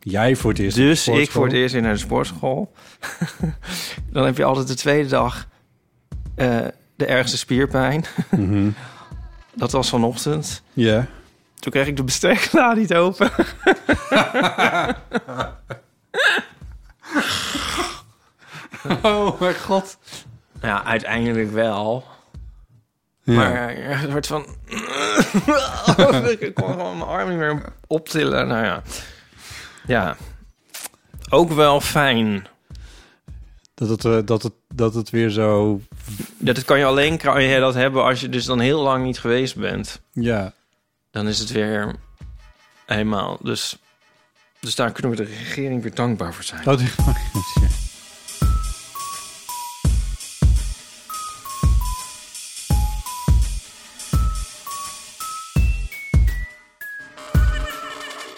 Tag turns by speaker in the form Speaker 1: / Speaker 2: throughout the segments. Speaker 1: Jij voor het eerst.
Speaker 2: dus
Speaker 1: sportschool.
Speaker 2: ik voor het eerst weer naar de sportschool. Dan heb je altijd de tweede dag eh, de ergste spierpijn.
Speaker 1: Mhm.
Speaker 2: Dat was vanochtend.
Speaker 1: Ja.
Speaker 2: Toen kreeg ik de bestekla niet open.
Speaker 1: Oh mijn god.
Speaker 2: Nou ja, uiteindelijk wel.
Speaker 1: Ja.
Speaker 2: Maar eh, een soort van... ik kon gewoon mijn arm niet meer optillen. Nou ja. Ja. Ook wel fijn.
Speaker 1: Dat, het, eh, dat, het, dat het weer zo...
Speaker 2: Dat kan je alleen kan je dat hebben als je dus dan heel lang niet geweest bent.
Speaker 1: Ja.
Speaker 2: Dan is het weer helemaal. Dus, dus daar kunnen we de regering weer dankbaar voor zijn.
Speaker 1: Dat Oh, ja.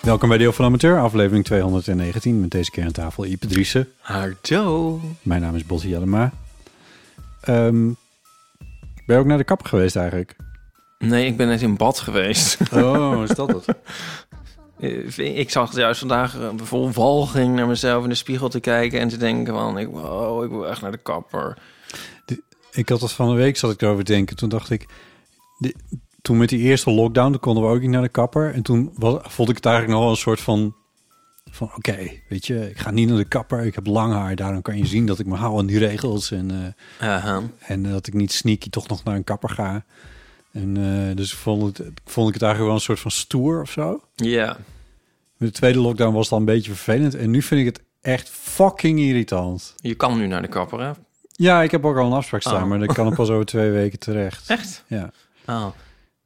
Speaker 1: Welkom bij Deel van de Amateur, aflevering 219. Met deze keer aan tafel Ipe Driessen.
Speaker 2: Hardo.
Speaker 1: Mijn naam is Botti Jellema. Ehm ben je ook naar de kapper geweest eigenlijk?
Speaker 2: Nee, ik ben net in bad geweest.
Speaker 1: Oh, is dat het?
Speaker 2: Eh, ik zag juist vandaag eh, vol walging naar mezelf in de spiegel te kijken en te denken van, ik, wow, ik wil echt naar de kapper.
Speaker 1: Ik had dat van de week, zat ik erover te denken. Toen dacht ik, di- toen met die eerste lockdown, toen konden we ook niet naar de kapper. En toen was, vond ik het eigenlijk nog wel een soort van, van oké, weet je, ik ga niet naar de kapper. Ik heb lang haar, daarom kan je zien dat ik me hou aan die regels. En, eh,
Speaker 2: Aha.
Speaker 1: en dat ik niet sneaky toch nog naar een kapper ga. En eh, dus vond, het, vond ik het eigenlijk wel een soort van stoer of zo.
Speaker 2: Ja.
Speaker 1: Met de tweede lockdown was het al een beetje vervelend. En nu vind ik het echt fucking irritant.
Speaker 2: Je kan nu naar de kapper, hè?
Speaker 1: Ja, ik heb ook al een afspraak staan,
Speaker 2: Oh.
Speaker 1: maar dan kan het pas over twee weken terecht.
Speaker 2: Echt?
Speaker 1: Ja.
Speaker 2: Oh.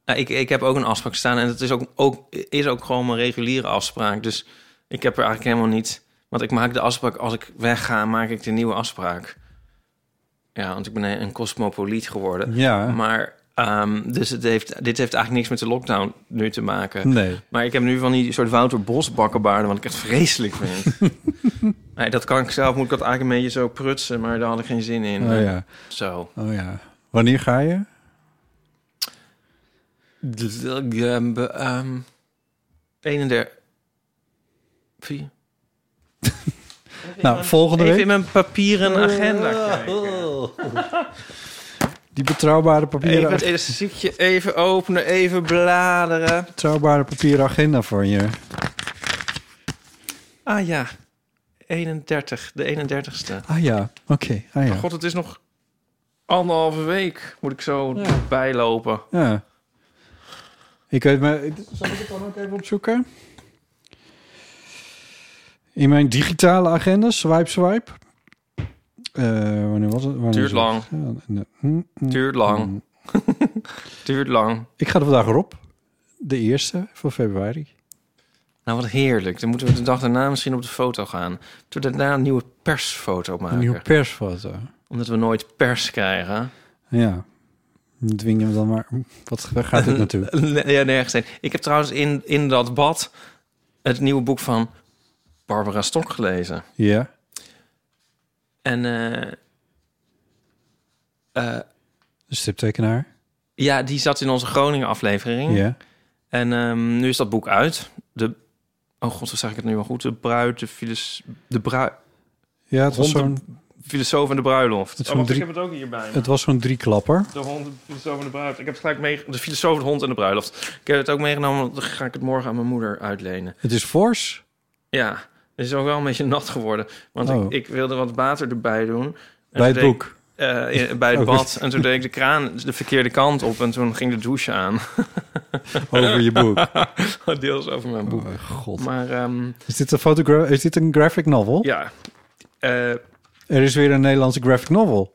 Speaker 2: Nou, ik, ik heb ook een afspraak staan en het is ook, ook, is ook gewoon mijn reguliere afspraak. Dus ik heb er eigenlijk helemaal niet... Want ik maak de afspraak, als ik wegga, maak ik de nieuwe afspraak. Ja, want ik ben een cosmopoliet geworden.
Speaker 1: Ja.
Speaker 2: Maar, ehm, dus het heeft, dit heeft eigenlijk niks met de lockdown nu te maken.
Speaker 1: Nee.
Speaker 2: Maar ik heb nu van die soort Wouter Bos bakkenbaarden, wat ik echt vreselijk vind. nee, dat kan ik zelf, moet ik dat eigenlijk een beetje zo prutsen, maar daar had ik geen zin in. eh,
Speaker 1: Oh ja.
Speaker 2: Zo.
Speaker 1: Oh ja. Wanneer ga je?
Speaker 2: Ehm, be- ehm, 31. Vier.
Speaker 1: nou, volgende
Speaker 2: Even
Speaker 1: week. Oh.
Speaker 2: in mijn papieren agenda kijken.
Speaker 1: Die betrouwbare papieren,
Speaker 2: Even het elastiekje even openen, even bladeren.
Speaker 1: betrouwbare papieren agenda voor je.
Speaker 2: Ah ja, 31, de 31ste.
Speaker 1: Ah ja. Oké. Ah ja.
Speaker 2: God, het is nog anderhalve week. Moet ik zo bijlopen.
Speaker 1: ja. Ik weet maar. Zal ik het dan ook even opzoeken? In mijn digitale agenda, swipe, swipe. Eh, wanneer was het? Wanneer
Speaker 2: Duurt
Speaker 1: is het?
Speaker 2: lang.
Speaker 1: Ja, nee. Mm, mm,
Speaker 2: Duurt lang.
Speaker 1: mm.
Speaker 2: Duurt lang.
Speaker 1: Ik ga er vandaag erop. De eerste van
Speaker 2: Ah,
Speaker 1: februari.
Speaker 2: Nou, wat heerlijk. Dan moeten we de dag daarna misschien op de foto gaan. Toen we daarna een nieuwe persfoto maken.
Speaker 1: Een nieuwe persfoto.
Speaker 2: Omdat we nooit pers krijgen.
Speaker 1: Ja. Dwing hem dan maar. Wat, waar gaat dit naartoe?
Speaker 2: Nee, Ja, nergens heen. Ik heb trouwens in, in dat bad het nieuwe boek van Barbara Stok gelezen.
Speaker 1: Ja.
Speaker 2: En eh, eh,
Speaker 1: Een striptekenaar.
Speaker 2: ja, die zat in onze Groningen aflevering.
Speaker 1: Ja.
Speaker 2: En ehm, nu is dat boek uit. De, oh god, hoe zeg ik het nu wel goed? De bruid, de, filos, de brui,
Speaker 1: Ja, het was
Speaker 2: Honden-
Speaker 1: zo'n
Speaker 2: filosoof en de bruiloft.
Speaker 1: Het is Oh, wacht, zo'n ik
Speaker 2: heb het ook hierbij.
Speaker 1: het was zo'n drieklapper.
Speaker 2: De hond, de filosoof en de bruiloft. Ik heb het gelijk meegenomen. De filosoof, de hond en de bruiloft. Ik heb het ook meegenomen. want Dan ga ik het morgen aan mijn moeder uitlenen.
Speaker 1: Het is fors.
Speaker 2: Ja. Het is ook wel een beetje nat geworden. Want
Speaker 1: Oh.
Speaker 2: ik, ik wilde wat water erbij doen. En
Speaker 1: Bij
Speaker 2: toen
Speaker 1: het
Speaker 2: deed ik-
Speaker 1: boek.
Speaker 2: eh, in- bij het
Speaker 1: Oh,
Speaker 2: bad. En toen deed ik de kraan de verkeerde kant op. En toen ging de douche aan.
Speaker 1: Over je boek.
Speaker 2: Deels over mijn boek.
Speaker 1: Oh, god.
Speaker 2: Maar ehm,
Speaker 1: Is dit, een fotogra- is dit een graphic novel?
Speaker 2: ja. Eh,
Speaker 1: Er is weer een Nederlandse graphic novel.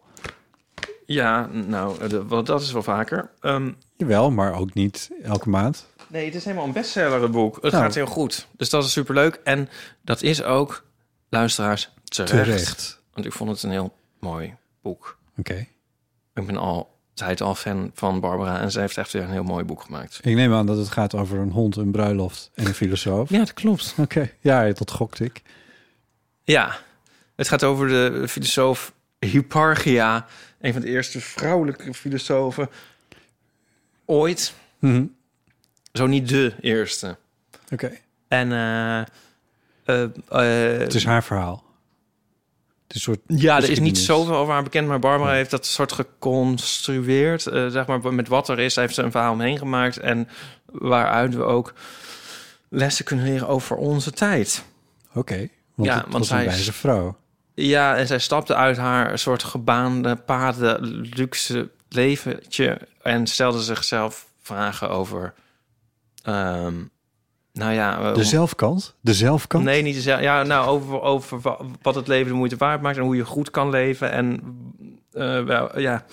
Speaker 2: ja, nou, eh, de- wel, dat is wel vaker. Ehm,
Speaker 1: Jawel, maar ook niet elke maand.
Speaker 2: nee, het is helemaal een bestseller, het boek. Het
Speaker 1: Nou.
Speaker 2: gaat heel goed. Dus dat is superleuk. En dat is ook, luisteraars, terecht. Want ik vond het een heel mooi boek.
Speaker 1: Oké.
Speaker 2: Ik ben altijd al fan van Barbara. En zij heeft echt weer een heel mooi boek gemaakt.
Speaker 1: Ik neem aan dat het gaat over een hond, een bruiloft en een filosoof.
Speaker 2: Ja, dat klopt.
Speaker 1: Oké. Ja, dat gokte ik.
Speaker 2: Ja, het gaat over de filosoof Hipparchia, een van de eerste vrouwelijke filosofen ooit.
Speaker 1: Mhm.
Speaker 2: Zo niet de eerste.
Speaker 1: Oké.
Speaker 2: En eh, eh, eh,
Speaker 1: Het is haar verhaal. Het is een soort...
Speaker 2: ja, er is
Speaker 1: geschiedenis.
Speaker 2: niet zoveel over haar bekend, maar Barbara heeft dat soort geconstrueerd. eh, zeg maar met wat er is, daar heeft ze een verhaal omheen gemaakt. En waaruit we ook lessen kunnen leren over onze tijd.
Speaker 1: Oké. Want
Speaker 2: Ja,
Speaker 1: het
Speaker 2: want
Speaker 1: was
Speaker 2: zij
Speaker 1: een
Speaker 2: is-
Speaker 1: wijze vrouw.
Speaker 2: Ja, en zij stapte uit haar soort gebaande paden, luxe leventje en stelde zichzelf vragen over. ehm, nou ja, eh,
Speaker 1: De zelfkant? De zelfkant?
Speaker 2: nee, niet dezelfde. Ja, nou over, over wa- wat het leven de moeite waard maakt en hoe je goed kan leven en eh, wel, ja.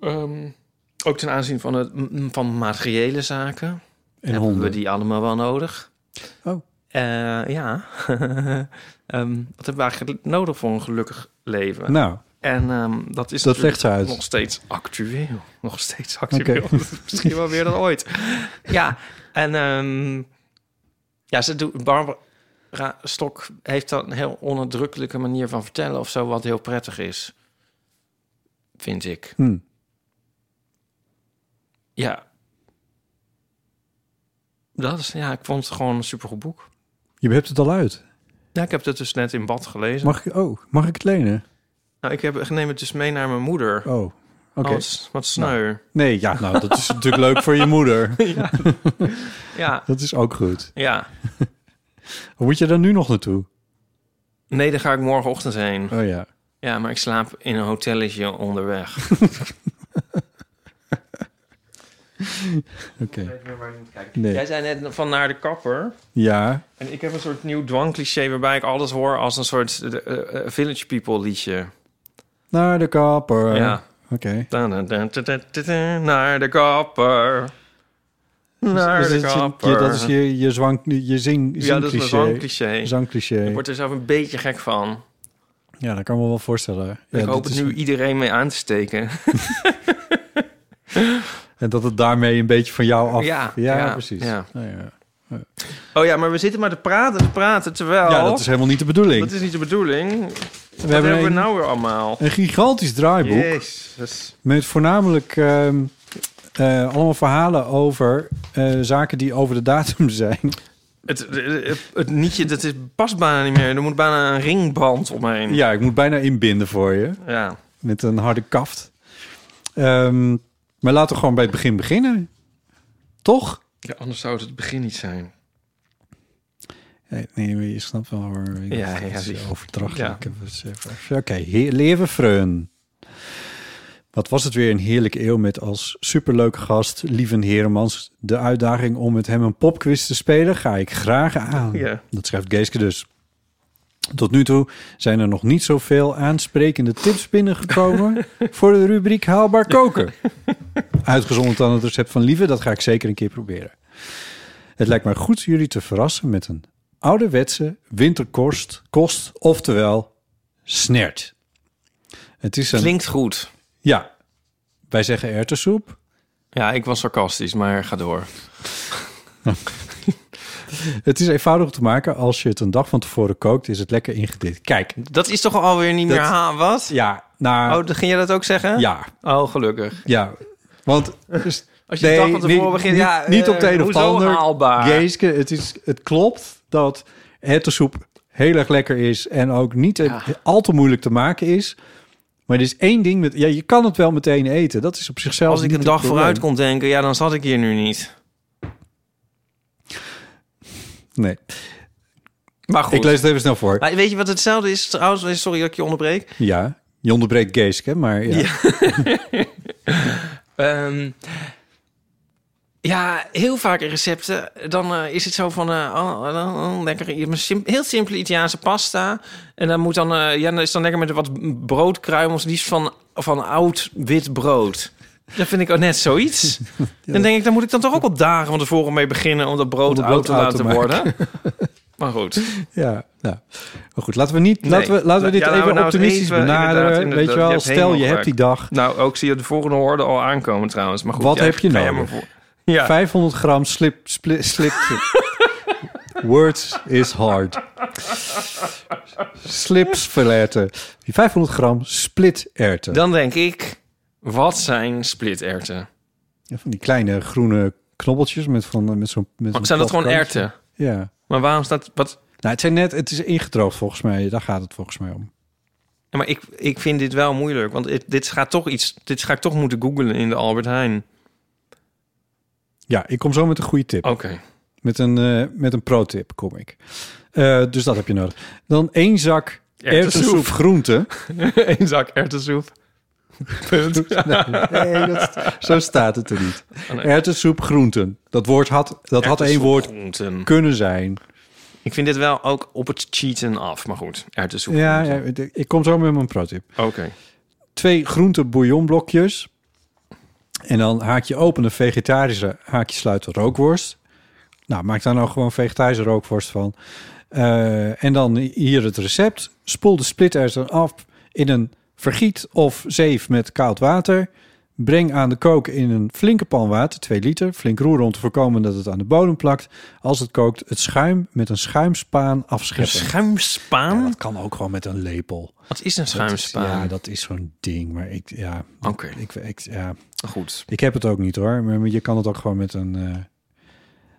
Speaker 2: Ehm, ook ten aanzien van, het, m- van materiële zaken
Speaker 1: En
Speaker 2: hebben
Speaker 1: honden.
Speaker 2: we die allemaal wel nodig.
Speaker 1: Oh.
Speaker 2: Eh, ja. Ehm, wat hebben we eigenlijk nodig voor een gelukkig leven?
Speaker 1: Nou,
Speaker 2: En ehm, dat is
Speaker 1: dat legt ze uit.
Speaker 2: nog steeds actueel. Nog steeds actueel. Misschien wel weer dan ooit. ja, en ehm, ja, ze doet, Barbara Stok heeft dan een heel onderdrukkelijke manier van vertellen of zo, wat heel prettig is. Vind ik.
Speaker 1: Hm.
Speaker 2: Ja. Dat is, ja, ik vond het gewoon een supergoed boek.
Speaker 1: Je hebt het al uit.
Speaker 2: Ja, ik heb het dus net in bad gelezen.
Speaker 1: Mag ik, oh, mag ik het lenen?
Speaker 2: Nou, ik, heb, ik neem het dus mee naar mijn moeder.
Speaker 1: Oh, oké.
Speaker 2: Oh, het is wat sneu.
Speaker 1: Nee, ja, nou, dat is natuurlijk leuk voor je moeder.
Speaker 2: Ja,
Speaker 1: Dat is ook goed.
Speaker 2: ja.
Speaker 1: Hoe moet je daar nu nog naartoe?
Speaker 2: Nee, daar ga ik morgenochtend heen.
Speaker 1: Oh ja.
Speaker 2: Ja, maar ik slaap in een hotelletje onderweg.
Speaker 1: Oké.
Speaker 2: Jij
Speaker 1: Nee.
Speaker 2: zei net van naar de kapper.
Speaker 1: Ja.
Speaker 2: En ik heb een soort nieuw dwangcliché waarbij ik alles hoor als een soort eh, eh, village people liedje.
Speaker 1: Naar de kapper.
Speaker 2: Ja.
Speaker 1: Oké.
Speaker 2: Da- da- da- da- da- da- da- Naar de kapper. Naar
Speaker 1: Dus
Speaker 2: de
Speaker 1: dat is je-
Speaker 2: kapper.
Speaker 1: je- dat is je, je, zwang, je zing,
Speaker 2: Ja, dat is mijn
Speaker 1: zingcliché.
Speaker 2: dwangcliché.
Speaker 1: Zangcliché.
Speaker 2: Ik word er zelf een beetje gek van.
Speaker 1: Ja, dat kan ik me wel voorstellen. Ja,
Speaker 2: ik
Speaker 1: dat
Speaker 2: hoop het
Speaker 1: is-
Speaker 2: nu iedereen mee aan te steken.
Speaker 1: En dat het daarmee een beetje van jou af...
Speaker 2: Ja, ja,
Speaker 1: precies.
Speaker 2: ja.
Speaker 1: Nou ja.
Speaker 2: Oh ja, maar we zitten maar te praten, te praten, terwijl...
Speaker 1: Ja, dat is helemaal niet de bedoeling.
Speaker 2: dat is niet de bedoeling. We
Speaker 1: we
Speaker 2: hebben,
Speaker 1: hebben
Speaker 2: we
Speaker 1: een,
Speaker 2: nou weer allemaal?
Speaker 1: een gigantisch draaiboek
Speaker 2: Jezus.
Speaker 1: met voornamelijk ehm, eh, allemaal verhalen over eh, zaken die over de datum zijn.
Speaker 2: Het, het, het nietje, dat is, past bijna niet meer. Er moet bijna een ringband omheen.
Speaker 1: Ja, ik moet bijna inbinden voor je
Speaker 2: Ja.
Speaker 1: met een harde kaft. Ehm, maar laten we gewoon bij het begin beginnen. Toch?
Speaker 2: Ja, anders zou het het begin niet zijn.
Speaker 1: Nee, nee, maar je snapt wel waar ik
Speaker 2: Ja,
Speaker 1: ja,
Speaker 2: ja,
Speaker 1: ja,
Speaker 2: die- ja.
Speaker 1: overdrachtelijk heb het zelf. Oké, heer- leven Freun. Wat was het weer een heerlijke eeuw met als superleuke gast, Lieven Heremans. De uitdaging om met hem een popquiz te spelen ga ik graag aan.
Speaker 2: Ja.
Speaker 1: Dat schrijft Geeske dus. Tot nu toe zijn er nog niet zoveel aansprekende tips binnengekomen voor de rubriek haalbaar koken. Uitgezonderd aan het recept van Lieve, dat ga ik zeker een keer proberen. Het lijkt mij goed jullie te verrassen met een ouderwetse winterkost, kost, oftewel snert. Het is een...
Speaker 2: Klinkt goed.
Speaker 1: Ja, wij zeggen erwtensoep.
Speaker 2: Ja, ik was sarcastisch, maar ga door.
Speaker 1: Het is eenvoudig te maken. Als je het een dag van tevoren kookt, is het lekker ingedikt. Kijk,
Speaker 2: Dat is toch alweer niet
Speaker 1: Dat-
Speaker 2: meer... Ha, wat?
Speaker 1: ja, nou...
Speaker 2: Oh, dan ging je dat ook zeggen?
Speaker 1: Ja,
Speaker 2: Oh, gelukkig.
Speaker 1: ja. Want...
Speaker 2: Als je de dag van tevoren
Speaker 1: niet,
Speaker 2: begint...
Speaker 1: niet-
Speaker 2: ja,
Speaker 1: niet op de
Speaker 2: eh,
Speaker 1: een of
Speaker 2: hoezo
Speaker 1: ander.
Speaker 2: haalbaar?
Speaker 1: Geeske, het, is, het klopt dat hertensoep heel erg lekker is en ook niet eh, al te moeilijk te maken is. Maar er is één ding met. Ja, je kan het wel meteen eten. Dat is op zichzelf.
Speaker 2: Als ik
Speaker 1: niet
Speaker 2: een
Speaker 1: het
Speaker 2: dag
Speaker 1: probleem.
Speaker 2: vooruit kon denken, ja, dan zat ik hier nu niet.
Speaker 1: Nee.
Speaker 2: Maar goed.
Speaker 1: Ik lees het even snel voor.
Speaker 2: Maar weet je wat hetzelfde is trouwens? Sorry dat ik je onderbreek.
Speaker 1: Ja, je onderbreekt Geeske, maar ja.
Speaker 2: Ehm, ja, heel vaak in recepten, dan eh, is het zo van eh, oh, oh, oh, lekker, een sim- heel simpele Italiaanse pasta. En dan moet dan, eh, ja, dan is dan lekker met wat broodkruimels, liefst van, van oud wit brood. Dat vind ik ook net zoiets. Dan denk ik, dan moet ik dan toch ook op dagen van tevoren mee beginnen om dat brood,
Speaker 1: Om
Speaker 2: oud
Speaker 1: het brood
Speaker 2: te
Speaker 1: oud te
Speaker 2: laten worden. Maar goed.
Speaker 1: ja nou. Maar goed, laten we, niet,
Speaker 2: Nee.
Speaker 1: laten we, laten we dit
Speaker 2: Ja, laten we
Speaker 1: even
Speaker 2: nou eens
Speaker 1: optimistisch
Speaker 2: even
Speaker 1: benaderen.
Speaker 2: inderdaad, inderdaad.
Speaker 1: Weet je wel,
Speaker 2: Je hebt
Speaker 1: stel je
Speaker 2: helemaal
Speaker 1: hebt die dag
Speaker 2: Nou, ook zie je de volgende horde al aankomen trouwens. Maar goed,
Speaker 1: Wat
Speaker 2: jij-
Speaker 1: heb je
Speaker 2: ga jij
Speaker 1: nodig?
Speaker 2: maar voor. Ja.
Speaker 1: 500 gram slip, spli- slip, Words is hard. Slipsverletten. 500 gram splitterten.
Speaker 2: Dan denk ik, wat zijn splitterten?
Speaker 1: Ja, van die kleine groene knobbeltjes met, van, eh, met zo'n... Met zo'n
Speaker 2: Zijn Oh, dat
Speaker 1: plat
Speaker 2: gewoon
Speaker 1: kantje.
Speaker 2: erten?
Speaker 1: Ja.
Speaker 2: Maar waarom staat... Wat?
Speaker 1: Nou, het, zijn net, het is ingedroogd volgens mij. Daar gaat het volgens mij om.
Speaker 2: Ja, maar ik, ik vind dit wel moeilijk. Want het- dit gaat toch iets... Dit ga ik toch moeten googlen in de Albert Heijn.
Speaker 1: Ja, ik kom zo met een goede tip.
Speaker 2: Oké.
Speaker 1: Met een, eh, met een pro-tip kom ik. Eh, dus dat heb je nodig. Dan één zak
Speaker 2: Erwtensoep.
Speaker 1: erwtensoep groente.
Speaker 2: Eén zak erwtensoep. Punt.
Speaker 1: Nee, dat, zo staat het er niet.
Speaker 2: Oh, nee.
Speaker 1: Erwtensoep groenten. Dat, woord had, dat had één
Speaker 2: Erwtensoep,
Speaker 1: woord
Speaker 2: groenten.
Speaker 1: kunnen zijn.
Speaker 2: Ik vind dit wel ook op het cheaten af. Maar goed, erwtensoep.
Speaker 1: Ja,
Speaker 2: groenten.
Speaker 1: ja, ik kom zo met mijn pro-tip.
Speaker 2: Oké.
Speaker 1: Twee groente bouillonblokjes. En dan haak je open een vegetarische, haak je sluiten rookworst. Nou, maak daar nou gewoon vegetarische rookworst van. Eh, en dan hier het recept. Spoel de splittersen af in een vergiet of zeef met koud water. Breng aan de kook in een flinke pan water, 2 liter. Flink roeren om te voorkomen dat het aan de bodem plakt. Als het kookt, het schuim met een schuimspaan
Speaker 2: Een
Speaker 1: afscheppen. Ja,
Speaker 2: schuimspaan?
Speaker 1: dat kan ook gewoon met een lepel.
Speaker 2: Wat is een
Speaker 1: Dat is-
Speaker 2: schuimspaan?
Speaker 1: Ja, dat is zo'n ding. Maar ik, ja,
Speaker 2: Oké,
Speaker 1: ik, ik, ja,
Speaker 2: goed.
Speaker 1: ik heb het ook niet hoor. Maar je kan het ook gewoon met een, eh,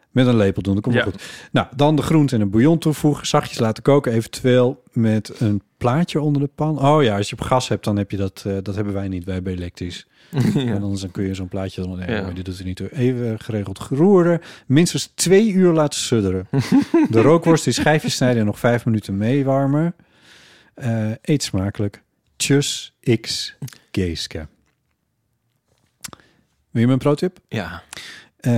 Speaker 1: met een lepel doen. Dat komt wel
Speaker 2: Ja.
Speaker 1: goed. Nou, dan de groente en een bouillon toevoegen. Zachtjes laten koken. Eventueel met een plaatje onder de pan. Oh ja, als je op gas hebt, dan heb je dat. eh, dat hebben wij niet. Wij hebben elektrisch. En anders dan kun je zo'n plaatje dan. Nee,
Speaker 2: Ja.
Speaker 1: hoor, dit doet er niet toe. Even geregeld geroeren. Minstens twee uur laten sudderen. de rookworst in schijfjes snijden en nog vijf minuten meewarmen. Eh, eet smakelijk. Tjus X Geeske. Wil je mijn pro-tip?
Speaker 2: Ja.
Speaker 1: Eh,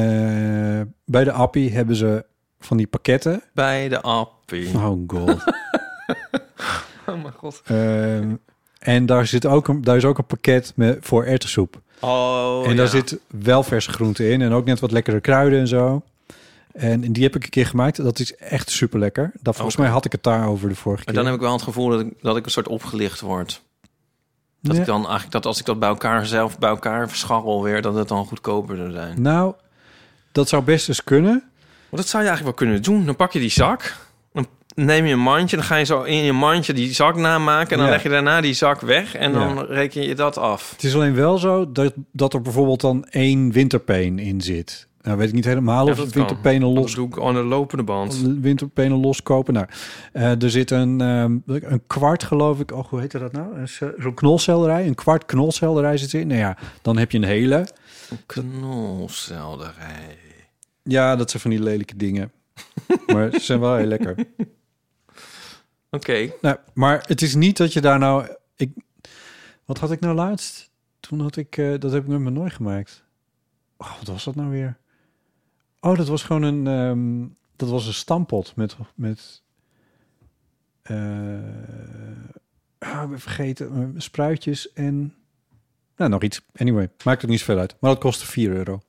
Speaker 1: bij de Appie hebben ze van die pakketten.
Speaker 2: Bij de appie.
Speaker 1: Oh god.
Speaker 2: Oh mijn god.
Speaker 1: Ehm, en daar, zit ook een, daar is ook een pakket met, voor erwtensoep.
Speaker 2: Oh,
Speaker 1: en daar
Speaker 2: ja.
Speaker 1: zit wel verse groente in. En ook net wat lekkere kruiden en zo. En die heb ik een keer gemaakt. Dat is echt super lekker. Dat, volgens mij had ik het daar over de vorige
Speaker 2: Maar
Speaker 1: keer.
Speaker 2: dan heb ik wel het gevoel dat ik, dat ik een soort opgelicht word. Dat
Speaker 1: Ja.
Speaker 2: ik dan eigenlijk dat als ik dat bij elkaar zelf bij elkaar verscharrel weer, dat het dan goedkoper zou zijn.
Speaker 1: Nou, dat zou best eens kunnen.
Speaker 2: Want dat zou je eigenlijk wel kunnen doen. Dan pak je die zak, dan neem je een mandje, dan ga je zo in je mandje die zak namaken en dan
Speaker 1: Ja.
Speaker 2: leg je daarna die zak weg en dan
Speaker 1: Ja.
Speaker 2: reken je dat af.
Speaker 1: Het is alleen wel zo dat, dat er bijvoorbeeld dan één winterpeen in zit. Nou weet ik niet helemaal
Speaker 2: Ja,
Speaker 1: of het
Speaker 2: kan.
Speaker 1: winterpenen
Speaker 2: Dat
Speaker 1: los
Speaker 2: doe ik aan de lopende band.
Speaker 1: winterpenen loskopen. Nou, eh, er zit een, ehm, een kwart, geloof ik. Oh, hoe heette dat nou? Een ce- Zo'n knolselderij. Een kwart knolselderij zit in. Nou ja, dan heb je een hele.
Speaker 2: Knolselderij.
Speaker 1: Ja, dat zijn van die lelijke dingen. maar ze zijn wel heel lekker.
Speaker 2: Oké.
Speaker 1: Nou, maar het is niet dat je daar nou... Ik, wat had ik nou laatst? Toen had ik... eh, dat heb ik met mijn nooi gemaakt. Oh, wat was dat nou weer? Oh, dat was gewoon een... ehm, dat was een stampot met... met eh, ah, ik ben vergeten. eh, Spruitjes en... Nou, nog iets. Anyway, maakt het niet zoveel uit. Maar dat kostte 4 euro.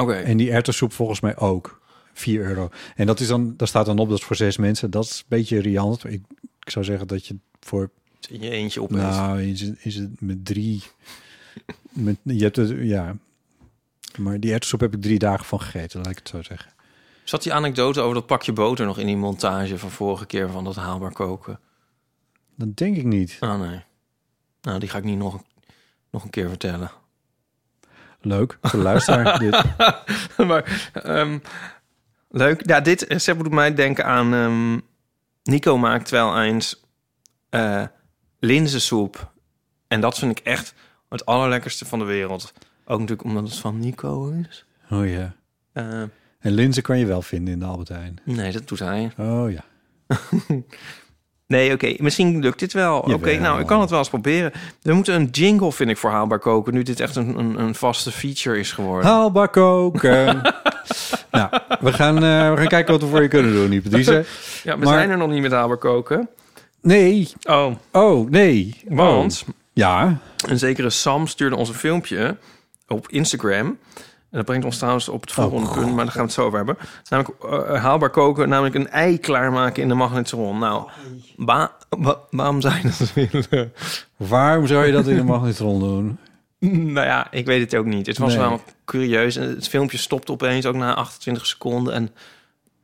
Speaker 2: Oké.
Speaker 1: En die erwtensoep volgens mij ook. 4 euro. En dat is dan, daar staat dan op dat is voor zes mensen. Dat is een beetje riant. Ik, ik zou zeggen dat je voor.
Speaker 2: Je eentje opeet.
Speaker 1: Nou, is het, is het met drie. Met, je hebt het, ja. Maar die erwtensoep heb ik drie dagen van gegeten, laat ik het zo zeggen.
Speaker 2: Zat die anekdote over dat pakje boter nog in die montage van vorige keer van dat haalbaar koken?
Speaker 1: Dat denk ik niet.
Speaker 2: Oh nee. Nou, die ga ik niet nog, nog een keer vertellen.
Speaker 1: Leuk. Voor de luisteraar. dit.
Speaker 2: maar ehm, leuk. Ja, dit recept doet mij denken aan... ehm, Nico maakt wel eens eh linzensoep. En dat vind ik echt het allerlekkerste van de wereld. Ook natuurlijk omdat het van Nico is.
Speaker 1: Oh ja.
Speaker 2: Eh,
Speaker 1: En linzen kan je wel vinden in de Albert Heijn.
Speaker 2: nee, dat doet hij.
Speaker 1: Oh ja.
Speaker 2: Nee, oké. Misschien lukt dit wel. Oké,
Speaker 1: Jawel.
Speaker 2: nou, ik kan het wel eens proberen. We moeten een jingle, vind ik, voor haalbaar koken. Nu dit echt een, een, een vaste feature is geworden.
Speaker 1: Haalbaar koken. nou, we gaan, eh, we gaan kijken wat we voor je kunnen doen, die Patrice.
Speaker 2: ja, we
Speaker 1: maar-
Speaker 2: zijn er nog niet met haalbaar koken.
Speaker 1: Nee.
Speaker 2: Oh,
Speaker 1: Oh, nee.
Speaker 2: want
Speaker 1: Ja.
Speaker 2: een zekere Sam stuurde ons een filmpje op Instagram. En dat brengt ons trouwens op
Speaker 1: Oh,
Speaker 2: het volgende punt, maar daar gaan we het zo over hebben. Het is Namelijk eh, haalbaar koken, namelijk een ei klaarmaken in de magnetron. Nou, wa- wa- waarom zou je dat willen?
Speaker 1: Waarom zou je dat in de magnetron doen?
Speaker 2: Nou ja, ik weet het ook niet. Het was
Speaker 1: Nee.
Speaker 2: wel curieus. En Het filmpje stopte opeens ook na 28 seconden. En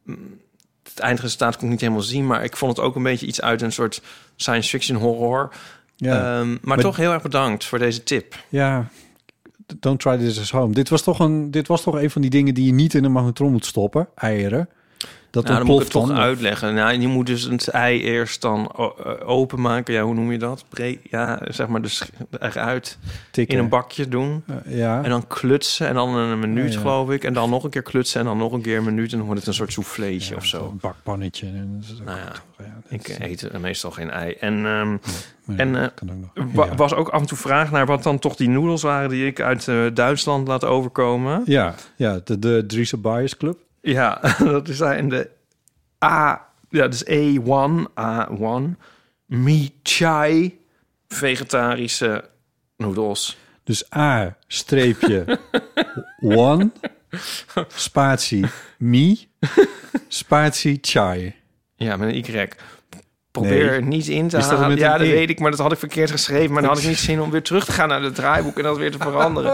Speaker 2: mm, het eindresultaat kon ik niet helemaal zien. Maar ik vond het ook een beetje iets uit een soort science fiction horror.
Speaker 1: Ja.
Speaker 2: Ehm, maar, toch heel erg bedankt voor deze tip.
Speaker 1: Eh, ja. Don't try this at home. Dit was, toch een, dit was toch een van die dingen die je niet in de magnetron moet stoppen. Eieren. Dat
Speaker 2: Nou, dan moet ik
Speaker 1: ontploft
Speaker 2: het toch
Speaker 1: dan.
Speaker 2: uitleggen. Nou, je moet dus het ei eerst dan o- eh, openmaken. Ja, hoe noem je dat? Bre ja, zeg maar dus eruit
Speaker 1: Tikken.
Speaker 2: in een bakje doen.
Speaker 1: Eh, ja.
Speaker 2: En dan klutsen en dan een minuut,
Speaker 1: Ja, ja.
Speaker 2: geloof ik. En dan nog een keer klutsen en dan nog een keer een minuut. En dan wordt het een soort souffleetje
Speaker 1: Ja,
Speaker 2: of zo.
Speaker 1: Een bakpannetje. En dat is ook
Speaker 2: Nou ja,
Speaker 1: toch, ja, dat
Speaker 2: Ik
Speaker 1: is-
Speaker 2: eet eh, meestal geen ei. En ehm,
Speaker 1: maar
Speaker 2: en,
Speaker 1: ja,
Speaker 2: eh,
Speaker 1: kan ook nog.
Speaker 2: wa-
Speaker 1: Ja.
Speaker 2: was ook af en toe vraag naar wat dan toch die noedels waren die ik uit eh, Duitsland laat overkomen.
Speaker 1: Ja, ja de, de Driese Bias Club.
Speaker 2: Ja, dat zijn de A, ja, dus A1, A1, Mi Chai, vegetarische noedels.
Speaker 1: Dus A streepje one spatie mi spatie chai.
Speaker 2: Ja, met een Y. Probeer
Speaker 1: Nee.
Speaker 2: er niet in te
Speaker 1: Is dat
Speaker 2: halen.
Speaker 1: met een
Speaker 2: ja, dat
Speaker 1: E?
Speaker 2: weet ik, maar dat had ik verkeerd geschreven. Maar dan had ik niet zin om weer terug te gaan naar het draaiboek en dat weer te veranderen.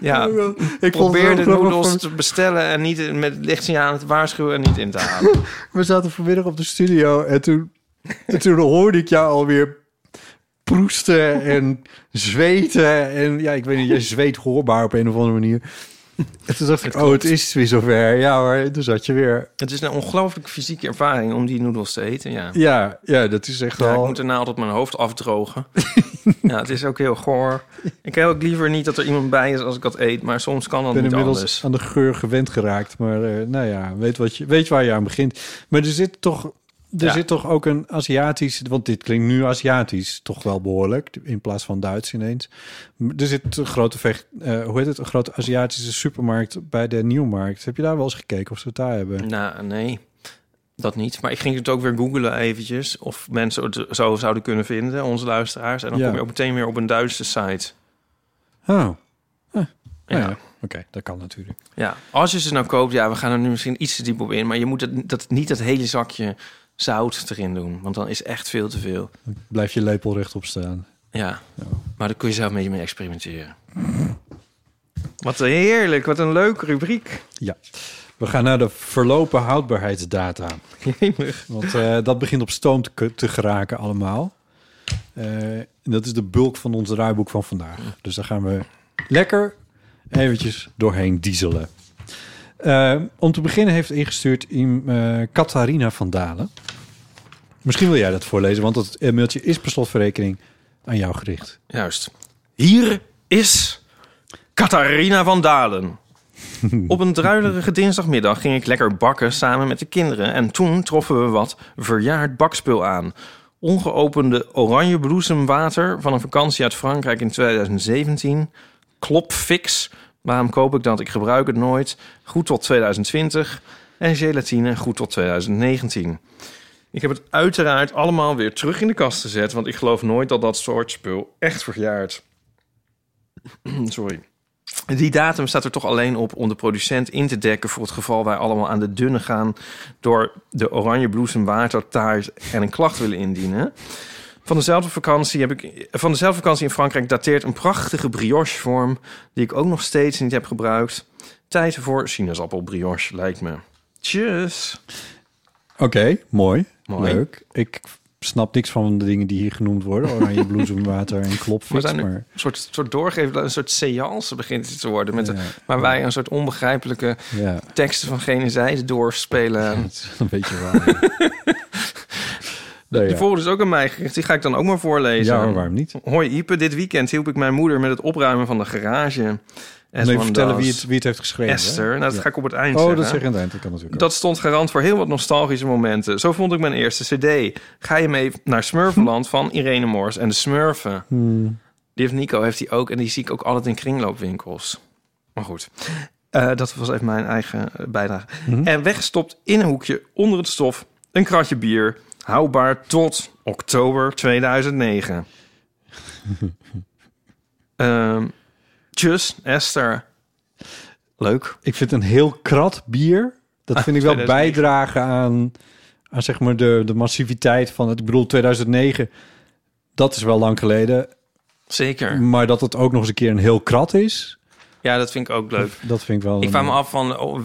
Speaker 2: Ja,
Speaker 1: Oh Ik
Speaker 2: probeer de noedels te bestellen en niet met lichtsignaal te waarschuwen en niet in te halen.
Speaker 1: We zaten vanmiddag op de studio en toen, en toen hoorde ik jou alweer proesten en zweten. En ja, ik weet niet, je zweet hoorbaar op een of andere manier. En toen dacht ik, oh, het is weer zover. Ja hoor, en toen zat je weer.
Speaker 2: het is een ongelooflijke fysieke ervaring om die noedels te eten. Ja.
Speaker 1: Ja, ja dat is echt
Speaker 2: Ja, ik
Speaker 1: wel...
Speaker 2: moet daarna altijd mijn hoofd afdrogen. ja, het is ook heel goor. Ik heb ook liever niet dat er iemand bij is als ik dat eet, maar soms kan dat
Speaker 1: Ik ben
Speaker 2: niet
Speaker 1: inmiddels
Speaker 2: anders.
Speaker 1: aan de geur gewend geraakt. Maar eh, nou ja, weet, wat je, weet waar je aan begint. Maar er zit toch, er
Speaker 2: Ja.
Speaker 1: zit toch ook een Aziatisch... Want dit klinkt nu Aziatisch toch wel behoorlijk. In plaats van Duits ineens. M- Er zit een grote, vecht, eh, hoe heet het, een grote Aziatische supermarkt bij de Nieuwmarkt. Heb je daar wel eens gekeken of ze het daar hebben?
Speaker 2: Nou, nee, dat niet. Maar ik ging het ook weer googlen eventjes of mensen het zo zouden kunnen vinden, onze luisteraars. En dan
Speaker 1: Ja.
Speaker 2: kom je ook meteen weer op een Duitse site.
Speaker 1: Oh, ja.
Speaker 2: Ja.
Speaker 1: Oké, dat kan natuurlijk.
Speaker 2: ja, als je ze nou koopt, ja, we gaan er nu misschien iets te diep op in, maar je moet het, dat, niet dat hele zakje zout erin doen, want dan is echt veel te veel.
Speaker 1: Dan blijf je lepel rechtop staan.
Speaker 2: Ja, maar daar kun je zelf een beetje mee experimenteren. Wat heerlijk, wat een leuke rubriek.
Speaker 1: Ja. We gaan naar de verlopen houdbaarheidsdata.
Speaker 2: Jemig.
Speaker 1: Want eh, dat begint op stoom te, k- te geraken allemaal. Eh, en dat is de bulk van ons draaiboek van vandaag. Dus daar gaan we lekker eventjes doorheen dieselen. Eh, om te beginnen heeft ingestuurd in, eh, Catharina van Dalen. Misschien wil jij dat voorlezen, want dat eh, mailtje is per slotverrekening aan jou gericht.
Speaker 2: Juist. Hier is Catharina van Dalen. Op een druilerige dinsdagmiddag ging ik lekker bakken samen met de kinderen. En toen troffen we wat verjaard bakspul aan. Ongeopende oranje bloesemwater van een vakantie uit Frankrijk in 2017. Klopfix. Waarom koop ik dat? Ik gebruik het nooit. Goed tot 2020. En gelatine goed tot 2019. Ik heb het uiteraard allemaal weer terug in de kast gezet, want ik geloof nooit dat dat soort spul echt verjaart. Sorry. Die datum staat er toch alleen op om de producent in te dekken voor het geval wij allemaal aan de dunne gaan door de oranje bloesem watertaart en een klacht willen indienen. Van dezelfde vakantie heb ik van dezelfde vakantie in Frankrijk dateert een prachtige briochevorm die ik ook nog steeds niet heb gebruikt. Tijd voor sinaasappelbrioche lijkt me. Tjus.
Speaker 1: Oké, mooi,
Speaker 2: Mooi.
Speaker 1: Leuk. Ik snap niks van de dingen die hier genoemd worden. Oranje bloesemwater en
Speaker 2: We
Speaker 1: klopfiets.
Speaker 2: zijn nu
Speaker 1: Maar...
Speaker 2: een soort, soort doorgeven, een soort seance begint het te worden. Met de-
Speaker 1: Ja.
Speaker 2: waar wij een soort onbegrijpelijke
Speaker 1: Ja,
Speaker 2: teksten van gene zijde doorspelen.
Speaker 1: dat is een beetje waar. Nou ja.
Speaker 2: Die volgende is ook aan mij gericht. Die ga ik dan ook maar voorlezen.
Speaker 1: Ja, hoor, waarom niet?
Speaker 2: Hoi Ipe, dit weekend hielp ik mijn moeder met het opruimen van de garage. En
Speaker 1: En even vertellen wie het, wie het heeft geschreven. hè?
Speaker 2: Esther. Nou, dat
Speaker 1: Ja.
Speaker 2: ga ik op het eind
Speaker 1: Oh,
Speaker 2: zeggen.
Speaker 1: dat zeg je aan het eind. Dat kan natuurlijk
Speaker 2: Dat stond garant voor heel wat nostalgische momenten. Zo vond ik mijn eerste cd. Ga je mee naar Smurfenland van Irene Moors en de Smurfen. Die heeft Nico, heeft hij ook. En die zie ik ook altijd in kringloopwinkels. Maar goed, Eh, dat was even mijn eigen eh, bijdrage. En weggestopt in een hoekje onder het stof een kratje bier. Houdbaar tot oktober 2009. Ehm tjus, Esther. Leuk. Ah,
Speaker 1: ook. Ik vind een heel krat bier. Dat vind ik wel
Speaker 2: 2009.
Speaker 1: bijdragen aan, aan zeg maar de, de massiviteit van het. Ik bedoel, 2009, dat is wel lang geleden.
Speaker 2: Zeker.
Speaker 1: Maar dat het ook nog eens een keer een heel krat is,
Speaker 2: Ja, dat vind ik ook leuk.
Speaker 1: dat vind ik wel.
Speaker 2: Ik
Speaker 1: een-
Speaker 2: vraag me af van of,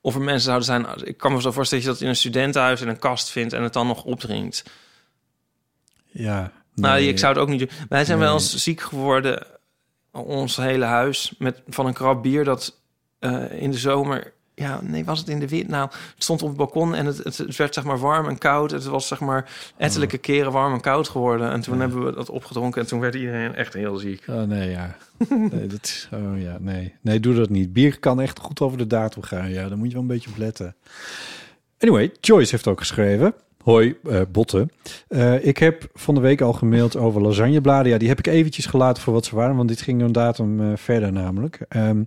Speaker 2: of er mensen zouden zijn. als- Ik kan me zo voorstellen dat je dat in een studentenhuis in een kast vindt en het dan nog opdrinkt.
Speaker 1: Ja.
Speaker 2: Nou,
Speaker 1: nee.
Speaker 2: ik zou het ook niet doen. Wij zijn wel eens ziek geworden, ons hele huis, met, van een krab bier dat eh, in de zomer. Ja, nee, was het in de winter? Nou, het stond op het balkon en het, het, het werd zeg maar warm en koud. Het was zeg maar
Speaker 1: Oh.
Speaker 2: ettelijke keren warm en koud geworden. En toen hebben we dat opgedronken en toen werd iedereen echt heel ziek.
Speaker 1: Oh, nee, ja. Nee, dat is, oh, ja, nee. nee, doe dat niet. Bier kan echt goed over de datum gaan. Ja, daar moet je wel een beetje op letten. Anyway, Joyce heeft ook geschreven. Hoi, eh botten. Eh, ik heb van de week al gemaild over lasagnebladen. Ja, die heb ik eventjes gelaten voor wat ze waren, want dit ging een datum eh, verder namelijk. Ehm,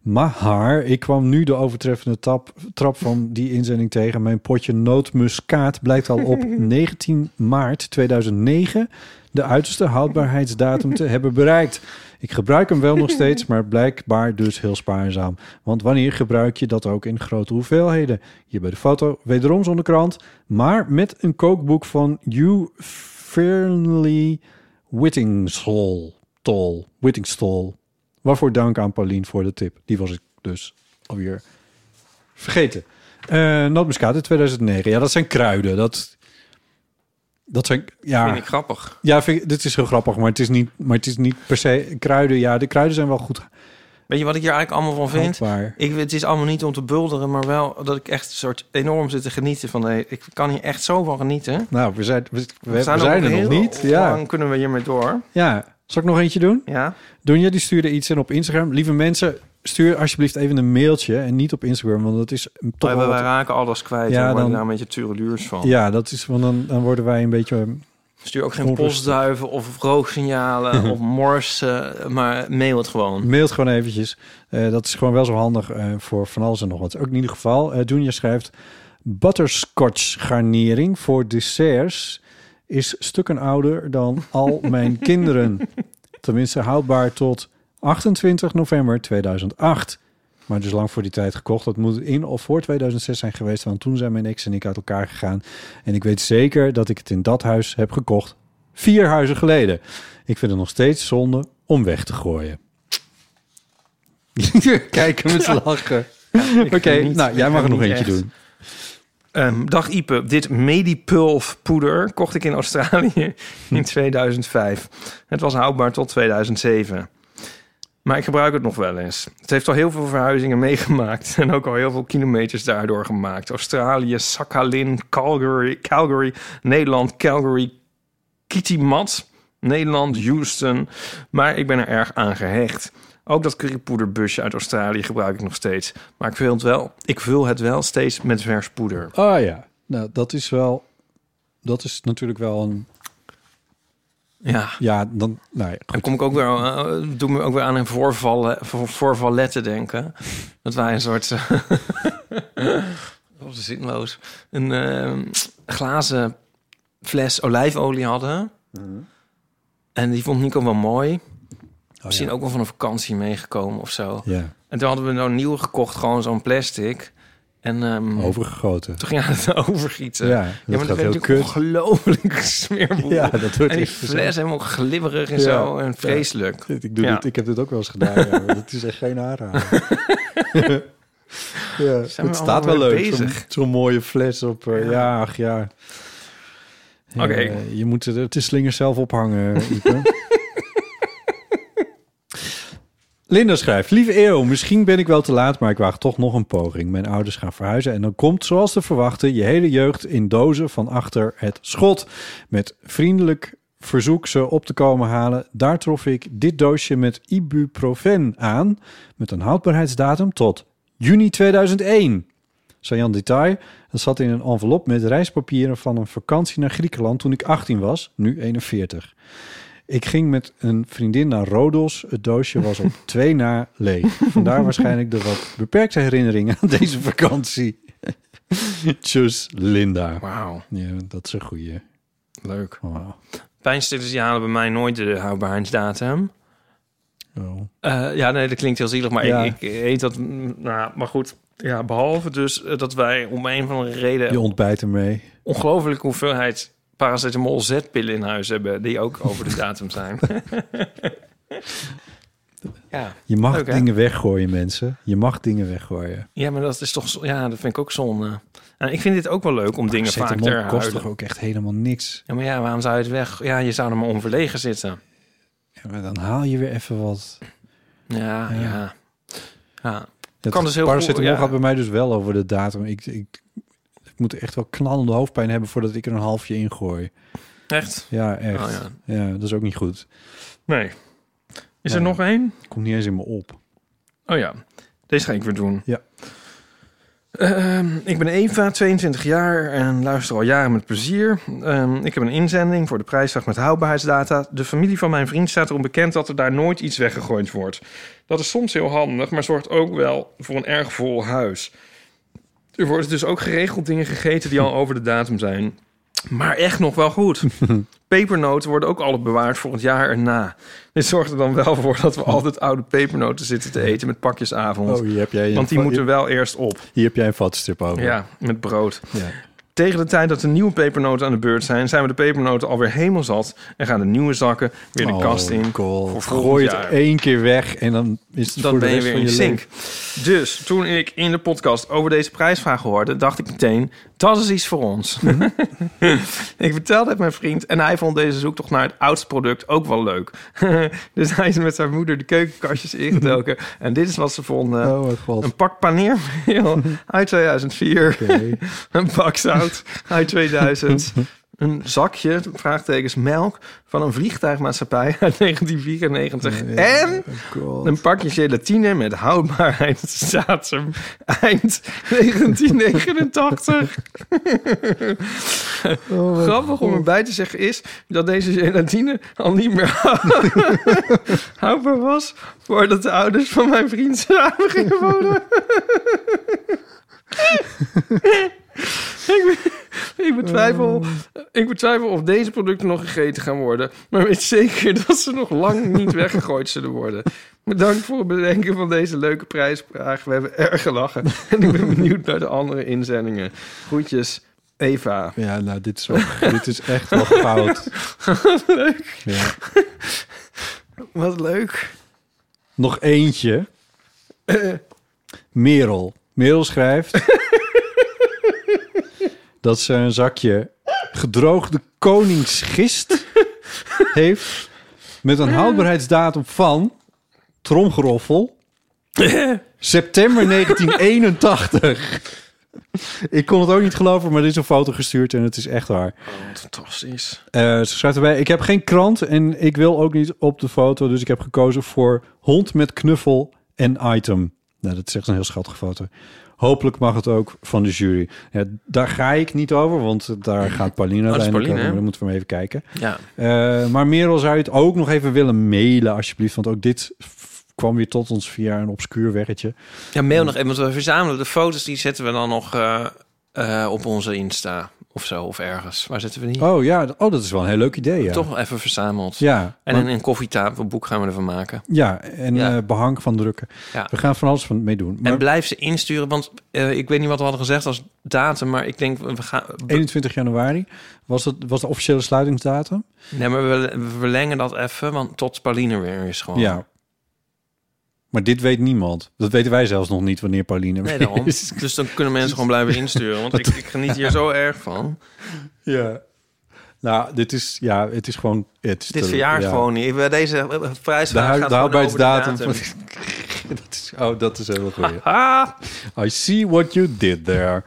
Speaker 1: maar ik kwam nu de overtreffende tap, trap van die inzending tegen. Mijn potje nootmuskaat blijkt al op 19 maart 2009 de uiterste houdbaarheidsdatum te hebben bereikt. Ik gebruik hem wel nog steeds, maar blijkbaar dus heel spaarzaam. Want wanneer gebruik je dat ook in grote hoeveelheden? Hier bij de foto, wederom zonder krant, maar met een kookboek van Hugh Fernley Whittingstall. Tol, Whittingstall. Waarvoor dank aan Paulien voor de tip. Die was ik dus alweer vergeten. Eh Nootmuskaat uit 2009. Ja, dat zijn kruiden. Dat, dat zijn... Ja.
Speaker 2: Vind ik grappig.
Speaker 1: Ja, vind ik- dit is heel grappig, maar het is niet, maar het is niet per se kruiden. Ja, de kruiden zijn wel goed
Speaker 2: Weet je wat ik hier eigenlijk allemaal van vind?
Speaker 1: houdbaar.
Speaker 2: Ik, het is allemaal niet om te bulderen, maar wel dat ik echt een soort enorm zit te genieten van de. Ik kan hier echt zo van genieten.
Speaker 1: Nou, we zijn, we, we- we
Speaker 2: We
Speaker 1: zijn,
Speaker 2: ook
Speaker 1: er nog
Speaker 2: heel
Speaker 1: niet. Ja.
Speaker 2: lang kunnen we hiermee door.
Speaker 1: ja, zal ik nog eentje doen?
Speaker 2: Ja.
Speaker 1: Donja die stuurde iets in op Instagram. Lieve mensen, stuur alsjeblieft even een mailtje en niet op Instagram, want dat is toch
Speaker 2: we,
Speaker 1: wel
Speaker 2: we
Speaker 1: wat-
Speaker 2: raken alles kwijt.
Speaker 1: Ja,
Speaker 2: Ja, dan
Speaker 1: dan-
Speaker 2: daar een beetje tureluurs van.
Speaker 1: Ja, dat is, want dan, dan worden wij een beetje...
Speaker 2: Stuur ook geen
Speaker 1: Onrustig.
Speaker 2: postduiven of rooksignalen of morsen, maar mail het gewoon.
Speaker 1: Mailt gewoon eventjes. Eh, dat is gewoon wel zo handig eh, voor van alles en nog wat. Ook in ieder geval, eh Junior schrijft... Butterscotch garnering voor desserts is stukken ouder dan al mijn kinderen. Tenminste houdbaar tot 28 november 2008. Maar dus lang voor die tijd gekocht. Dat moet in of voor 2006 zijn geweest. Want toen zijn mijn ex en ik uit elkaar gegaan. En ik weet zeker dat ik het in dat huis heb gekocht. Vier huizen geleden. Ik vind het nog steeds zonde om weg te gooien. Kijken met lachen. Oké,
Speaker 2: niet.
Speaker 1: nou jij
Speaker 2: Ik
Speaker 1: mag er
Speaker 2: geniet
Speaker 1: nog eentje
Speaker 2: echt.
Speaker 1: doen.
Speaker 2: Ehm, dag Ipe, dit Medipulf poeder kocht ik in Australië in 2005. Het was houdbaar tot 2007. Maar ik gebruik het nog wel eens. Het heeft al heel veel verhuizingen meegemaakt en ook al heel veel kilometers daardoor gemaakt. Australië, Sakhalin, Calgary, Calgary Nederland, Calgary, Kitimat, Nederland, Houston. Maar ik ben er erg aan gehecht. Ook dat currypoederbusje uit Australië gebruik ik nog steeds. Maar ik vul het wel, ik vul het wel steeds met vers poeder.
Speaker 1: Ah ja, nou dat is wel... Dat is natuurlijk wel een...
Speaker 2: Ja.
Speaker 1: Ja, dan... Nou ja,
Speaker 2: Dan kom ik ook weer, eh, doe me ook weer aan een voorvallen, voor, voorvalletten denken. Dat wij een soort. eh, Wat is zinloos. Een eh, glazen fles olijfolie hadden.
Speaker 1: Mhm.
Speaker 2: En die vond Nico wel mooi.
Speaker 1: Oh,
Speaker 2: Misschien ook wel van een vakantie meegekomen of zo.
Speaker 1: Ja,
Speaker 2: En toen hadden we nou nieuw gekocht, gewoon zo'n plastic. En ehm,
Speaker 1: overgegoten.
Speaker 2: toen ging hij het overgieten.
Speaker 1: Ja, dat
Speaker 2: maar
Speaker 1: gaat
Speaker 2: werd
Speaker 1: heel
Speaker 2: natuurlijk
Speaker 1: kut.
Speaker 2: ongelooflijk smeerboel.
Speaker 1: Ja, dat wordt
Speaker 2: en die
Speaker 1: echt verschrikkelijk.
Speaker 2: fles helemaal glibberig en
Speaker 1: Ja.
Speaker 2: zo. En
Speaker 1: Ja.
Speaker 2: vreselijk.
Speaker 1: Dit- Ik, doe
Speaker 2: Ja.
Speaker 1: dit, ik heb dit ook wel eens gedaan. Ja, maar het is echt geen aanrader. ja,
Speaker 2: Zijn we
Speaker 1: het staat wel
Speaker 2: allemaal mee
Speaker 1: leuk. Zo'n
Speaker 2: bezig?
Speaker 1: zo'n mooie fles op. eh, ja, ach ja.
Speaker 2: Oké.
Speaker 1: Eh, je moet de, de slingers zelf ophangen. Ipe. Linda schrijft, lieve Eeuw, misschien ben ik wel te laat, maar ik waag toch nog een poging. Mijn ouders gaan verhuizen en dan komt, zoals te verwachten, je hele jeugd in dozen van achter het schot. Met vriendelijk verzoek ze op te komen halen. Daar trof ik dit doosje met ibuprofen aan, met een houdbaarheidsdatum tot juni 2001. Sajan Detail, dat zat in een envelop met reispapieren van een vakantie naar Griekenland toen ik 18 was, nu 41. Ik ging met een vriendin naar Rodos. Het doosje was op twee na leeg. Vandaar waarschijnlijk de wat beperkte herinneringen aan deze vakantie. Tjus, Linda.
Speaker 2: Wauw,
Speaker 1: Ja, dat is een goeie.
Speaker 2: leuk.
Speaker 1: Oh,
Speaker 2: Pijnstillers die halen bij mij nooit de houdbaarheidsdatum.
Speaker 1: oh.
Speaker 2: Eh, ja, nee, dat klinkt heel zielig, maar
Speaker 1: Ja.
Speaker 2: ik, ik eet dat... mm, Nou, maar goed, ja, behalve dus eh, dat wij om een van de reden...
Speaker 1: Je ontbijt ermee.
Speaker 2: ongelooflijke hoeveelheid paracetamol zetpillen in huis hebben... die ook over de datum zijn. ja.
Speaker 1: Je mag
Speaker 2: Leuk, hè?
Speaker 1: dingen weggooien, mensen. Je mag dingen weggooien.
Speaker 2: ja, maar dat is toch... zo- Ja, dat vind ik ook zonde. En ik vind dit ook wel leuk om dingen vaak te
Speaker 1: Paracetamol kost toch
Speaker 2: herhouden.
Speaker 1: ook echt helemaal niks.
Speaker 2: Ja, maar ja, waarom zou je het weg... Ja, je zou er maar onverlegen zitten.
Speaker 1: Ja, maar dan haal je weer even wat.
Speaker 2: Ja,
Speaker 1: Ja.
Speaker 2: ja. ja.
Speaker 1: Dat
Speaker 2: Kan dus heel
Speaker 1: paracetamol
Speaker 2: goed, ja.
Speaker 1: gaat bij mij dus wel over de datum. Ik, ik, ik moet echt wel knallende hoofdpijn hebben voordat ik er een halfje in gooi.
Speaker 2: Echt?
Speaker 1: Ja, echt.
Speaker 2: Oh,
Speaker 1: ja.
Speaker 2: ja.
Speaker 1: dat is ook niet goed.
Speaker 2: Nee. Is
Speaker 1: Ja.
Speaker 2: er nog één?
Speaker 1: Komt niet eens in me op.
Speaker 2: Oh ja, deze ga ik weer doen.
Speaker 1: Ja.
Speaker 2: Ehm, ik ben Eva, 22 jaar en luister al jaren met plezier. Ehm, ik heb een inzending voor de prijsvraag met houdbaarheidsdata. De familie van mijn vriend staat erom bekend dat er daar nooit iets weggegooid wordt. Dat is soms heel handig, maar zorgt ook wel voor een erg vol huis. Er worden dus ook geregeld dingen gegeten die al over de datum zijn. Maar echt nog wel goed. Pepernoten worden ook alle bewaard voor het jaar erna. Dit zorgt er dan wel voor dat we altijd oude pepernoten zitten te eten met pakjesavond.
Speaker 1: Oh, hier heb jij een,
Speaker 2: Want die
Speaker 1: va-
Speaker 2: moeten wel eerst op.
Speaker 1: hier heb jij een vatstrip over.
Speaker 2: Ja, met brood.
Speaker 1: Ja.
Speaker 2: Tegen de tijd dat de nieuwe pepernoten aan de beurt zijn, zijn we de pepernoten alweer hemelzat en gaan de nieuwe zakken weer de
Speaker 1: Oh,
Speaker 2: kast in.
Speaker 1: cool.
Speaker 2: voor volgend
Speaker 1: Gooi het
Speaker 2: jaar.
Speaker 1: één keer weg en dan is het
Speaker 2: Dan
Speaker 1: voor de
Speaker 2: ben je
Speaker 1: rest
Speaker 2: weer
Speaker 1: van
Speaker 2: in
Speaker 1: je
Speaker 2: zink. Dus toen ik in de podcast over deze prijsvraag hoorde, dacht ik meteen: dat is iets voor ons.
Speaker 1: Mhm.
Speaker 2: ik vertelde het mijn vriend en hij vond deze zoektocht naar het oudste product ook wel leuk. dus hij is met zijn moeder de keukenkastjes ingedoken en dit is wat ze vonden:
Speaker 1: leven. Oh mijn god.
Speaker 2: een pak paneermeel uit 2004.
Speaker 1: Oké.
Speaker 2: Een bak zout uit 2000. Een zakje, vraagtekens, melk van een vliegtuigmaatschappij uit 1994. En
Speaker 1: God.
Speaker 2: een pakje gelatine met houdbaarheidsdatum eind 1989. Grappig om erbij te zeggen is dat deze gelatine al niet meer houdbaar was... voordat de ouders van mijn vriend samen gingen wonen. ik, be- ik, betwijfel,
Speaker 1: Ehm.
Speaker 2: ik betwijfel of deze producten nog gegeten gaan worden... maar weet zeker dat ze nog lang niet weggegooid zullen worden. Bedankt voor het bedenken van deze leuke prijsvraag. We hebben erg gelachen. En ik ben benieuwd naar de andere inzendingen. Groetjes, Eva.
Speaker 1: Ja, nou, dit is, wel, dit is echt wel fout. Leuk. Ja.
Speaker 2: Wat leuk.
Speaker 1: Nog eentje. Merel. Merel schrijft dat ze een zakje gedroogde koningsgist heeft met een houdbaarheidsdatum van tromgeroffel september 1981. Ik kon het ook niet geloven, maar er is een foto gestuurd en het is echt waar.
Speaker 2: Fantastisch.
Speaker 1: Eh, ze schrijft erbij: Ik heb geen krant en ik wil ook niet op de foto. Dus ik heb gekozen voor hond met knuffel en item. Nou, dat is echt een heel schattige foto. Hopelijk mag het ook van de jury. Ja, daar ga ik niet over, want daar gaat Paulina
Speaker 2: Oh, dat is
Speaker 1: uiteindelijk
Speaker 2: Paulina,
Speaker 1: over.
Speaker 2: hè?
Speaker 1: Dan moeten we maar even kijken.
Speaker 2: Ja.
Speaker 1: Eh, maar Merel zou je het ook nog even willen mailen, alsjeblieft. Want ook dit f- kwam weer tot ons via een obscuur weggetje.
Speaker 2: ja, mail nog even. Want we verzamelen de foto's. Die zetten we dan nog eh, eh, op onze Insta of zo. Of ergens. Waar zetten we die?
Speaker 1: Oh ja, d- oh, dat is wel een heel leuk idee. Ja.
Speaker 2: Toch wel even verzameld.
Speaker 1: Ja,
Speaker 2: En
Speaker 1: maar-
Speaker 2: een, een koffietafelboek gaan we ervan maken.
Speaker 1: ja, en
Speaker 2: Ja.
Speaker 1: eh, behang van drukken.
Speaker 2: Ja.
Speaker 1: We gaan van alles van mee doen.
Speaker 2: En
Speaker 1: Maar
Speaker 2: blijf ze insturen. Want eh, ik weet niet wat we hadden gezegd als datum. Maar ik denk, we gaan...
Speaker 1: 21 januari was, het, was de officiële sluitingsdatum.
Speaker 2: Nee, maar we, we verlengen dat even. Want tot Pauline weer is gewoon.
Speaker 1: Ja. Maar dit weet niemand. Dat weten wij zelfs nog niet wanneer Pauline
Speaker 2: Nee,
Speaker 1: weer
Speaker 2: daarom.
Speaker 1: is.
Speaker 2: Dus dan kunnen mensen gewoon blijven insturen. Want ik, ik geniet hier zo erg van.
Speaker 1: Ja. Nou, dit is, ja, het is gewoon... Het is
Speaker 2: Dit
Speaker 1: te-
Speaker 2: verjaart
Speaker 1: ja.
Speaker 2: gewoon niet. Bij deze eh,
Speaker 1: De,
Speaker 2: prijsvraag
Speaker 1: hu-
Speaker 2: gaat
Speaker 1: de
Speaker 2: gewoon over de
Speaker 1: arbeidsdatum.
Speaker 2: datum.
Speaker 1: van- dat is, oh, dat is heel goed. I see what you did there.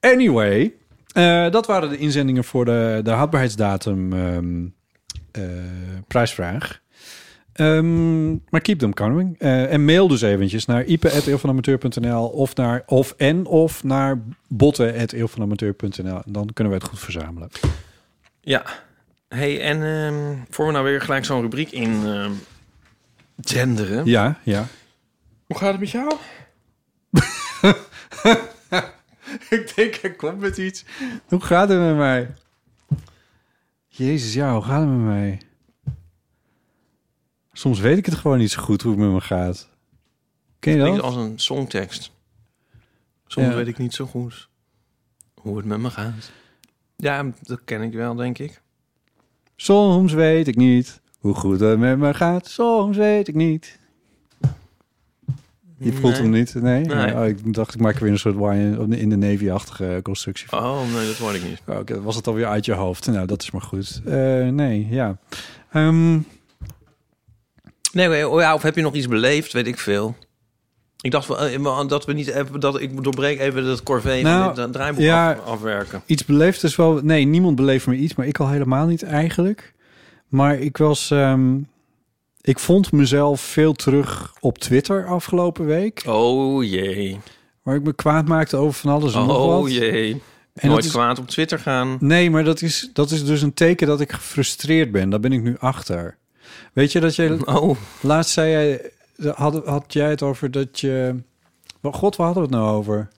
Speaker 1: Anyway, eh, dat waren de inzendingen voor de, de houdbaarheidsdatum ehm, eh, prijsvraag. Ehm, maar keep them coming. Eh, en mail dus eventjes naar ipe.eeuwvanamateur.nl of naar of en of naar botten.eeuwvanamateur.nl. Dan kunnen we het goed verzamelen.
Speaker 2: Ja. Hey, en ehm, voor we nou weer gelijk zo'n rubriek in ehm, genderen.
Speaker 1: Ja, ja.
Speaker 2: Hoe gaat het met jou?
Speaker 1: Ik denk, hij komt met iets. Hoe gaat het met mij? Jezus, ja, hoe gaat het met mij? Soms weet ik het gewoon niet zo goed hoe het met me gaat. Ken je
Speaker 2: Klinkt
Speaker 1: dat?
Speaker 2: als een songtekst. Soms
Speaker 1: Ja.
Speaker 2: weet ik niet zo goed hoe het met me gaat. Ja, dat ken ik wel, denk ik.
Speaker 1: Soms weet ik niet hoe goed het met me gaat. Soms weet ik niet. Je voelt
Speaker 2: Nee.
Speaker 1: hem niet? Nee?
Speaker 2: Nee.
Speaker 1: Oh, ik dacht, ik maak er weer een soort Wine in de Navy-achtige constructie van.
Speaker 2: Oh, nee, dat hoor ik niet.
Speaker 1: Oh, Oké, was het alweer uit je hoofd? Nou, dat is maar goed. Eh, nee, ja. Ehm,
Speaker 2: Nee, oké, oh ja, of heb je nog iets beleefd? Weet ik veel. Ik dacht wel, eh, maar dat we niet even, dat ik doorbreek even dat corvée
Speaker 1: Nou,
Speaker 2: van dit, eh, draaiboek
Speaker 1: ja.
Speaker 2: af- afwerken.
Speaker 1: Iets beleefd is wel... Nee, niemand beleeft me iets, maar ik al helemaal niet eigenlijk. Maar ik was... ehm, ik vond mezelf veel terug op Twitter afgelopen week.
Speaker 2: Oh jee.
Speaker 1: Waar ik me kwaad maakte over van alles en nog wat.
Speaker 2: Oh jee.
Speaker 1: En dat
Speaker 2: Nooit
Speaker 1: is,
Speaker 2: kwaad op Twitter gaan.
Speaker 1: nee, maar dat is, dat is dus een teken dat ik gefrustreerd ben. Daar ben ik nu achter. Weet je dat je...
Speaker 2: Oh,
Speaker 1: Laatst zei jij... Had, had jij het over dat je... Wel, God, waar hadden we het nou over?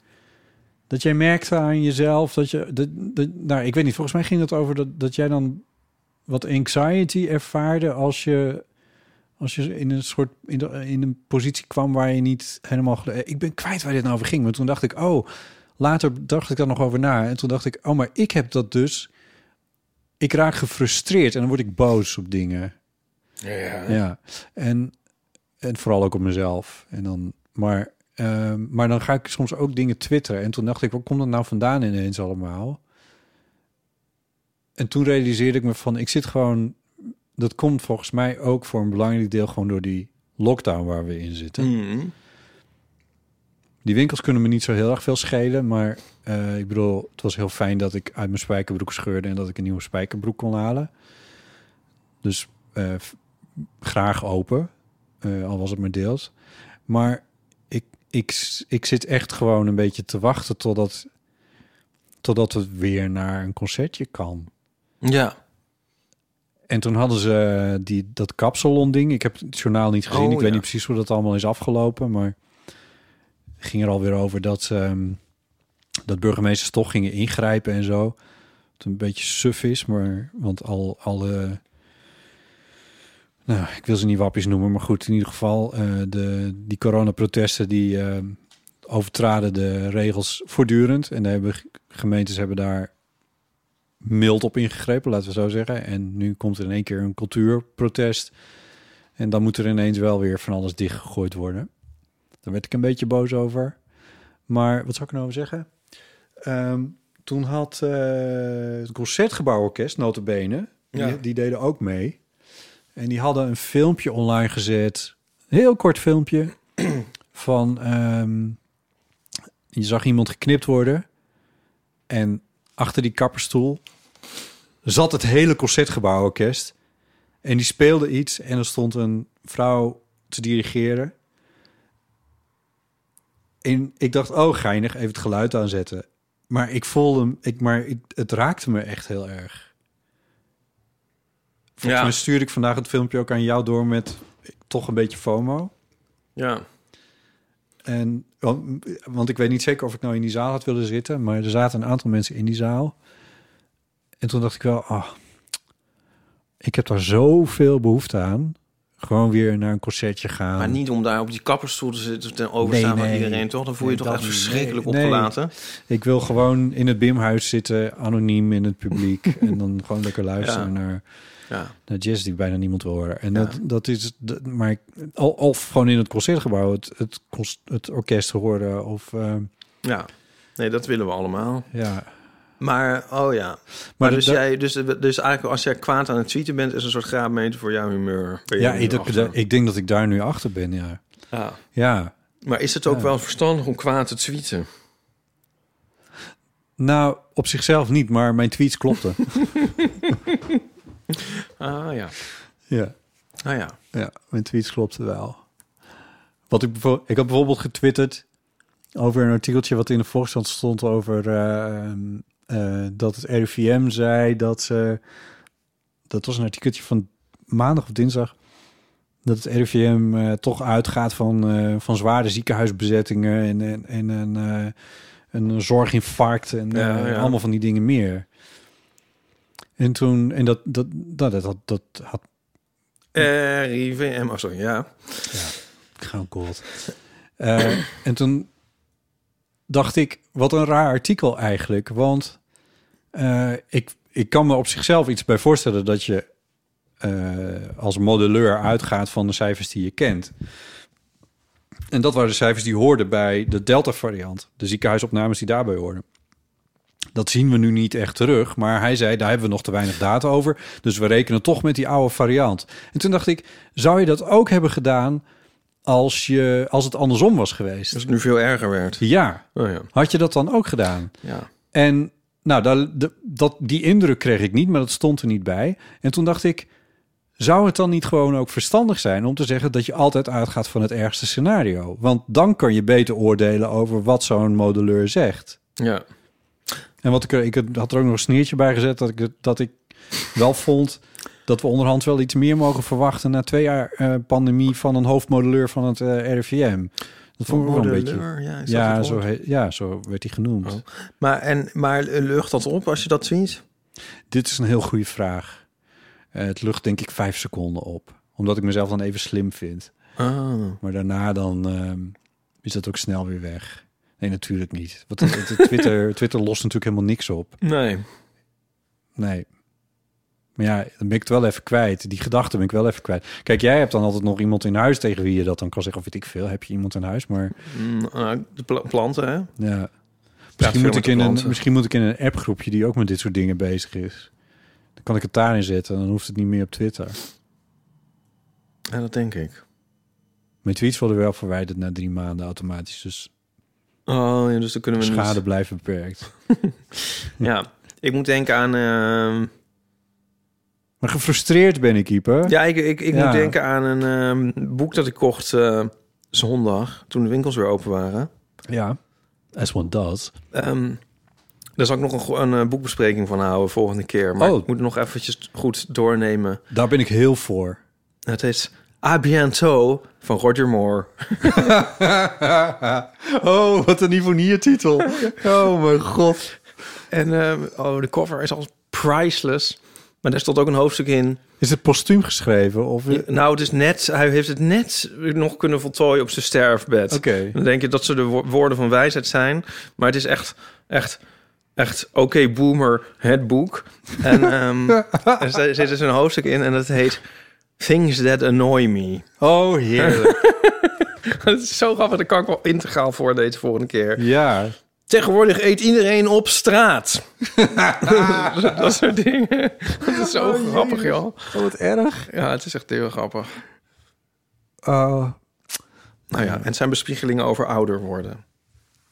Speaker 1: Dat jij merkte aan jezelf dat je... Dat, dat, nou, ik weet niet. Volgens mij ging het over dat, dat jij dan wat anxiety ervaarde als je... Als je in een soort in, de- in een positie kwam waar je niet helemaal. gel- Ik ben kwijt waar dit nou over ging. Maar toen dacht ik, oh, later dacht ik daar nog over na. En toen dacht ik, oh, maar ik heb dat dus. Ik raak gefrustreerd en dan word ik boos op dingen. Ja. En, en vooral ook op mezelf. En dan, maar, ehm, maar dan ga ik soms ook dingen twitteren. En toen dacht ik, waar komt dat nou vandaan ineens allemaal? En toen realiseerde ik me van, ik zit gewoon... Dat komt volgens mij ook voor een belangrijk deel gewoon door die lockdown waar we in zitten.
Speaker 2: Hmm.
Speaker 1: Die winkels kunnen me niet zo heel erg veel schelen. Maar eh, ik bedoel, het was heel fijn dat ik uit mijn spijkerbroek scheurde en dat ik een nieuwe spijkerbroek kon halen. Dus eh, f- graag open, eh, al was het maar deels. Maar ik, ik, s- ik zit echt gewoon een beetje te wachten totdat, totdat het weer naar een concertje kan.
Speaker 2: ja.
Speaker 1: En toen hadden ze eh, die, dat kapsalon-ding. Ik heb het journaal niet gezien.
Speaker 2: Oh,
Speaker 1: ik weet
Speaker 2: ja.
Speaker 1: niet precies hoe dat allemaal is afgelopen. Maar het ging er alweer over dat, ehm, dat burgemeesters toch gingen ingrijpen en zo. Het een beetje suf is, maar want al alle. Nou, ik wil ze niet wappies noemen, maar goed, in ieder geval, eh, de, die coronaprotesten die ehm, overtraden de regels voortdurend. En daar hebben g- gemeentes hebben daar mild op ingegrepen, laten we zo zeggen. En nu komt er in één keer een cultuurprotest. En dan moet er ineens wel weer van alles dichtgegooid worden. Daar werd ik een beetje boos over. Maar wat zou ik er nou over zeggen? Ehm, toen had eh, het Concertgebouworkest, notabene,
Speaker 2: Ja.
Speaker 1: die, die deden ook mee. En die hadden een filmpje online gezet. Een heel kort filmpje. van, ehm, je zag iemand geknipt worden. En achter die kapperstoel zat het hele concertgebouworkest. En die speelde iets en er stond een vrouw te dirigeren. En ik dacht, oh geinig, even het geluid aanzetten. Maar ik voelde hem, ik, maar het, het raakte me echt heel erg. Volgens
Speaker 2: Ja.
Speaker 1: mij stuurde ik vandaag het filmpje ook aan jou door met toch een beetje FOMO.
Speaker 2: Ja.
Speaker 1: En, want, want ik weet niet zeker of ik nou in die zaal had willen zitten, maar er zaten een aantal mensen in die zaal. En toen dacht ik wel, ah, ik heb daar zoveel behoefte aan. Gewoon weer naar een concertje gaan.
Speaker 2: Maar niet om daar op die kapperstoel te zitten ten overstaan
Speaker 1: Oh. Nee,
Speaker 2: van
Speaker 1: nee.
Speaker 2: iedereen, toch? Dan voel je je
Speaker 1: Nee,
Speaker 2: toch echt
Speaker 1: dat niet.
Speaker 2: verschrikkelijk
Speaker 1: Nee, nee.
Speaker 2: opgelaten.
Speaker 1: Ik wil gewoon in het Bimhuis zitten, anoniem in het publiek. en dan gewoon lekker luisteren naar,
Speaker 2: Ja.
Speaker 1: naar jazz die bijna niemand wil horen. En
Speaker 2: Ja.
Speaker 1: dat, dat is, dat, maar ik- al- of gewoon in het concertgebouw het, het, cons- het orkest horen. Of, eh,
Speaker 2: ja. Nee, dat willen we allemaal.
Speaker 1: ja.
Speaker 2: Maar, oh ja. Maar,
Speaker 1: Maar
Speaker 2: dus,
Speaker 1: dat-
Speaker 2: jij, dus, dus eigenlijk als jij kwaad aan het tweeten bent... is een soort graadmeter voor jouw humeur. Ben je
Speaker 1: Ja,
Speaker 2: nu
Speaker 1: ik,
Speaker 2: achter.
Speaker 1: dat- ik denk dat ik daar nu achter ben, ja.
Speaker 2: Ja.
Speaker 1: Ja,
Speaker 2: Maar is het ook wel verstandig om kwaad te tweeten?
Speaker 1: nou, op zichzelf niet, maar mijn tweets klopten.
Speaker 2: Ah ja.
Speaker 1: ja.
Speaker 2: Ah ja.
Speaker 1: Ja, mijn tweets klopten wel. Wat ik, bijvo- ik had bijvoorbeeld getwitterd over een artikeltje wat in de Volkskrant stond over eh, eh, dat het RIVM zei dat ze... Dat was een artikeltje van maandag of dinsdag. Dat het RIVM eh, toch uitgaat van, eh, van zware ziekenhuisbezettingen en, en, en een, eh, een zorginfarct en
Speaker 2: Ja,
Speaker 1: eh,
Speaker 2: ja.
Speaker 1: allemaal van die dingen meer. En toen, en dat, dat, nou, dat, dat, dat had
Speaker 2: RIVM, oh sorry, ja.
Speaker 1: Gewoon cold. Eh, en toen dacht ik, wat een raar artikel eigenlijk. Want eh, ik, ik kan me op zichzelf iets bij voorstellen dat je eh, als modelleur uitgaat van de cijfers die je kent. En dat waren de cijfers die hoorden bij de Delta-variant. De ziekenhuisopnames die daarbij hoorden. Dat zien we nu niet echt terug. Maar hij zei, daar hebben we nog te weinig data over. Dus we rekenen toch met die oude variant. En toen dacht ik, zou je dat ook hebben gedaan als, je, als het andersom was geweest?
Speaker 2: Dus het nu veel erger werd.
Speaker 1: Ja,
Speaker 2: Oh ja.
Speaker 1: had je dat dan ook gedaan?
Speaker 2: Ja.
Speaker 1: En nou, daar, de- dat, die indruk kreeg ik niet, maar dat stond er niet bij. En toen dacht ik, zou het dan niet gewoon ook verstandig zijn om te zeggen dat je altijd uitgaat van het ergste scenario? Want dan kan je beter oordelen over wat zo'n modelleur zegt.
Speaker 2: Ja.
Speaker 1: En wat ik, er- ik had er ook nog een sneertje bij gezet dat ik, het- dat ik wel vond dat we onderhand wel iets meer mogen verwachten na twee jaar eh, pandemie van een hoofdmodelleur van het eh, RIVM. Dat vond ik ook wel een beetje.
Speaker 2: Modelleur, Ja, is dat
Speaker 1: Ja
Speaker 2: het
Speaker 1: zo,
Speaker 2: woord?
Speaker 1: he- ja, zo werd hij genoemd.
Speaker 2: Oh. Maar, en, maar lucht dat op als je dat tweet?
Speaker 1: Dit is een heel goede vraag. Eh, het lucht denk ik vijf seconden op. Omdat ik mezelf dan even slim vind.
Speaker 2: Ah.
Speaker 1: Maar daarna dan ehm, is dat ook snel weer weg. Nee, natuurlijk niet. Want het- het- het Twitter, Twitter lost natuurlijk helemaal niks op.
Speaker 2: Nee.
Speaker 1: Nee. Maar ja, dan ben ik het wel even kwijt. Die gedachten ben ik wel even kwijt. Kijk, jij hebt dan altijd nog iemand in huis tegen wie je dat dan kan zeggen. Of weet ik veel, heb je iemand in huis. Maar
Speaker 2: Mm, nou, de pla- planten, hè?
Speaker 1: ja,
Speaker 2: Praat veel
Speaker 1: misschien, moet
Speaker 2: met
Speaker 1: ik
Speaker 2: de
Speaker 1: in een,
Speaker 2: planten.
Speaker 1: misschien moet ik in een appgroepje die ook met dit soort dingen bezig is. Dan kan ik het daarin zetten. Dan hoeft het niet meer op Twitter.
Speaker 2: Ja, dat denk ik.
Speaker 1: Mijn tweets worden wel verwijderd na drie maanden automatisch. Dus
Speaker 2: Oh, ja, dus dan kunnen we
Speaker 1: schade
Speaker 2: niet...
Speaker 1: blijft beperkt.
Speaker 2: Ja. Ik moet denken aan... ehm,
Speaker 1: Maar gefrustreerd ben ik, Ieper.
Speaker 2: Ja, ik, ik, ik
Speaker 1: Ja.
Speaker 2: moet denken aan een ehm, boek dat ik kocht eh, zondag, toen de winkels weer open waren.
Speaker 1: ja. As one does.
Speaker 2: Ehm, daar zal ik nog een, go- een eh, boekbespreking van houden volgende keer. Maar
Speaker 1: Oh.
Speaker 2: ik moet nog eventjes goed doornemen.
Speaker 1: Daar ben ik heel voor.
Speaker 2: Het heet A Bientôt van Roger Moore.
Speaker 1: oh, wat een Ivonier-titel. Oh, mijn god.
Speaker 2: En ehm, oh, de cover is al priceless. Maar daar stond ook een hoofdstuk in.
Speaker 1: Is het postuum geschreven? Of...
Speaker 2: Ja,
Speaker 1: Oké.
Speaker 2: Nou, het is net, hij heeft het net nog kunnen voltooien op zijn sterfbed. Dan denk je dat ze de wo- woorden van wijsheid zijn. Maar het is echt, echt, echt... Oké, boomer, het boek. En ehm, er zit- zit dus een hoofdstuk in en dat heet... Things that annoy me.
Speaker 1: Oh, heerlijk.
Speaker 2: Dat is zo grappig. Dat kan ik wel integraal voor deze volgende keer.
Speaker 1: ja.
Speaker 2: Tegenwoordig eet iedereen op straat. dat soort dingen. Dat is zo grappig, joh.
Speaker 1: Oh, wat erg.
Speaker 2: Ja, het is echt heel grappig.
Speaker 1: Oh.
Speaker 2: Nou ja, en het zijn bespiegelingen over ouder worden.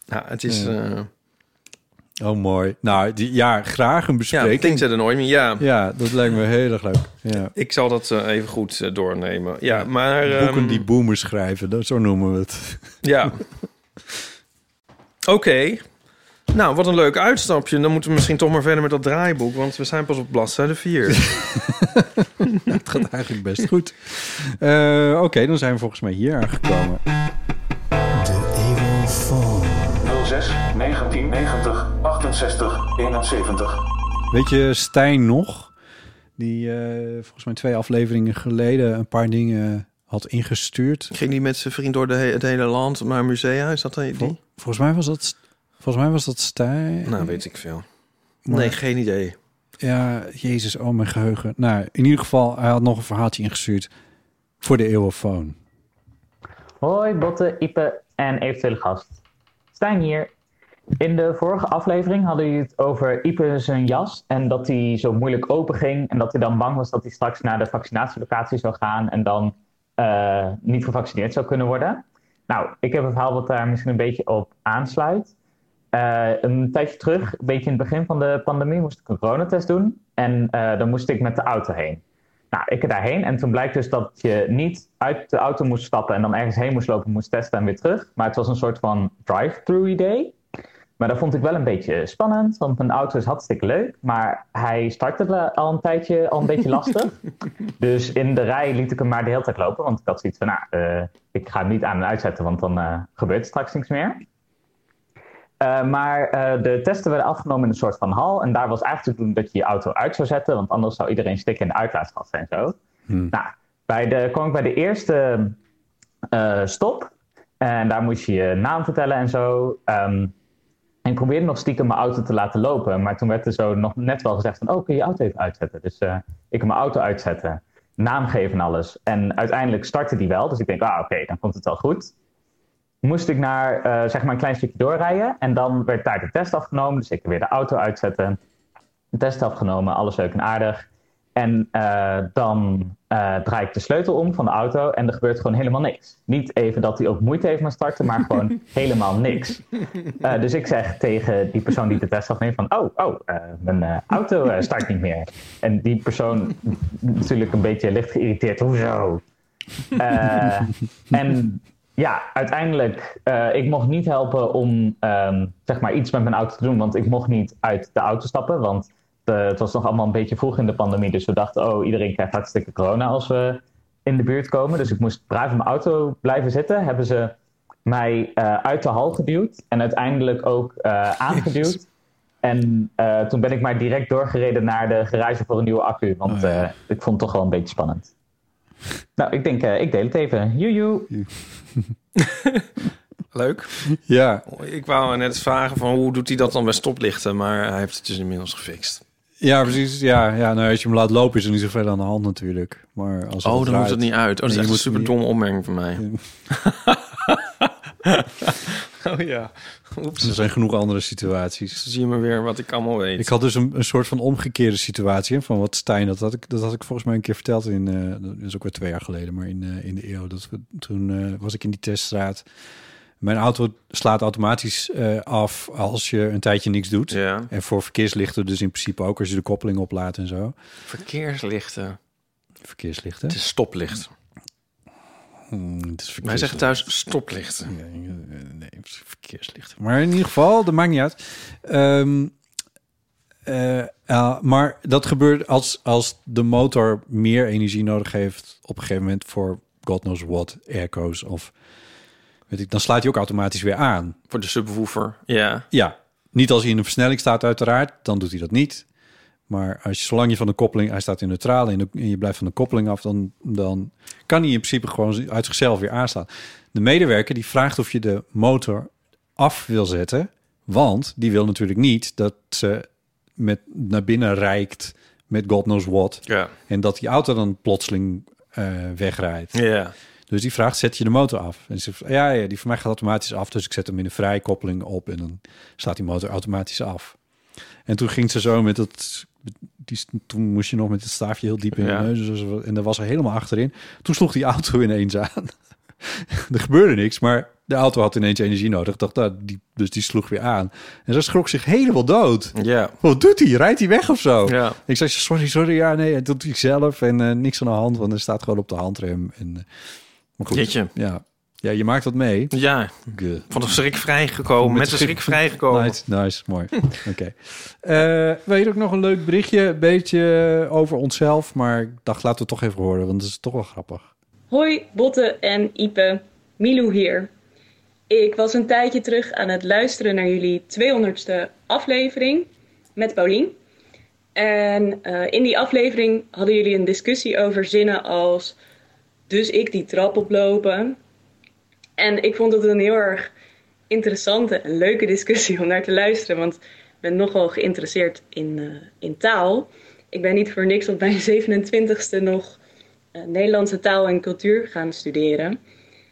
Speaker 2: Ja, het is...
Speaker 1: Ja.
Speaker 2: eh,
Speaker 1: oh, mooi. Nou, die, ja, graag een
Speaker 2: ja,
Speaker 1: bespreking.
Speaker 2: things that annoy me, ja.
Speaker 1: Ja, dat lijkt me heel erg leuk. Ja.
Speaker 2: Ik zal dat eh, even goed eh, doornemen. Ja, maar... ehm,
Speaker 1: Boeken die boomers schrijven, dat, zo noemen we het.
Speaker 2: Ja. Oké. Nou, wat een leuk uitstapje. Dan moeten we misschien toch maar verder met dat draaiboek... want we zijn pas op bladzijde 4.
Speaker 1: Het gaat eigenlijk best goed. Eh, Oké, dan zijn we volgens mij hier aangekomen.
Speaker 3: 06 1990 68 71.
Speaker 1: Weet je, Stijn nog? Die eh, volgens mij twee afleveringen geleden een paar dingen had ingestuurd.
Speaker 2: Ging die met zijn vriend door de he- het hele land naar musea? Is dat eh, die?
Speaker 1: Vol- volgens mij was dat, volgens mij was dat Stijn.
Speaker 2: Oh, Nou, weet ik veel.
Speaker 1: Maar-
Speaker 2: Nee, geen idee.
Speaker 1: Ja, jezus, oh mijn geheugen. Nou, in ieder geval, hij had nog een verhaaltje ingestuurd voor de eeuwofoon.
Speaker 4: Hoi Botte, Ipe en eventuele gast. Stijn hier. In de vorige aflevering hadden jullie het over Ipe zijn jas en dat hij zo moeilijk open ging en dat hij dan bang was dat hij straks naar de vaccinatielocatie zou gaan en dan eh, niet gevaccineerd zou kunnen worden. Nou, ik heb een verhaal wat daar misschien een beetje op aansluit. Eh, een tijdje terug, een beetje in het begin van de pandemie, moest ik een coronatest doen en eh, dan moest ik met de auto heen. Nou, ik er daarheen en toen blijkt dus dat je niet uit de auto moest stappen en dan ergens heen moest lopen, moest testen en weer terug. Maar het was een soort van drive-through idee. Maar dat vond ik wel een beetje spannend, want mijn auto is hartstikke leuk, maar hij startte al een tijdje al een beetje lastig. dus in de rij liet ik hem maar de hele tijd lopen, want ik had zoiets van, nou, eh, ik ga hem niet aan en uitzetten, want dan eh, gebeurt straks niks meer. Eh, maar eh, de testen werden afgenomen in een soort van hal. En daar was eigenlijk te doen dat je je auto uit zou zetten. Want anders zou iedereen stikken in de uitlaatgassen en zo. Nou, bij de, kwam ik bij de eerste eh, stop. En daar moest je je naam vertellen en zo. Ehm, en ik probeerde nog stiekem mijn auto te laten lopen. Maar toen werd er zo nog net wel gezegd van... Oh, kun je je auto even uitzetten? Dus eh, ik heb mijn auto uitzetten. Naam geven en alles. En uiteindelijk startte die wel. Dus ik denk, ah, oké, dan komt het wel goed moest ik naar eh, zeg maar een klein stukje doorrijden. En dan werd daar de test afgenomen. Dus ik weer de auto uitzetten. De test afgenomen, alles leuk en aardig. En eh, dan eh, draai ik de sleutel om van de auto en er gebeurt gewoon helemaal niks. Niet even dat hij ook moeite heeft met starten, maar gewoon helemaal niks. Eh, dus ik zeg tegen die persoon die de test afneemt van... oh, oh eh, mijn eh, auto eh, start niet meer. En die persoon natuurlijk een beetje licht geïrriteerd. Hoezo? Eh, en ja, uiteindelijk, eh, ik mocht niet helpen om ehm, zeg maar iets met mijn auto te doen, want ik mocht niet uit de auto stappen, want de- het was nog allemaal een beetje vroeg in de pandemie, dus we dachten, oh, iedereen krijgt hartstikke corona als we in de buurt komen, dus ik moest braaf in mijn auto blijven zitten. Hebben ze mij eh, uit de hal geduwd en uiteindelijk ook eh, aangeduwd. En eh, toen ben ik maar direct doorgereden naar de garage voor een nieuwe accu, want
Speaker 1: Oh ja.
Speaker 4: eh, ik vond het toch wel een beetje spannend. Nou, ik denk, eh, ik deel het even. Joejoe.
Speaker 2: Leuk.
Speaker 1: Ja,
Speaker 2: Oh, Ik wou net vragen van hoe doet hij dat dan bij stoplichten, maar hij heeft het dus inmiddels gefixt.
Speaker 1: ja precies. Ja, ja, nou, als je hem laat lopen is er niet zoveel aan de hand natuurlijk. Maar als
Speaker 2: Oh,
Speaker 1: het
Speaker 2: dan moet
Speaker 1: draait-
Speaker 2: het niet uit. Oh, dat is
Speaker 1: Nee,
Speaker 2: echt
Speaker 1: je
Speaker 2: een super
Speaker 1: moet
Speaker 2: domme opmerking van mij. oh ja. Oeps.
Speaker 1: Er zijn genoeg andere situaties.
Speaker 2: Zo zie je maar weer wat ik allemaal weet.
Speaker 1: Ik had dus een, een soort van omgekeerde situatie. hè, Van wat Stijn, dat had ik, dat had ik volgens mij een keer verteld. In, eh, dat is ook weer twee jaar geleden, maar in, eh, in de eeuw. Dat we, toen eh, was ik in die teststraat. Mijn auto slaat automatisch eh, af als je een tijdje niks doet.
Speaker 2: Ja.
Speaker 1: En voor verkeerslichten dus in principe ook als je de koppeling oplaat en zo.
Speaker 2: Verkeerslichten.
Speaker 1: Verkeerslichten.
Speaker 2: Het is stoplichten.
Speaker 1: Hmm, het is
Speaker 2: Wij
Speaker 1: verkeerslichten.
Speaker 2: zeggen thuis stoplichten.
Speaker 1: Ja, eh, Nee, verkeerslichten. Maar in ieder geval, dat maakt niet uit. Ehm, eh, eh, maar dat gebeurt als, als de motor meer energie nodig heeft op een gegeven moment voor god knows what, airco's of weet ik, dan slaat hij ook automatisch weer aan.
Speaker 2: Voor de subwoofer. Ja.
Speaker 1: Ja, niet als hij in een versnelling staat uiteraard, dan doet hij dat niet. Maar als je, zolang je van de koppeling, hij staat in neutraal en, en je blijft van de koppeling af, dan, dan kan hij in principe gewoon uit zichzelf weer aanslaan. De medewerker die vraagt of je de motor af wil zetten, want die wil natuurlijk niet dat ze met naar binnen reikt met God knows what
Speaker 2: Ja.
Speaker 1: en dat die auto dan plotseling eh, wegrijdt.
Speaker 2: Ja.
Speaker 1: Dus die vraagt, zet je de motor af? En ze zegt, ja, ja, die van mij gaat automatisch af. Dus ik zet hem in de vrijkoppeling op en dan staat die motor automatisch af. En toen ging ze zo met dat... met Die, toen moest je nog met het staafje heel diep in
Speaker 2: Ja.
Speaker 1: de neus. en zo, En daar was er helemaal achterin. Toen sloeg die auto ineens aan. er gebeurde niks, maar de auto had ineens energie nodig. Dacht, nou, die, dus die sloeg weer aan. En ze schrok zich helemaal dood.
Speaker 2: Ja.
Speaker 1: Wat doet hij? Rijdt hij weg of zo?
Speaker 2: Ja.
Speaker 1: Ik zei, sorry, sorry, ja, nee, dat doet hij zelf. En eh, niks aan de hand, want hij staat gewoon op de handrem. En, eh, maar goed,
Speaker 2: Jeetje.
Speaker 1: Ja. ja, je maakt dat mee.
Speaker 2: Ja.
Speaker 1: Good.
Speaker 2: Van de schrik vrijgekomen. Met de schrik vrijgekomen.
Speaker 1: Nice, nice, mooi. Oké. Eh, weet je ook nog een leuk berichtje, een beetje over onszelf. Maar ik dacht, laten we het toch even horen, want het is toch wel grappig.
Speaker 5: Hoi Botte en Ipe, Milou hier. Ik was een tijdje terug aan het luisteren naar jullie 200ste aflevering met Paulien. En eh, in die aflevering hadden jullie een discussie over zinnen als dus ik die trap oplopen. En ik vond het een heel erg interessante en leuke discussie om naar te luisteren, want ik ben nogal geïnteresseerd in, eh, in taal. Ik ben niet voor niks op mijn 27ste nog eh, Nederlandse taal en cultuur gaan studeren.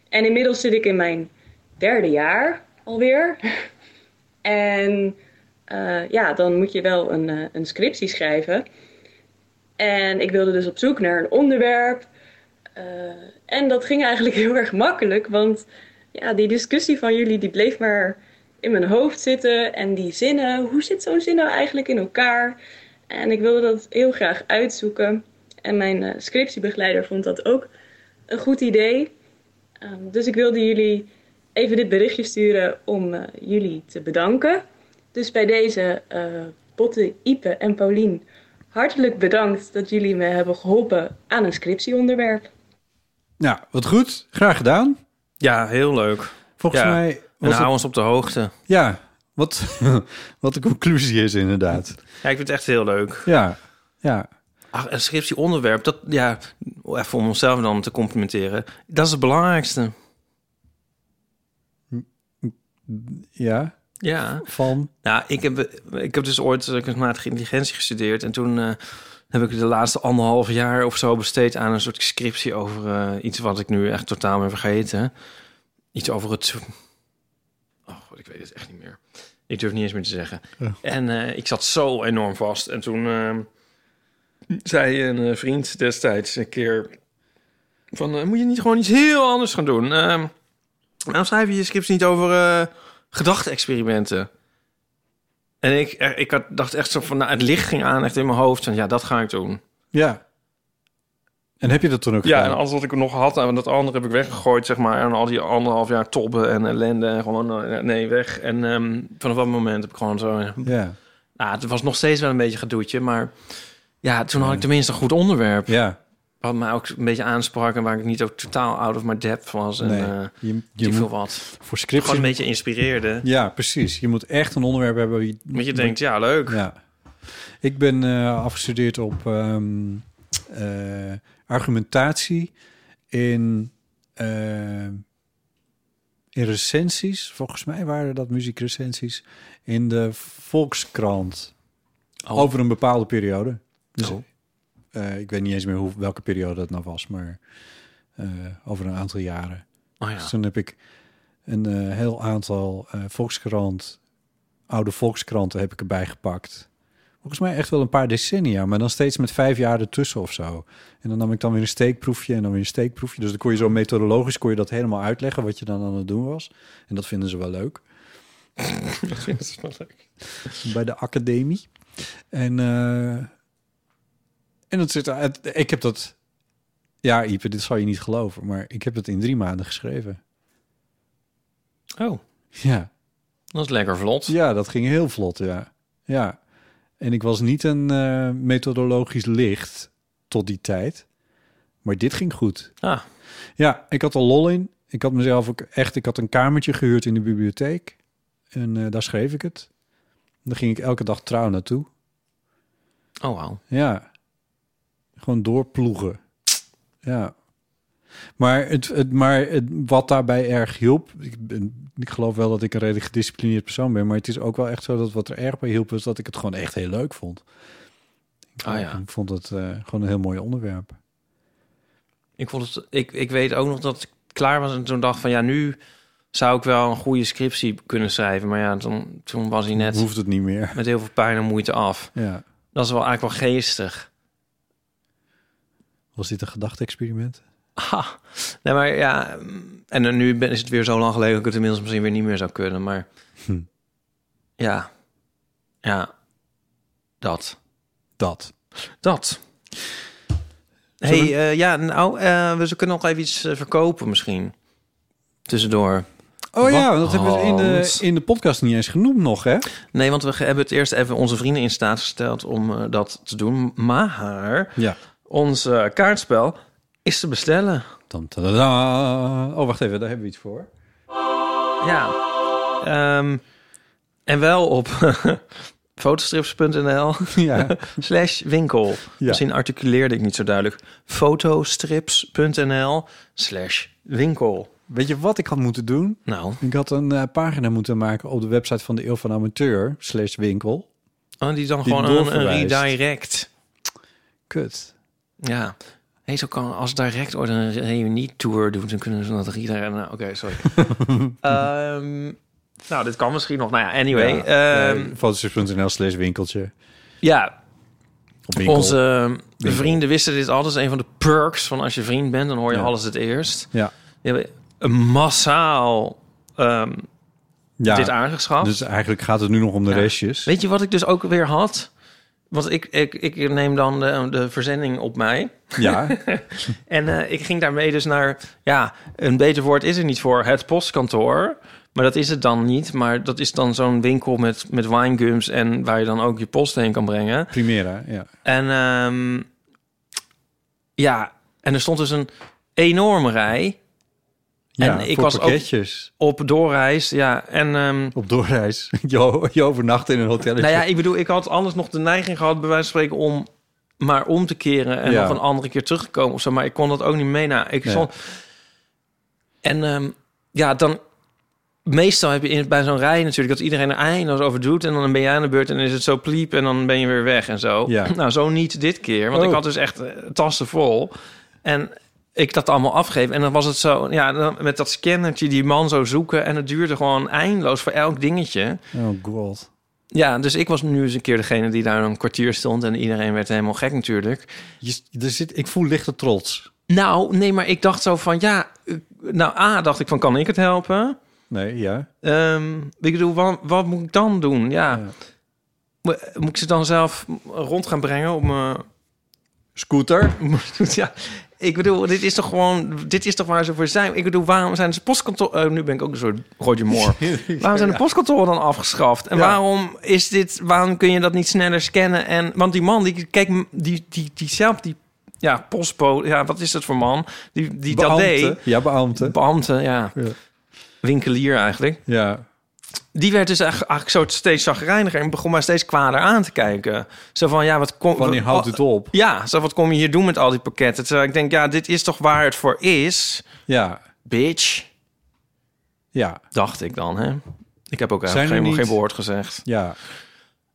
Speaker 5: En inmiddels zit ik in mijn derde jaar alweer. En eh, ja, dan moet je wel een, eh, een scriptie schrijven. En ik wilde dus op zoek naar een onderwerp. Eh, en dat ging eigenlijk heel erg makkelijk, want ja, die discussie van jullie die bleef maar in mijn hoofd zitten. En die zinnen, hoe zit zo'n zin nou eigenlijk in elkaar? En ik wilde dat heel graag uitzoeken. En mijn eh, scriptiebegeleider vond dat ook een goed idee. Ehm, dus ik wilde jullie even dit berichtje sturen om eh, jullie te bedanken. Dus bij deze eh Botte, Ipe en Paulien, hartelijk bedankt dat jullie me hebben geholpen aan een scriptieonderwerp.
Speaker 1: Nou, wat goed. Graag gedaan.
Speaker 2: Ja, heel leuk.
Speaker 1: Volgens
Speaker 2: Ja.
Speaker 1: mij
Speaker 2: En nou-
Speaker 1: was
Speaker 2: hou
Speaker 1: het-
Speaker 2: ons op de hoogte.
Speaker 1: Ja, wat, wat de conclusie is inderdaad.
Speaker 2: Ja, ik vind het echt heel leuk.
Speaker 1: Ja, ja.
Speaker 2: Ach, een scriptieonderwerp, dat, ja, even om onszelf dan te complimenteren. Dat is het belangrijkste.
Speaker 1: Ja,
Speaker 2: Ja.
Speaker 1: van...
Speaker 2: Nou, ik heb, ik heb dus ooit eh, kunstmatige intelligentie gestudeerd. En toen eh, heb ik de laatste anderhalf jaar of zo besteed aan een soort scriptie over eh, iets wat ik nu echt totaal ben vergeten. Iets over het. Oh, god, ik weet het echt niet meer. Ik durf niet eens meer te zeggen. En eh, ik zat zo enorm vast. En toen eh, zei een eh, vriend destijds een keer: van, eh, Moet je niet gewoon iets heel anders gaan doen? Ehm waarom schrijf je je scripts niet over eh gedachte-experimenten? En ik, eh, ik had, dacht echt zo van, nou, het licht ging aan echt in mijn hoofd. En ja, dat ga ik doen.
Speaker 1: Ja. En heb je dat toen ook
Speaker 2: Ja, en
Speaker 1: gedaan?
Speaker 2: alles wat ik nog had, en dat andere heb ik weggegooid, zeg maar. En al die anderhalf jaar tobben en ellende en gewoon, eh, nee, weg. En ehm, vanaf dat moment heb ik gewoon zo... eh,
Speaker 1: Ja,
Speaker 2: Nou, het was nog steeds wel een beetje gedoetje, maar... Ja, toen had ik tenminste een goed onderwerp.
Speaker 1: ja.
Speaker 2: Wat mij ook een beetje aansprak en waar ik niet ook totaal out of my depth was. En
Speaker 1: Nee,
Speaker 2: eh,
Speaker 1: je, je
Speaker 2: die veel
Speaker 1: moet
Speaker 2: wat.
Speaker 1: voor
Speaker 2: Gewoon een
Speaker 1: scriptie...
Speaker 2: beetje inspireerde.
Speaker 1: Ja, precies. Je moet echt een onderwerp hebben... waar je-
Speaker 2: Want je denkt, ja, leuk.
Speaker 1: Ja. Ik ben eh, afgestudeerd op ehm, eh, argumentatie in, eh, in recensies. Volgens mij waren dat muziekrecensies in de Volkskrant.
Speaker 2: Oh.
Speaker 1: Over een bepaalde periode. Dus,
Speaker 2: Oh.
Speaker 1: eh, ik weet niet eens meer hoe, welke periode dat nou was, maar eh, over een aantal jaren.
Speaker 2: Oh ja.
Speaker 1: Dus toen heb ik een eh, heel aantal eh, Volkskrant, oude Volkskranten heb ik erbij gepakt. Volgens mij echt wel een paar decennia, maar dan steeds met vijf jaar ertussen of zo. En dan nam ik dan weer een steekproefje en dan weer een steekproefje. Dus dan kon je zo methodologisch kon je dat helemaal uitleggen wat je dan aan het doen was. En dat vinden ze wel leuk
Speaker 2: Dat is wel leuk.
Speaker 1: bij de academie. En, eh, en dat zit, uit- ik heb dat, ja Ipe, dit zal je niet geloven, maar ik heb het in drie maanden geschreven.
Speaker 2: Oh,
Speaker 1: Ja.
Speaker 2: dat is lekker vlot.
Speaker 1: Ja, dat ging heel vlot, ja. Ja. En ik was niet een eh, methodologisch licht tot die tijd. Maar dit ging goed.
Speaker 2: Ah,
Speaker 1: Ja, ik had er lol in. Ik had mezelf ook echt... Ik had een kamertje gehuurd in de bibliotheek. En eh, daar schreef ik het. Daar ging ik elke dag trouw naartoe.
Speaker 2: oh wauw.
Speaker 1: Ja. Gewoon doorploegen. Ja. Maar, het, het, maar het, wat daarbij erg hielp... Ik, ben, ik geloof wel dat ik een redelijk gedisciplineerd persoon ben... maar het is ook wel echt zo dat wat er erg bij hielp... is dat ik het gewoon echt heel leuk vond. Ik,
Speaker 2: Ah, ja.
Speaker 1: ik vond het eh, gewoon een heel mooi onderwerp.
Speaker 2: Ik, vond het, ik, ik weet ook nog dat ik klaar was en toen dacht van ja, nu zou ik wel een goede scriptie kunnen schrijven. Maar ja, toen, toen was hij net
Speaker 1: Hoeft het niet meer.
Speaker 2: met heel veel pijn en moeite af.
Speaker 1: Ja.
Speaker 2: Dat is wel eigenlijk wel geestig.
Speaker 1: Was dit een gedachte-experiment?
Speaker 2: Ha. Nee, maar ja, mm, en dan nu ben, is het weer zo lang geleden dat ik het inmiddels misschien weer niet meer zou kunnen. Maar
Speaker 1: Hm.
Speaker 2: ja, ja, dat,
Speaker 1: Dat.
Speaker 2: dat. hey, eh, ja, nou, eh, we kunnen nog even iets eh, verkopen misschien. Tussendoor.
Speaker 1: Oh ja, want dat hebben we in de,
Speaker 2: Want-
Speaker 1: in de podcast niet eens genoemd nog, hè?
Speaker 2: Nee, want we ge- hebben het eerst even onze vrienden in staat gesteld om eh, dat te doen. Maar
Speaker 1: Ja.
Speaker 2: ons eh, kaartspel is te bestellen.
Speaker 1: Dan, tadada. Oh, wacht even, daar hebben we iets voor.
Speaker 2: Ja. Ehm, en wel op fotostrips.nl
Speaker 1: ja.
Speaker 2: slash winkel. Misschien articuleerde ik niet zo duidelijk. fotostrips.nl slash winkel.
Speaker 1: Weet je wat ik had moeten doen?
Speaker 2: Nou,
Speaker 1: Ik had een eh, pagina moeten maken op de website van de Eeuw van Amateur, slash winkel.
Speaker 2: oh, die is dan
Speaker 1: Die
Speaker 2: gewoon een, een
Speaker 1: doorverwijst.
Speaker 2: redirect.
Speaker 1: Kut.
Speaker 2: Ja. Hé, zo kan als direct ooit een reunietour doet, dan kunnen ze dat rieder. Nou, Oké, sorry. Ehm, Nou, dit kan misschien nog. Nou ja, anyway. ehm,
Speaker 1: Ja,
Speaker 2: Ja,
Speaker 1: eh, Fotostrips.nl slash winkeltje.
Speaker 2: ja
Speaker 1: Op winkel.
Speaker 2: onze eh,
Speaker 1: Winkel.
Speaker 2: vrienden wisten dit al. Dat is een van de perks van als je vriend bent, dan hoor je
Speaker 1: Ja.
Speaker 2: alles het eerst.
Speaker 1: Ja.
Speaker 2: Die hebben een massaal ehm,
Speaker 1: ja.
Speaker 2: dit aangeschaft.
Speaker 1: Dus eigenlijk gaat het nu nog om de
Speaker 2: Ja.
Speaker 1: restjes.
Speaker 2: Weet je wat ik dus ook weer had? Want ik, ik, ik neem dan de, de verzending op mij.
Speaker 1: Ja,
Speaker 2: En eh, ik ging daarmee dus naar, ja, een beter woord is er niet voor, het postkantoor. Maar dat is het dan niet. Maar dat is dan zo'n winkel met, met winegums en waar je dan ook je post heen kan brengen.
Speaker 1: Primera. Ja.
Speaker 2: En ehm, ja, en er stond dus een enorme rij
Speaker 1: ja
Speaker 2: En ik
Speaker 1: voor
Speaker 2: was ook-
Speaker 1: pakketjes.
Speaker 2: op doorreis. Ja, en ehm,
Speaker 1: Op doorreis. Je, je overnacht in een hotelletje.
Speaker 2: nou ja, ik bedoel, ik had anders nog de neiging gehad, bij wijze van spreken, om maar om te keren en
Speaker 1: Ja.
Speaker 2: nog een andere keer terug te komen of zo. Maar ik kon dat ook niet mee. Nou, ik
Speaker 1: Nee.
Speaker 2: stond. En ehm, ja, dan. Meestal heb je in, bij zo'n rij natuurlijk dat iedereen er eindeloos over doet. En dan ben jij aan de beurt en is het zo pliep en dan ben je weer weg en zo.
Speaker 1: Ja.
Speaker 2: Nou, zo niet dit keer. Want ik
Speaker 1: Oh.
Speaker 2: had dus echt eh, tassen vol. En ik dat allemaal afgeef. En dan was het zo, ja, dan met dat scannertje die man zo zoeken. En het duurde gewoon eindeloos voor elk dingetje.
Speaker 1: Oh god.
Speaker 2: Ja, dus ik was nu eens een keer degene die daar een kwartier stond en iedereen werd helemaal gek natuurlijk.
Speaker 1: Je, er zit, ik voel lichte trots.
Speaker 2: Nou, nee, maar ik dacht zo van ja, eh, nou A, dacht ik van kan ik het helpen?
Speaker 1: Nee, ja.
Speaker 2: Ehm, ik bedoel, wat, wat moet ik dan doen? Ja.
Speaker 1: Ja.
Speaker 2: Mo- Moet ik ze dan zelf rond gaan brengen eh, op mijn...
Speaker 1: Scooter.
Speaker 2: ja, ik bedoel, dit is toch gewoon... Dit is toch waar ze voor zijn? Ik bedoel, waarom zijn ze postkantoor... eh, nu ben ik ook een soort Roger Moore. Waarom zijn de postkantoren dan afgeschaft? En
Speaker 1: Ja.
Speaker 2: waarom is dit? Waarom kun je dat niet sneller scannen? En want die man, die kijk, die die die zelf die ja postbo, ja wat is dat voor man? Die die dat deed,
Speaker 1: Ja, beambte.
Speaker 2: beambte, ja,
Speaker 1: Ja.
Speaker 2: winkelier eigenlijk.
Speaker 1: Ja.
Speaker 2: Die werd dus eigenlijk, eigenlijk zo steeds zagrijniger en begon maar steeds kwader aan te kijken. Zo van ja, wat kom
Speaker 1: Wanneer houdt het op?
Speaker 2: Ja, zo wat kom je hier doen met al die pakketten? Terwijl ik denk, ja, dit is toch waar het voor is,
Speaker 1: Ja.
Speaker 2: bitch.
Speaker 1: Ja.
Speaker 2: Dacht ik dan, hè? Ik heb ook
Speaker 1: Zijn er
Speaker 2: eigenlijk geen,
Speaker 1: niet-
Speaker 2: geen woord gezegd.
Speaker 1: Ja. eh,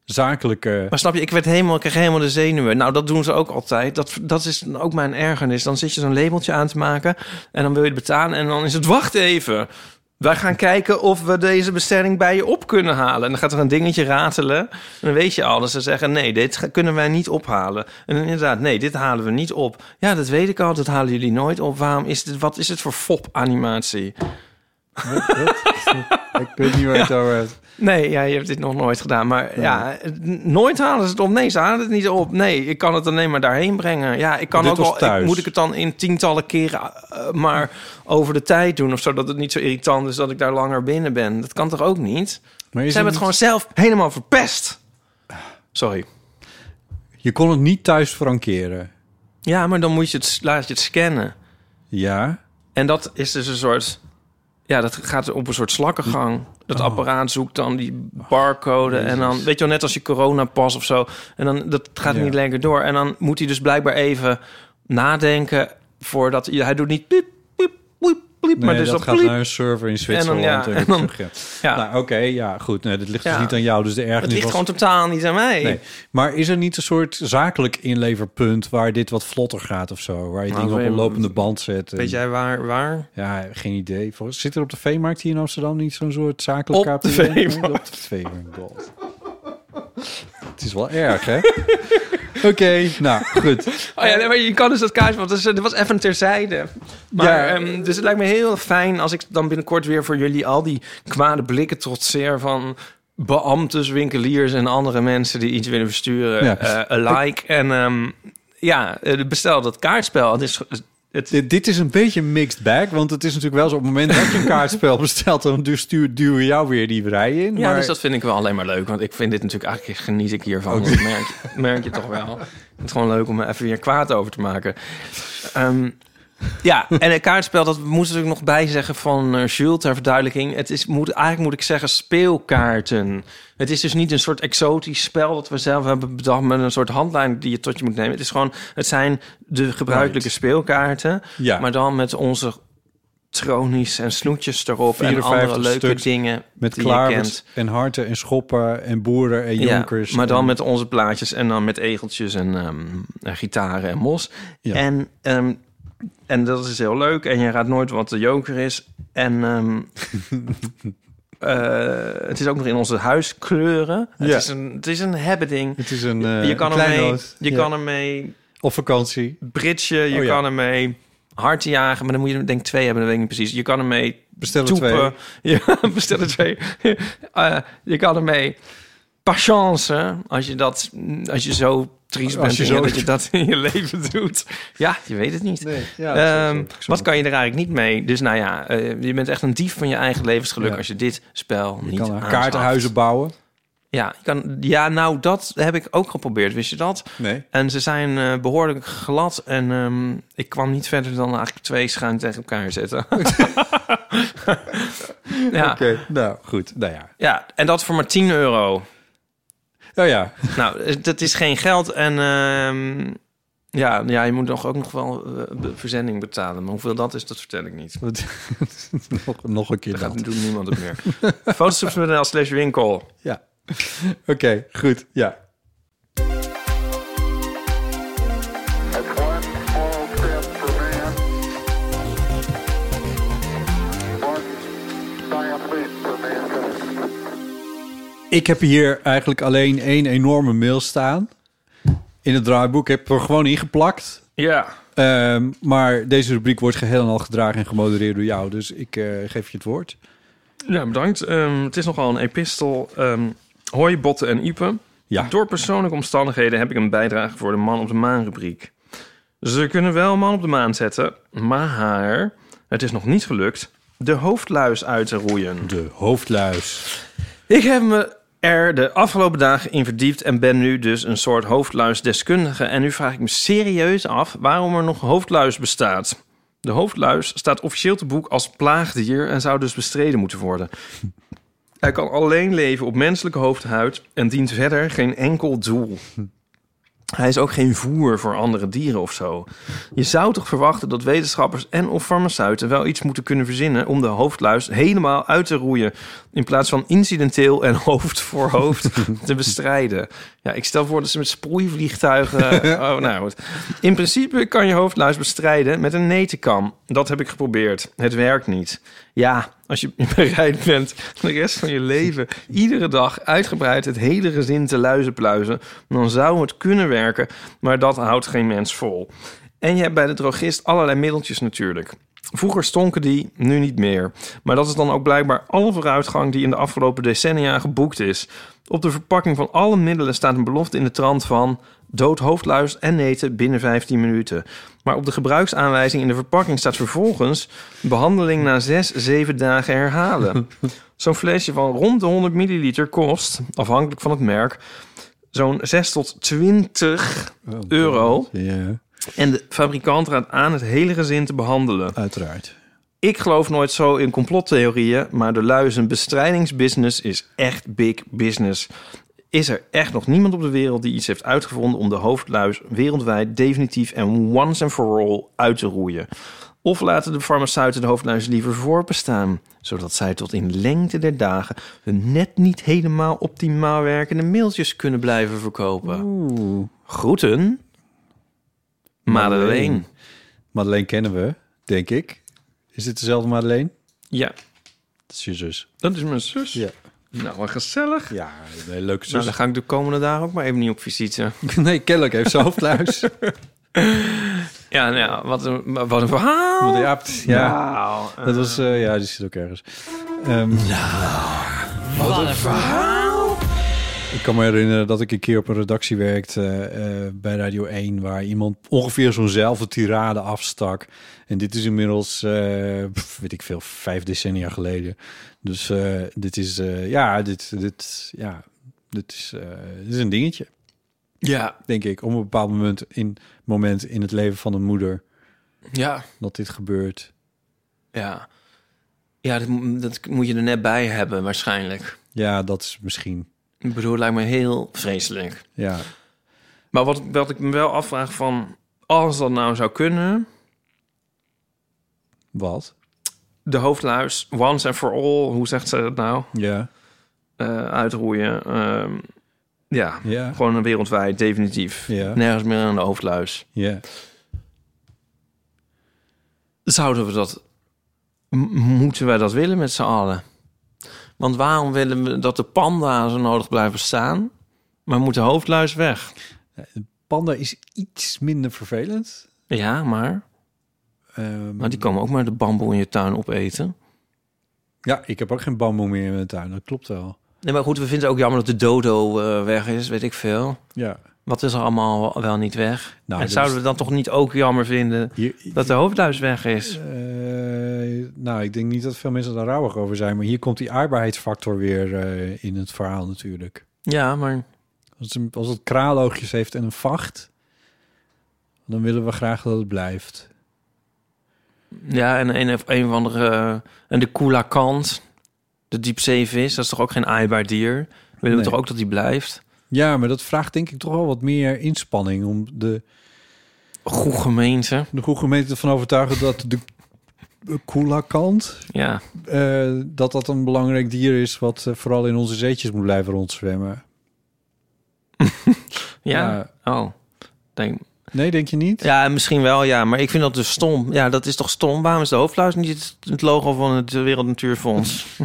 Speaker 1: Zakelijke.
Speaker 2: Maar snap je, ik werd helemaal, ik kreeg helemaal de zenuwen. Nou, dat doen ze ook altijd. Dat, dat is dan ook mijn ergernis. Dan zit je zo'n labeltje aan te maken en dan wil je het betalen en dan is het wacht even. Wij gaan kijken of we deze bestelling bij je op kunnen halen. En dan gaat er een dingetje ratelen. En dan weet je al dat ze zeggen: nee, dit ga- kunnen wij niet ophalen. En dan inderdaad, nee, dit halen we niet op. Ja, dat weet ik al. Dat halen jullie nooit op. Waarom is dit? Wat is het voor fop-animatie?
Speaker 1: ik weet niet waar het over hebt.
Speaker 2: Nee, ja, je hebt dit nog nooit gedaan. Maar ja, n- nooit halen ze het op. Nee, ze halen het niet op. Nee, ik kan het alleen maar daarheen brengen. Ja, ik kan
Speaker 1: Dit
Speaker 2: ook
Speaker 1: was
Speaker 2: wel... ik-
Speaker 1: thuis.
Speaker 2: moet ik het dan in tientallen keren eh, maar over de tijd doen... of zodat het niet zo irritant is dat ik daar langer binnen ben? Dat kan toch ook niet? Ze
Speaker 1: Maar is
Speaker 2: hebben het
Speaker 1: niet-
Speaker 2: gewoon zelf helemaal verpest. Sorry.
Speaker 1: Je kon het niet thuis frankeren.
Speaker 2: Ja, maar dan moet je het, laat je het scannen.
Speaker 1: Ja.
Speaker 2: En dat is dus een soort... Ja, dat gaat op een soort slakkengang. Dat
Speaker 1: Oh.
Speaker 2: apparaat zoekt dan die barcode. en dan, weet je wel, net als je coronapas of zo. En dan, dat gaat
Speaker 1: Ja.
Speaker 2: niet lekker door. En dan moet hij dus blijkbaar even nadenken voordat... Hij, hij doet niet piep, piep, piep, piep.
Speaker 1: Nee,
Speaker 2: maar dus
Speaker 1: dat
Speaker 2: dan
Speaker 1: gaat
Speaker 2: pliep.
Speaker 1: naar een server in Zwitserland. eh,
Speaker 2: ja, en dan-
Speaker 1: terug,
Speaker 2: Ja,
Speaker 1: Nou, oké, ja, goed. Nee, dat ligt
Speaker 2: Ja.
Speaker 1: dus niet aan jou. Dus de ergernis
Speaker 2: het ligt
Speaker 1: was...
Speaker 2: gewoon totaal niet aan mij.
Speaker 1: Nee. Maar is er niet een soort zakelijk inleverpunt waar dit wat vlotter gaat of zo? Waar je
Speaker 2: Nou,
Speaker 1: dingen op
Speaker 2: weet-
Speaker 1: een lopende band zet? en-
Speaker 2: Weet jij waar? waar?
Speaker 1: Ja, geen idee. Volgens- Zit er op de veemarkt hier in Amsterdam niet zo'n soort zakelijk
Speaker 2: Op de
Speaker 1: KPN? Nee,
Speaker 2: veemarkt.
Speaker 1: Op de veemarkt. God. Het is wel erg, hè? Oké, nou goed.
Speaker 2: Oh ja, nee, maar je kan dus dat kaartje, want dat is- dat was even terzijde. Maar,
Speaker 1: Ja.
Speaker 2: ehm, dus het lijkt me heel fijn als ik dan binnenkort weer voor jullie al die kwade blikken trotseer van beambtes, winkeliers en andere mensen die iets willen versturen.
Speaker 1: Ja.
Speaker 2: eh, een like en ehm, ja, eh, bestel dat kaartspel. Het is, het,
Speaker 1: Dit, dit is een beetje een mixed bag, want het is natuurlijk wel zo op het moment dat je een kaartspel bestelt, dan du- stuur, duwen we jou weer die rij in.
Speaker 2: ja,
Speaker 1: maar
Speaker 2: dus dat vind ik wel alleen maar leuk, want ik vind dit natuurlijk eigenlijk geniet ik hiervan. Dat merk, je- merk je toch wel. Het is gewoon leuk om er even weer kwaad over te maken. Ehm, ja, en het kaartspel, dat moest ik er nog bij zeggen van eh Jules ter verduidelijking. Het is, moet, eigenlijk moet ik zeggen speelkaarten. Het is dus niet een soort exotisch spel dat we zelf hebben bedacht met een soort handlijn die je tot je moet nemen. Het is gewoon, het zijn de gebruikelijke
Speaker 1: Right.
Speaker 2: speelkaarten,
Speaker 1: Ja.
Speaker 2: maar dan met onze tronies en snoetjes erop en
Speaker 1: 54
Speaker 2: andere leuke
Speaker 1: stuks
Speaker 2: dingen
Speaker 1: met
Speaker 2: die je kent.
Speaker 1: klaarwit en harten en schoppen en boeren en jonkers.
Speaker 2: Ja, maar dan
Speaker 1: en-
Speaker 2: met onze plaatjes en dan met egeltjes en, ehm, en gitaren en mos.
Speaker 1: Ja.
Speaker 2: En, ehm, en dat is heel leuk. En je raadt nooit wat de joker is. En ehm, eh, het is ook nog in onze huiskleuren.
Speaker 1: Ja.
Speaker 2: Het, is een, het is een hebbeting.
Speaker 1: Het is een, eh
Speaker 2: je kan
Speaker 1: een
Speaker 2: ermee,
Speaker 1: kleinoot.
Speaker 2: je
Speaker 1: Ja.
Speaker 2: kan ermee
Speaker 1: Op vakantie.
Speaker 2: britsen, je
Speaker 1: Oh, ja.
Speaker 2: kan ermee hard jagen, maar dan moet je er denk ik twee hebben, dat weet ik niet precies. Je kan ermee
Speaker 1: Bestellen
Speaker 2: toepen. Ja, bestellen twee. Eh, je kan ermee patience, als je dat, als je zo triest
Speaker 1: Als
Speaker 2: bent
Speaker 1: je
Speaker 2: in je-
Speaker 1: zo-
Speaker 2: dat je dat in je leven doet. Ja, je weet het niet.
Speaker 1: twee. Nee, ja,
Speaker 2: Ehm, wat kan je er eigenlijk niet mee? Dus nou ja, eh, je bent echt een dief van je eigen levensgeluk
Speaker 1: Ja.
Speaker 2: als je dit spel
Speaker 1: je
Speaker 2: niet
Speaker 1: kan er
Speaker 2: aanschaft.
Speaker 1: kaartenhuizen bouwen.
Speaker 2: Ja, je kan, ja, nou dat heb ik ook geprobeerd, wist je dat?
Speaker 1: Nee.
Speaker 2: En ze zijn eh, behoorlijk glad en ehm, ik kwam niet verder dan eigenlijk twee schuin tegen elkaar zetten. ja,
Speaker 1: Oké, nou goed. Nou ja.
Speaker 2: ja, en dat voor maar 10 euro.
Speaker 1: Oh ja.
Speaker 2: Nou, dat is geen geld en ehm, ja, ja, je moet nog ook nog wel eh, be- verzending betalen. Maar hoeveel dat is, dat vertel ik niet.
Speaker 1: Wat- nog, nog een keer
Speaker 2: Dat
Speaker 1: dat.
Speaker 2: gaat doet niemand het meer. Fotostrips.nl slash winkel.
Speaker 1: Ja. Oké, goed. Ja. Ik heb hier eigenlijk alleen één enorme mail staan. In het draaiboek Ik heb er gewoon ingeplakt.
Speaker 2: Ja.
Speaker 1: Ehm, maar deze rubriek wordt geheel en al gedragen en gemodereerd door jou. Dus ik eh, geef je het woord.
Speaker 2: Ja, bedankt. Ehm, het is nogal een epistel. Ehm hoi, botten en iepen.
Speaker 1: Ja.
Speaker 2: Door persoonlijke omstandigheden heb ik een bijdrage voor de Man op de Maan rubriek. Ze kunnen wel Man op de Maan zetten, maar het is nog niet gelukt de hoofdluis uit te roeien.
Speaker 1: De hoofdluis.
Speaker 2: Ik heb me er de afgelopen dagen in verdiept en ben nu dus een soort hoofdluisdeskundige. En nu vraag ik me serieus af waarom er nog hoofdluis bestaat. De hoofdluis staat officieel te boek als plaagdier en zou dus bestreden moeten worden. Hij kan alleen leven op menselijke hoofdhuid en dient verder geen enkel doel. Hij is ook geen voer voor andere dieren of zo. Je zou toch verwachten dat wetenschappers en of farmaceuten wel iets moeten kunnen verzinnen om de hoofdluis helemaal uit te roeien. In plaats van incidenteel en hoofd voor hoofd te bestrijden. Ja, ik stel voor dat ze met sproeivliegtuigen. oh, nou goed. In principe kan je hoofdluis bestrijden met een netenkam. Dat heb ik geprobeerd. Het werkt niet. Ja, als je bereid bent de rest van je leven iedere dag uitgebreid het hele gezin te luizenpluizen, dan zou het kunnen werken, maar dat houdt geen mens vol. En je hebt bij de drogist allerlei middeltjes natuurlijk. Vroeger stonken die, nu niet meer. Maar dat is dan ook blijkbaar alle vooruitgang die in de afgelopen decennia geboekt is. Op de verpakking van alle middelen staat een belofte in de trant van dood hoofdluis en neten binnen 15 minuten. Maar op de gebruiksaanwijzing in de verpakking staat vervolgens behandeling na 6, 7 dagen herhalen. Zo'n flesje van rond de 100 milliliter kost, afhankelijk van het merk, zo'n 6 tot 20 euro.
Speaker 1: Ja,
Speaker 2: En de fabrikant raadt aan het hele gezin te behandelen.
Speaker 1: uiteraard.
Speaker 2: Ik geloof nooit zo in complottheorieën, maar de luizenbestrijdingsbusiness is echt big business. Is er echt nog niemand op de wereld die iets heeft uitgevonden om de hoofdluis wereldwijd definitief en once and for all uit te roeien? Of laten de farmaceuten de hoofdluis liever voorbestaan, zodat zij tot in lengte der dagen hun net niet helemaal optimaal werkende mailtjes kunnen blijven verkopen? Groeten, Madeleine.
Speaker 1: Madeleine kennen we, denk ik. Is dit dezelfde Madeleine?
Speaker 2: Ja,
Speaker 1: Dat is je zus.
Speaker 2: dat is mijn zus.
Speaker 1: Ja.
Speaker 2: Nou, wat gezellig.
Speaker 1: Ja, een hele leuke
Speaker 2: Nou,
Speaker 1: zus.
Speaker 2: dan ga ik de komende dagen ook maar even niet op visite.
Speaker 1: nee, kennelijk heeft ze hoofdluis.
Speaker 2: Ja, nou ja, wat een, wat een verhaal.
Speaker 1: ja, pff, ja,
Speaker 2: Wauw.
Speaker 1: dat was... eh, ja, die zit ook ergens. Ehm, Ik kan me herinneren dat ik een keer op een redactie werkte eh, eh, bij Radio 1... waar iemand ongeveer zo'nzelfde tirade afstak. En dit is inmiddels, eh, pff, weet ik veel, vijf decennia geleden. Dus eh, dit is, eh, ja, dit, dit, ja, dit is, eh, dit is een dingetje.
Speaker 2: Ja,
Speaker 1: denk ik, op een bepaald moment in, moment in het leven van een moeder
Speaker 2: ja,
Speaker 1: dat dit gebeurt.
Speaker 2: ja. Ja, dat, mo- dat moet je er net bij hebben waarschijnlijk.
Speaker 1: Ja, dat is misschien.
Speaker 2: Ik bedoel, het lijkt me heel vreselijk.
Speaker 1: Ja,
Speaker 2: Maar wat, wat ik me wel afvraag van... Als dat nou zou kunnen...
Speaker 1: wat?
Speaker 2: De hoofdluis, once and for all... Hoe zegt ze dat nou?
Speaker 1: Ja,
Speaker 2: Eh, uitroeien. ehm, ja,
Speaker 1: ja,
Speaker 2: gewoon wereldwijd, definitief.
Speaker 1: Ja.
Speaker 2: Nergens meer aan de hoofdluis.
Speaker 1: ja.
Speaker 2: Zouden we dat... m- moeten wij dat willen met z'n allen? Want waarom willen we dat de panda zo nodig blijven staan? Maar moet de hoofdluis weg?
Speaker 1: Panda is iets minder vervelend.
Speaker 2: Ja, maar...
Speaker 1: Eh,
Speaker 2: Maar die komen ook maar de bamboe in je tuin opeten.
Speaker 1: Ja, ik heb ook geen bamboe meer in mijn tuin. Dat klopt wel.
Speaker 2: Nee, maar goed, we vinden het ook jammer dat de dodo eh, weg is, weet ik veel.
Speaker 1: Ja.
Speaker 2: Wat is er allemaal wel niet weg?
Speaker 1: dat
Speaker 2: en
Speaker 1: is-
Speaker 2: zouden we dan toch niet ook jammer vinden
Speaker 1: Hier,
Speaker 2: dat de hoofdluis weg is?
Speaker 1: eh, nou, ik denk niet dat veel mensen daar rouwig over zijn. Maar hier komt die aardbaarheidsfactor weer eh, in het verhaal natuurlijk.
Speaker 2: Ja, maar
Speaker 1: Als het, als het kraaloogjes heeft en een vacht, dan willen we graag dat het blijft.
Speaker 2: ja, en een of een van de eh, en de koelakant, de diepzeevis, dat is toch ook geen aaibaar dier. Willen
Speaker 1: Nee.
Speaker 2: we toch ook dat die blijft?
Speaker 1: Ja, maar dat vraagt denk ik toch wel wat meer inspanning om de,
Speaker 2: Goed gemeente.
Speaker 1: de goede gemeente ervan overtuigen dat de koelakant,
Speaker 2: Ja,
Speaker 1: eh, dat dat een belangrijk dier is wat eh, vooral in onze zeetjes moet blijven rondzwemmen.
Speaker 2: ja. Oh, denk.
Speaker 1: Nee, denk je niet?
Speaker 2: Ja, misschien wel, ja. Maar ik vind dat dus stom. Ja, dat is toch stom? Waarom is de hoofdluis niet het- het logo van het Wereld Natuurfonds?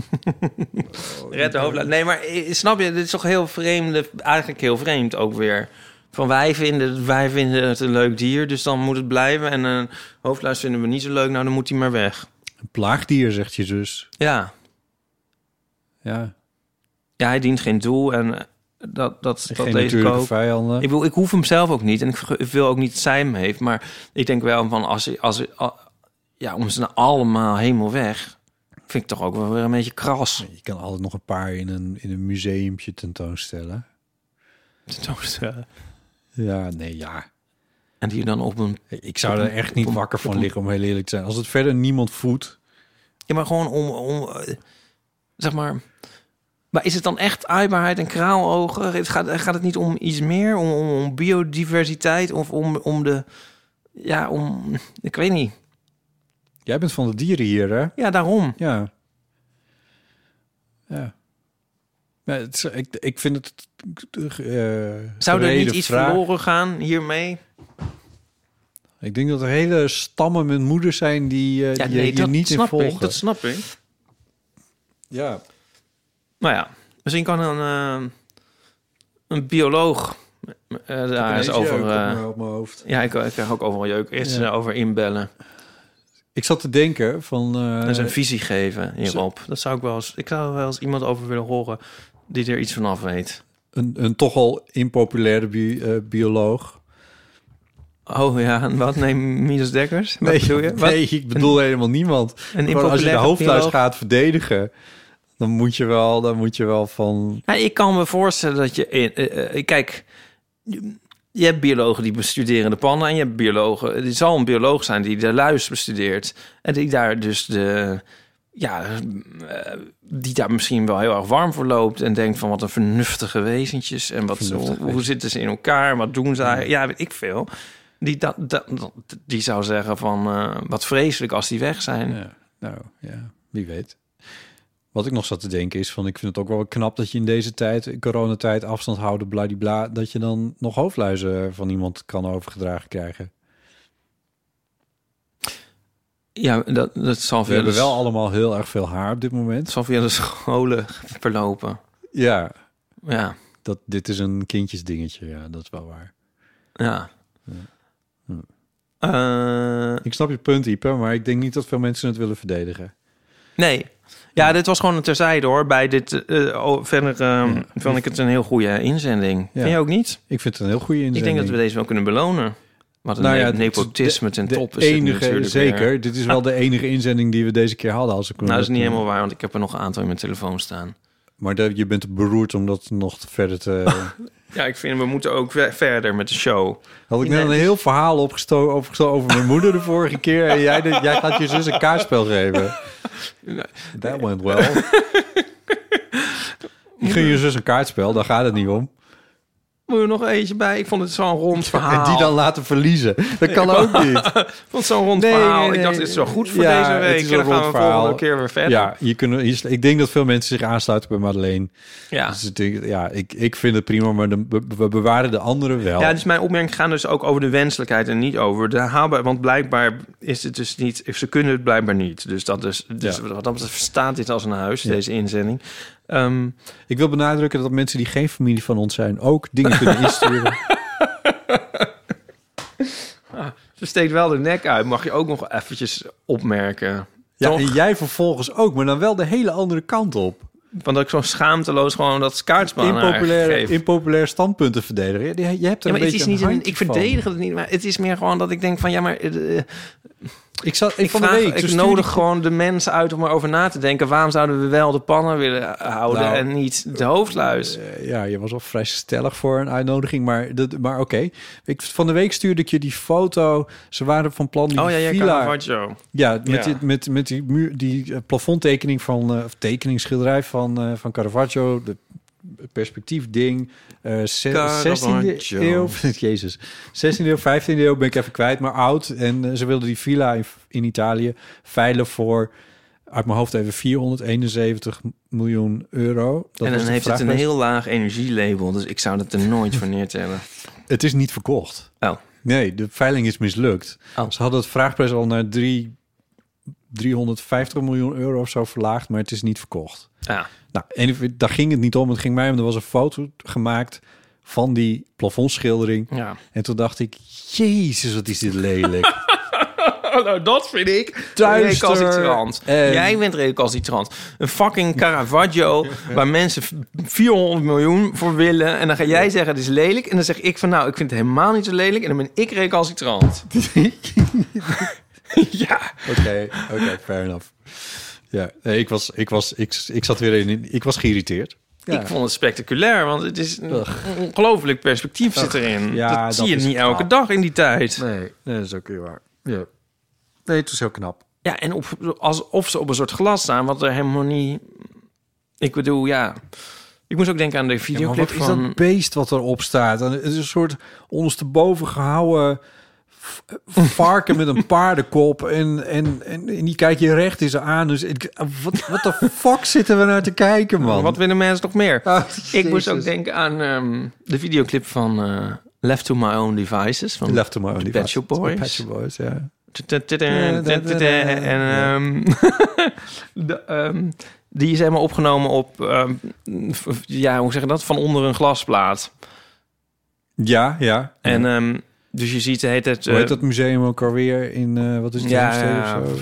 Speaker 2: Red de hoofdluis. Nee, maar eh, snap je, dit is toch heel vreemde, eigenlijk heel vreemd ook weer. Van wij vinden, wij vinden het een leuk dier, dus dan moet het blijven. En een hoofdluis vinden we niet zo leuk, nou dan moet hij maar weg.
Speaker 1: Een plaagdier, zegt je zus.
Speaker 2: Ja,
Speaker 1: Ja,
Speaker 2: ja hij dient geen doel en eh, dat, dat, dat
Speaker 1: geen
Speaker 2: lees ik
Speaker 1: natuurlijke
Speaker 2: ook.
Speaker 1: vijanden.
Speaker 2: Ik, bedoel, ik hoef hem zelf ook niet en ik verge- ik wil ook niet dat zij hem heeft. Maar ik denk wel van als hij, als hij- al- ja, om ze nou allemaal helemaal weg, vind ik toch ook wel weer een beetje kras.
Speaker 1: Je kan altijd nog een paar in een, in een museumpje tentoonstellen. Ja, nee, ja.
Speaker 2: En die dan op een,
Speaker 1: Ik zou er echt niet wakker van liggen, om heel eerlijk te zijn. Als het verder niemand voedt.
Speaker 2: ja, maar gewoon om, om eh, zeg maar. Maar is het dan echt aaibaarheid en kraalogen? Het gaat, gaat het niet om iets meer, om, om, om biodiversiteit of om, om de, ja, om, ik weet niet.
Speaker 1: Jij bent van de dieren hier, hè?
Speaker 2: Ja, daarom.
Speaker 1: Ja. Ja. Ja, het is- ik, ik vind het... eh,
Speaker 2: Zou er niet
Speaker 1: gereden
Speaker 2: iets
Speaker 1: vraag.
Speaker 2: verloren gaan hiermee?
Speaker 1: Ik denk dat er hele stammen met moeders zijn die, eh, die je hier niet in
Speaker 2: snap
Speaker 1: volgen.
Speaker 2: ik. Dat snap ik.
Speaker 1: Ja.
Speaker 2: Nou ja, misschien kan een, eh, een bioloog eh, daar eens over. eh,
Speaker 1: op mijn hoofd.
Speaker 2: ja, ik, ik krijg ook overal jeuk. Eerst
Speaker 1: Ja.
Speaker 2: eh, over inbellen
Speaker 1: Ik zat te denken van... eh,
Speaker 2: en zijn visie geven hierop. Dat zou ik wel eens. Ik zou er wel eens iemand over willen horen die er iets vanaf weet.
Speaker 1: een, een toch al impopulaire bi- eh, bioloog.
Speaker 2: Oh ja, en wat neem Midas Dekkers? Wat bedoel je? Wat?
Speaker 1: nee, ik bedoel helemaal niemand.
Speaker 2: Een
Speaker 1: Gewoon als je de
Speaker 2: impopulaire
Speaker 1: hoofdluis
Speaker 2: bioloog?
Speaker 1: gaat verdedigen, dan moet je wel, dan moet je wel van.
Speaker 2: Nou, ik kan me voorstellen dat je... In, eh, eh, kijk, je- je hebt biologen die bestuderen de pannen... en je hebt biologen... Er zal een bioloog zijn die de luis bestudeert... en die daar dus de... Ja, eh, die daar misschien wel heel erg warm voor loopt... en denkt van wat een vernuftige wezentjes... en wat,
Speaker 1: Vernuftige
Speaker 2: hoe, hoe
Speaker 1: wezentjes.
Speaker 2: zitten ze in elkaar, wat doen ze eigenlijk? Ja, weet ik veel. Die, dat, dat, dat- die zou zeggen van eh, wat vreselijk als die weg zijn.
Speaker 1: Ja, nou ja, wie weet. Wat ik nog zat te denken is van, ik vind het ook wel knap dat je in deze tijd, in coronatijd, afstand houden, bladibla, dat je dan nog hoofdluizen van iemand kan overgedragen krijgen.
Speaker 2: Ja, dat, dat zal
Speaker 1: We
Speaker 2: via,
Speaker 1: hebben
Speaker 2: de,
Speaker 1: wel allemaal heel erg veel haar op dit moment.
Speaker 2: zal via de scholen verlopen.
Speaker 1: Ja,
Speaker 2: Ja.
Speaker 1: dat, dit is een kindjesdingetje, ja, dat is wel waar.
Speaker 2: Ja.
Speaker 1: Hm.
Speaker 2: Eh,
Speaker 1: Ik snap je punt, Ipe, maar ik denk niet dat veel mensen het willen verdedigen.
Speaker 2: nee. Ja, dit was gewoon een terzijde hoor. Bij dit, eh, oh, verder eh, vond ik het een heel goede inzending.
Speaker 1: Ja.
Speaker 2: Vind je ook niet?
Speaker 1: Ik vind het een heel goede inzending.
Speaker 2: Ik denk dat we deze wel kunnen belonen. Wat een
Speaker 1: Nou ja,
Speaker 2: ne-
Speaker 1: het-
Speaker 2: nepotisme ten
Speaker 1: de
Speaker 2: top is het
Speaker 1: enige,
Speaker 2: natuurlijk
Speaker 1: zeker.
Speaker 2: weer.
Speaker 1: Dit is wel de enige inzending die we deze keer hadden. Als ik
Speaker 2: Nou, dat is niet helemaal waar, want ik heb er nog een aantal in mijn telefoon staan.
Speaker 1: Maar dat, je bent beroerd om dat nog verder te...
Speaker 2: Ja, ik vind we moeten ook we- verder met de show.
Speaker 1: Had ik net een heel verhaal opgesto opgestoken over mijn moeder de vorige keer. En jij, deed- jij gaat je zus een kaartspel geven. That went well. Ik gun je zus een kaartspel, daar gaat het niet om.
Speaker 2: Moet er nog eentje bij? Ik vond het zo'n rond verhaal.
Speaker 6: En die dan laten verliezen. Dat kan ook niet.
Speaker 2: Ik vond het zo'n rond
Speaker 6: Nee,
Speaker 2: verhaal.
Speaker 6: nee,
Speaker 2: ik dacht,
Speaker 6: nee.
Speaker 2: dit is wel goed voor
Speaker 6: Ja,
Speaker 2: deze
Speaker 6: het
Speaker 2: week.
Speaker 6: is
Speaker 2: En
Speaker 6: een
Speaker 2: dan gaan
Speaker 6: rond
Speaker 2: we volgende
Speaker 6: verhaal.
Speaker 2: keer weer verder.
Speaker 1: Ja, je kunnen, je- ik denk dat veel mensen zich aansluiten bij Madeleine.
Speaker 2: ja.
Speaker 1: Dus ik, denk- ja, ik, ik vind het prima, maar de, we- we bewaren de anderen wel.
Speaker 2: Ja, dus mijn opmerkingen gaan dus ook over de wenselijkheid en niet over de haalbaar. Want blijkbaar is het dus niet. Ze kunnen het blijkbaar niet. Dus dat is. Dus
Speaker 1: Ja.
Speaker 2: wat dat betreft verstaat dit als een huis, deze inzending. Ehm,
Speaker 1: Ik wil benadrukken dat mensen die geen familie van ons zijn ook dingen kunnen insturen.
Speaker 2: ze steekt wel de nek uit. Mag je ook nog eventjes opmerken?
Speaker 1: ja,
Speaker 2: Toch?
Speaker 1: en jij vervolgens ook, maar dan wel de hele andere kant op.
Speaker 2: Want dat ik zo schaamteloos gewoon dat kaartspel aan haar
Speaker 1: Impopulaire,
Speaker 2: geef.
Speaker 1: impopulaire standpunten verdedigen. Ja, Je, je hebt
Speaker 2: Ja,
Speaker 1: er
Speaker 2: maar
Speaker 1: een
Speaker 2: het
Speaker 1: beetje
Speaker 2: is niet
Speaker 1: een
Speaker 2: een,
Speaker 1: handje
Speaker 2: ik
Speaker 1: van.
Speaker 2: verdedig het niet, maar het is meer gewoon dat ik denk van ja, maar eh, eh,
Speaker 1: Ik zat ik
Speaker 2: ik,
Speaker 1: van de
Speaker 2: vraag-
Speaker 1: week.
Speaker 2: ik
Speaker 1: dus zo stuurde
Speaker 2: nodig gewoon de mensen uit om erover na te denken. Waarom zouden we wel de pannen willen houden
Speaker 1: Nou,
Speaker 2: en niet de hoofdluis?
Speaker 1: Eh, ja, je was al vrij stellig voor een uitnodiging, maar, dat- maar oké. Ik- Van de week stuurde ik je die foto. Ze waren van plan die
Speaker 2: oh ja, jij kan
Speaker 1: villa...
Speaker 2: Caravaggio.
Speaker 1: Ja, met,
Speaker 2: Ja.
Speaker 1: Die, met, met die, muur, die eh, plafondtekening van, eh, of tekeningsschilderij van, eh, van Caravaggio, de perspectiefding, eh ze-
Speaker 2: Caravaggio.
Speaker 1: 16e eeuw, jezus, 16e eeuw, 15e eeuw ben ik even kwijt, maar oud. En eh, ze wilden die villa in, in Italië veilen voor, uit mijn hoofd even, 471 miljoen euro. Dat
Speaker 2: en
Speaker 1: was
Speaker 2: dan
Speaker 1: de
Speaker 2: heeft het een
Speaker 1: vraagprijs.
Speaker 2: heel laag energielabel, dus ik zou dat er nooit voor neertellen.
Speaker 1: Het is niet verkocht.
Speaker 2: Oh.
Speaker 1: Nee, de veiling is mislukt.
Speaker 2: Oh.
Speaker 1: Ze hadden het vraagprijs al naar drie- 350 miljoen euro of zo verlaagd, maar het is niet verkocht.
Speaker 2: Ja.
Speaker 1: Nou, en daar ging het niet om. Het ging mij om. Er was een foto gemaakt van die plafondschildering.
Speaker 2: ja.
Speaker 1: En toen dacht ik, jezus, wat is dit lelijk.
Speaker 2: nou, dat vind ik
Speaker 1: Duister
Speaker 2: recalcitrant.
Speaker 1: en-
Speaker 2: Jij bent recalcitrant. Een fucking Caravaggio waar mensen v- 400 miljoen voor willen. En dan ga jij zeggen het is lelijk. En dan zeg ik van nou, ik vind het helemaal niet zo lelijk. En dan ben ik recalcitrant. ja.
Speaker 1: Oké, oké, fair enough. Ja, nee, ik, was, ik, was, ik, ik zat weer in, ik was geïrriteerd. Ja.
Speaker 2: Ik vond het spectaculair, want het is een ongelooflijk perspectief zit erin.
Speaker 1: Ja,
Speaker 2: dat,
Speaker 1: dat
Speaker 2: zie je
Speaker 1: is
Speaker 2: niet
Speaker 1: het
Speaker 2: elke dag in die tijd.
Speaker 1: Nee, dat is ook weer waar. Ja. Nee, het was heel knap.
Speaker 2: Ja, en op, alsof ze op een soort glas staan, wat er helemaal niet... Ik bedoel, ja... Ik moest ook denken aan de
Speaker 1: Ja, maar
Speaker 2: videoclip
Speaker 1: wat
Speaker 2: van...
Speaker 1: is dat beest wat erop staat? En het is een soort ondersteboven gehouden v- eh, varken met een paardenkop. En, en, en, en die kijk je recht in ze aan. Dus ik, wat, wat de fuck zitten we naar te kijken, man?
Speaker 2: Wat willen mensen nog meer?
Speaker 1: Ah,
Speaker 2: ik moest
Speaker 1: Jezus.
Speaker 2: ook denken aan ehm, de videoclip van eh, Left to My Own Devices. Van
Speaker 1: Left to my own
Speaker 2: Pet
Speaker 1: devices.
Speaker 2: Shop Boys.
Speaker 1: Pet Shop Boys, ja.
Speaker 2: En ehm, de, ehm, die is helemaal opgenomen op, ehm, v- ja, hoe zeg je dat? Van onder een glasplaat.
Speaker 1: Ja, ja.
Speaker 2: En ehm, dus je ziet, heet het
Speaker 1: Hoe heet dat museum ook alweer in, eh, wat is het,
Speaker 2: Ja,
Speaker 1: Heemstede
Speaker 2: ja.
Speaker 1: of zo?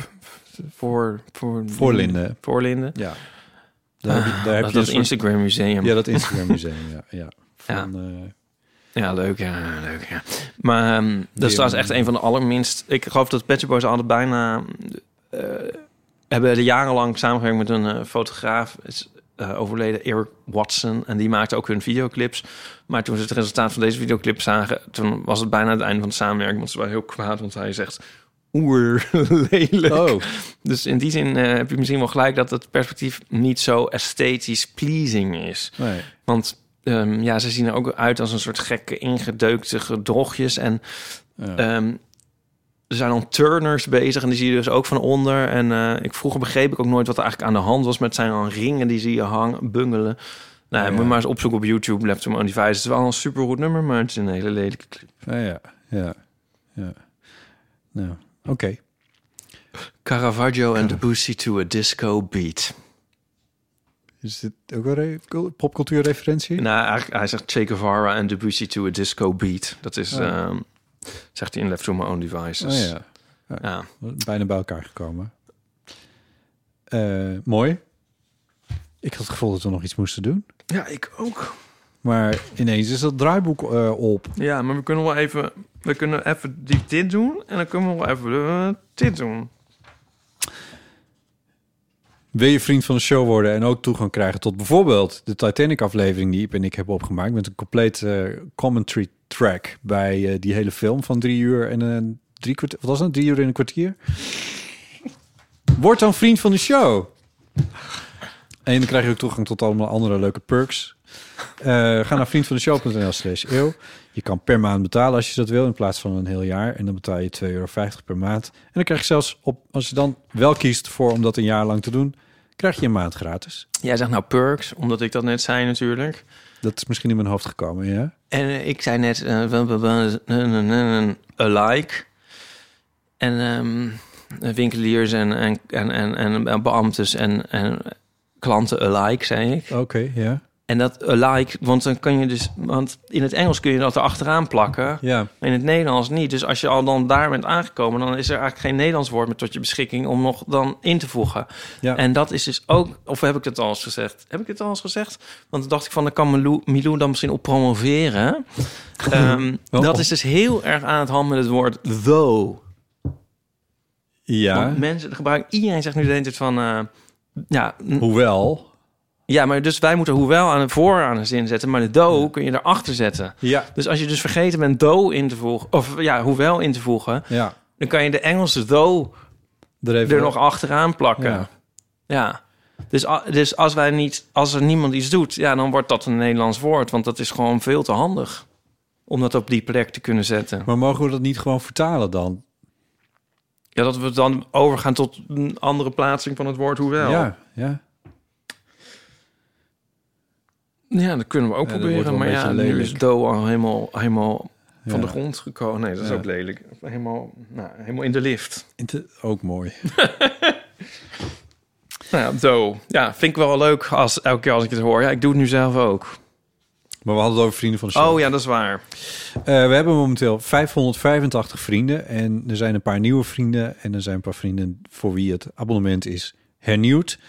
Speaker 2: voor, voor,
Speaker 1: Voorlinden.
Speaker 2: Voorlinden.
Speaker 1: Ja. Daar heb je, daar
Speaker 2: Ah, Dat,
Speaker 1: heb je dus
Speaker 2: dat
Speaker 1: een soort-
Speaker 2: Instagram museum.
Speaker 1: Ja, dat Instagram museum, ja. ja.
Speaker 2: Ja.
Speaker 1: Van, eh,
Speaker 2: Ja, leuk, ja, leuk, ja. Maar ehm, dat
Speaker 1: Die,
Speaker 2: is trouwens
Speaker 1: ehm,
Speaker 2: echt een van de allerminst... Ik geloof dat Pet Shop Boys hadden bijna... eh, hebben jarenlang samengewerkt met een eh, fotograaf. Is eh, overleden, Eric Watson. En die maakte ook hun videoclips. Maar toen ze het resultaat van deze videoclip zagen... toen was het bijna het einde van de samenwerking. Want ze waren heel kwaad, want hij zegt... Oer, lelijk.
Speaker 1: Oh,
Speaker 2: Dus in die zin eh, heb je misschien wel gelijk dat het perspectief niet zo esthetisch pleasing is.
Speaker 1: nee.
Speaker 2: Want ehm, ja, ze zien er ook uit als een soort gekke, ingedeukte gedrochtjes. En
Speaker 1: Ja.
Speaker 2: ehm, er zijn dan turners bezig en die zie je dus ook van onder. En eh, ik, vroeger begreep ik ook nooit wat er eigenlijk aan de hand was. Maar het zijn dan ringen die zie je hangen, bungelen. Nou,
Speaker 1: Ja.
Speaker 2: moet je maar eens opzoeken op YouTube, Laptop on Device. Het is wel een supergoed nummer, maar het is een hele lelijke clip.
Speaker 1: Ah, ja, ja, ja. Nou, oké.
Speaker 2: Caravaggio en de Debussy to a Disco Beat.
Speaker 1: Is dit ook een re- popcultuurreferentie?
Speaker 2: Nou, eigenlijk, hij zegt Che Guevara en Debussy to a Disco Beat. Dat is,
Speaker 1: Oh.
Speaker 2: ehm, zegt hij in Left to My Own Devices.
Speaker 1: oh, ja.
Speaker 2: ja.
Speaker 1: Bijna bij elkaar gekomen. Eh, mooi. Ik had het gevoel dat we nog iets moesten doen.
Speaker 2: Ja, ik ook.
Speaker 1: Maar ineens is dat draaiboek eh, op.
Speaker 2: Ja, maar we kunnen wel even... We kunnen even die dit doen. En dan kunnen we wel even eh, dit doen.
Speaker 1: Wil je vriend van de show worden en ook toegang krijgen tot bijvoorbeeld de Titanic-aflevering die Iep en ik hebben opgemaakt met een compleet eh, commentary track bij eh, die hele film van drie uur en een drie kwartier. Wat was dat? Drie uur en een kwartier. Word dan vriend van de show. En dan krijg je ook toegang tot allemaal andere leuke perks. Eh, ga naar vriendvandeshow.nl slash eeuw. Je kan per maand betalen als je dat wil in plaats van een heel jaar. En dan betaal je 2,50 euro per maand. En dan krijg je zelfs op, als je dan wel kiest voor om dat een jaar lang te doen, krijg je een maand gratis.
Speaker 2: Jij zegt nou perks, omdat ik dat net zei natuurlijk.
Speaker 1: Dat is misschien in mijn hoofd gekomen, ja?
Speaker 2: En eh, ik zei net eh, wel- wel- wel- eh, a like. En ehm, winkeliers en, en, en, en, en beambtes en, en klanten alike, zei ik.
Speaker 1: Oké, ja.
Speaker 2: En dat alike, want dan kan je dus... Want in het Engels kun je dat erachteraan plakken.
Speaker 1: Ja,
Speaker 2: In het Nederlands niet. Dus als je al dan daar bent aangekomen... dan is er eigenlijk geen Nederlands woord meer tot je beschikking... om nog dan in te voegen.
Speaker 1: ja.
Speaker 2: En dat is dus ook... Of heb ik dat al eens gezegd? Heb ik het al eens gezegd? Want dan dacht ik van... dan kan Milou, Milou dan misschien op promoveren. Ehm,
Speaker 1: Oh.
Speaker 2: Dat is dus heel erg aan het hand met het woord though.
Speaker 1: ja.
Speaker 2: Want mensen gebruiken... Iedereen zegt nu de hele tijd van... eh, ja, n-
Speaker 1: Hoewel.
Speaker 2: ja, maar dus wij moeten hoewel aan de voor aan een zin zetten... maar de though kun je erachter zetten.
Speaker 1: Ja.
Speaker 2: Dus als je dus vergeten bent though in te voegen... of ja, hoewel in te voegen...
Speaker 1: Ja.
Speaker 2: dan kan je de Engelse though
Speaker 1: Er, even
Speaker 2: er nog achteraan plakken.
Speaker 1: Ja.
Speaker 2: Ja. Dus, a- dus als, wij niet, als er niemand iets doet, ja, dan wordt dat een Nederlands woord. Want dat is gewoon veel te handig om dat op die plek te kunnen zetten.
Speaker 1: Maar mogen we dat niet gewoon vertalen dan?
Speaker 2: Ja, dat we dan overgaan tot een andere plaatsing van het woord hoewel.
Speaker 1: Ja, ja.
Speaker 2: Ja, dat kunnen we ook
Speaker 1: Ja, dat wordt
Speaker 2: proberen.
Speaker 1: wel
Speaker 2: Maar
Speaker 1: een
Speaker 2: ja,
Speaker 1: beetje
Speaker 2: nu
Speaker 1: lelijk.
Speaker 2: is do al helemaal, helemaal van
Speaker 1: Ja.
Speaker 2: de grond gekomen. Nee, dat is
Speaker 1: Ja.
Speaker 2: ook lelijk. Helemaal, nou, helemaal in de lift.
Speaker 1: Inter- Ook mooi.
Speaker 2: Nou ja, do. Ja, vind ik wel leuk als, elke keer als ik het hoor. Ja, ik doe het nu zelf ook.
Speaker 1: Maar we hadden het over vrienden van de show.
Speaker 2: Oh ja, dat is waar.
Speaker 1: Eh, we hebben momenteel 585 vrienden en er zijn een paar nieuwe vrienden en er zijn een paar vrienden voor wie het abonnement is hernieuwd.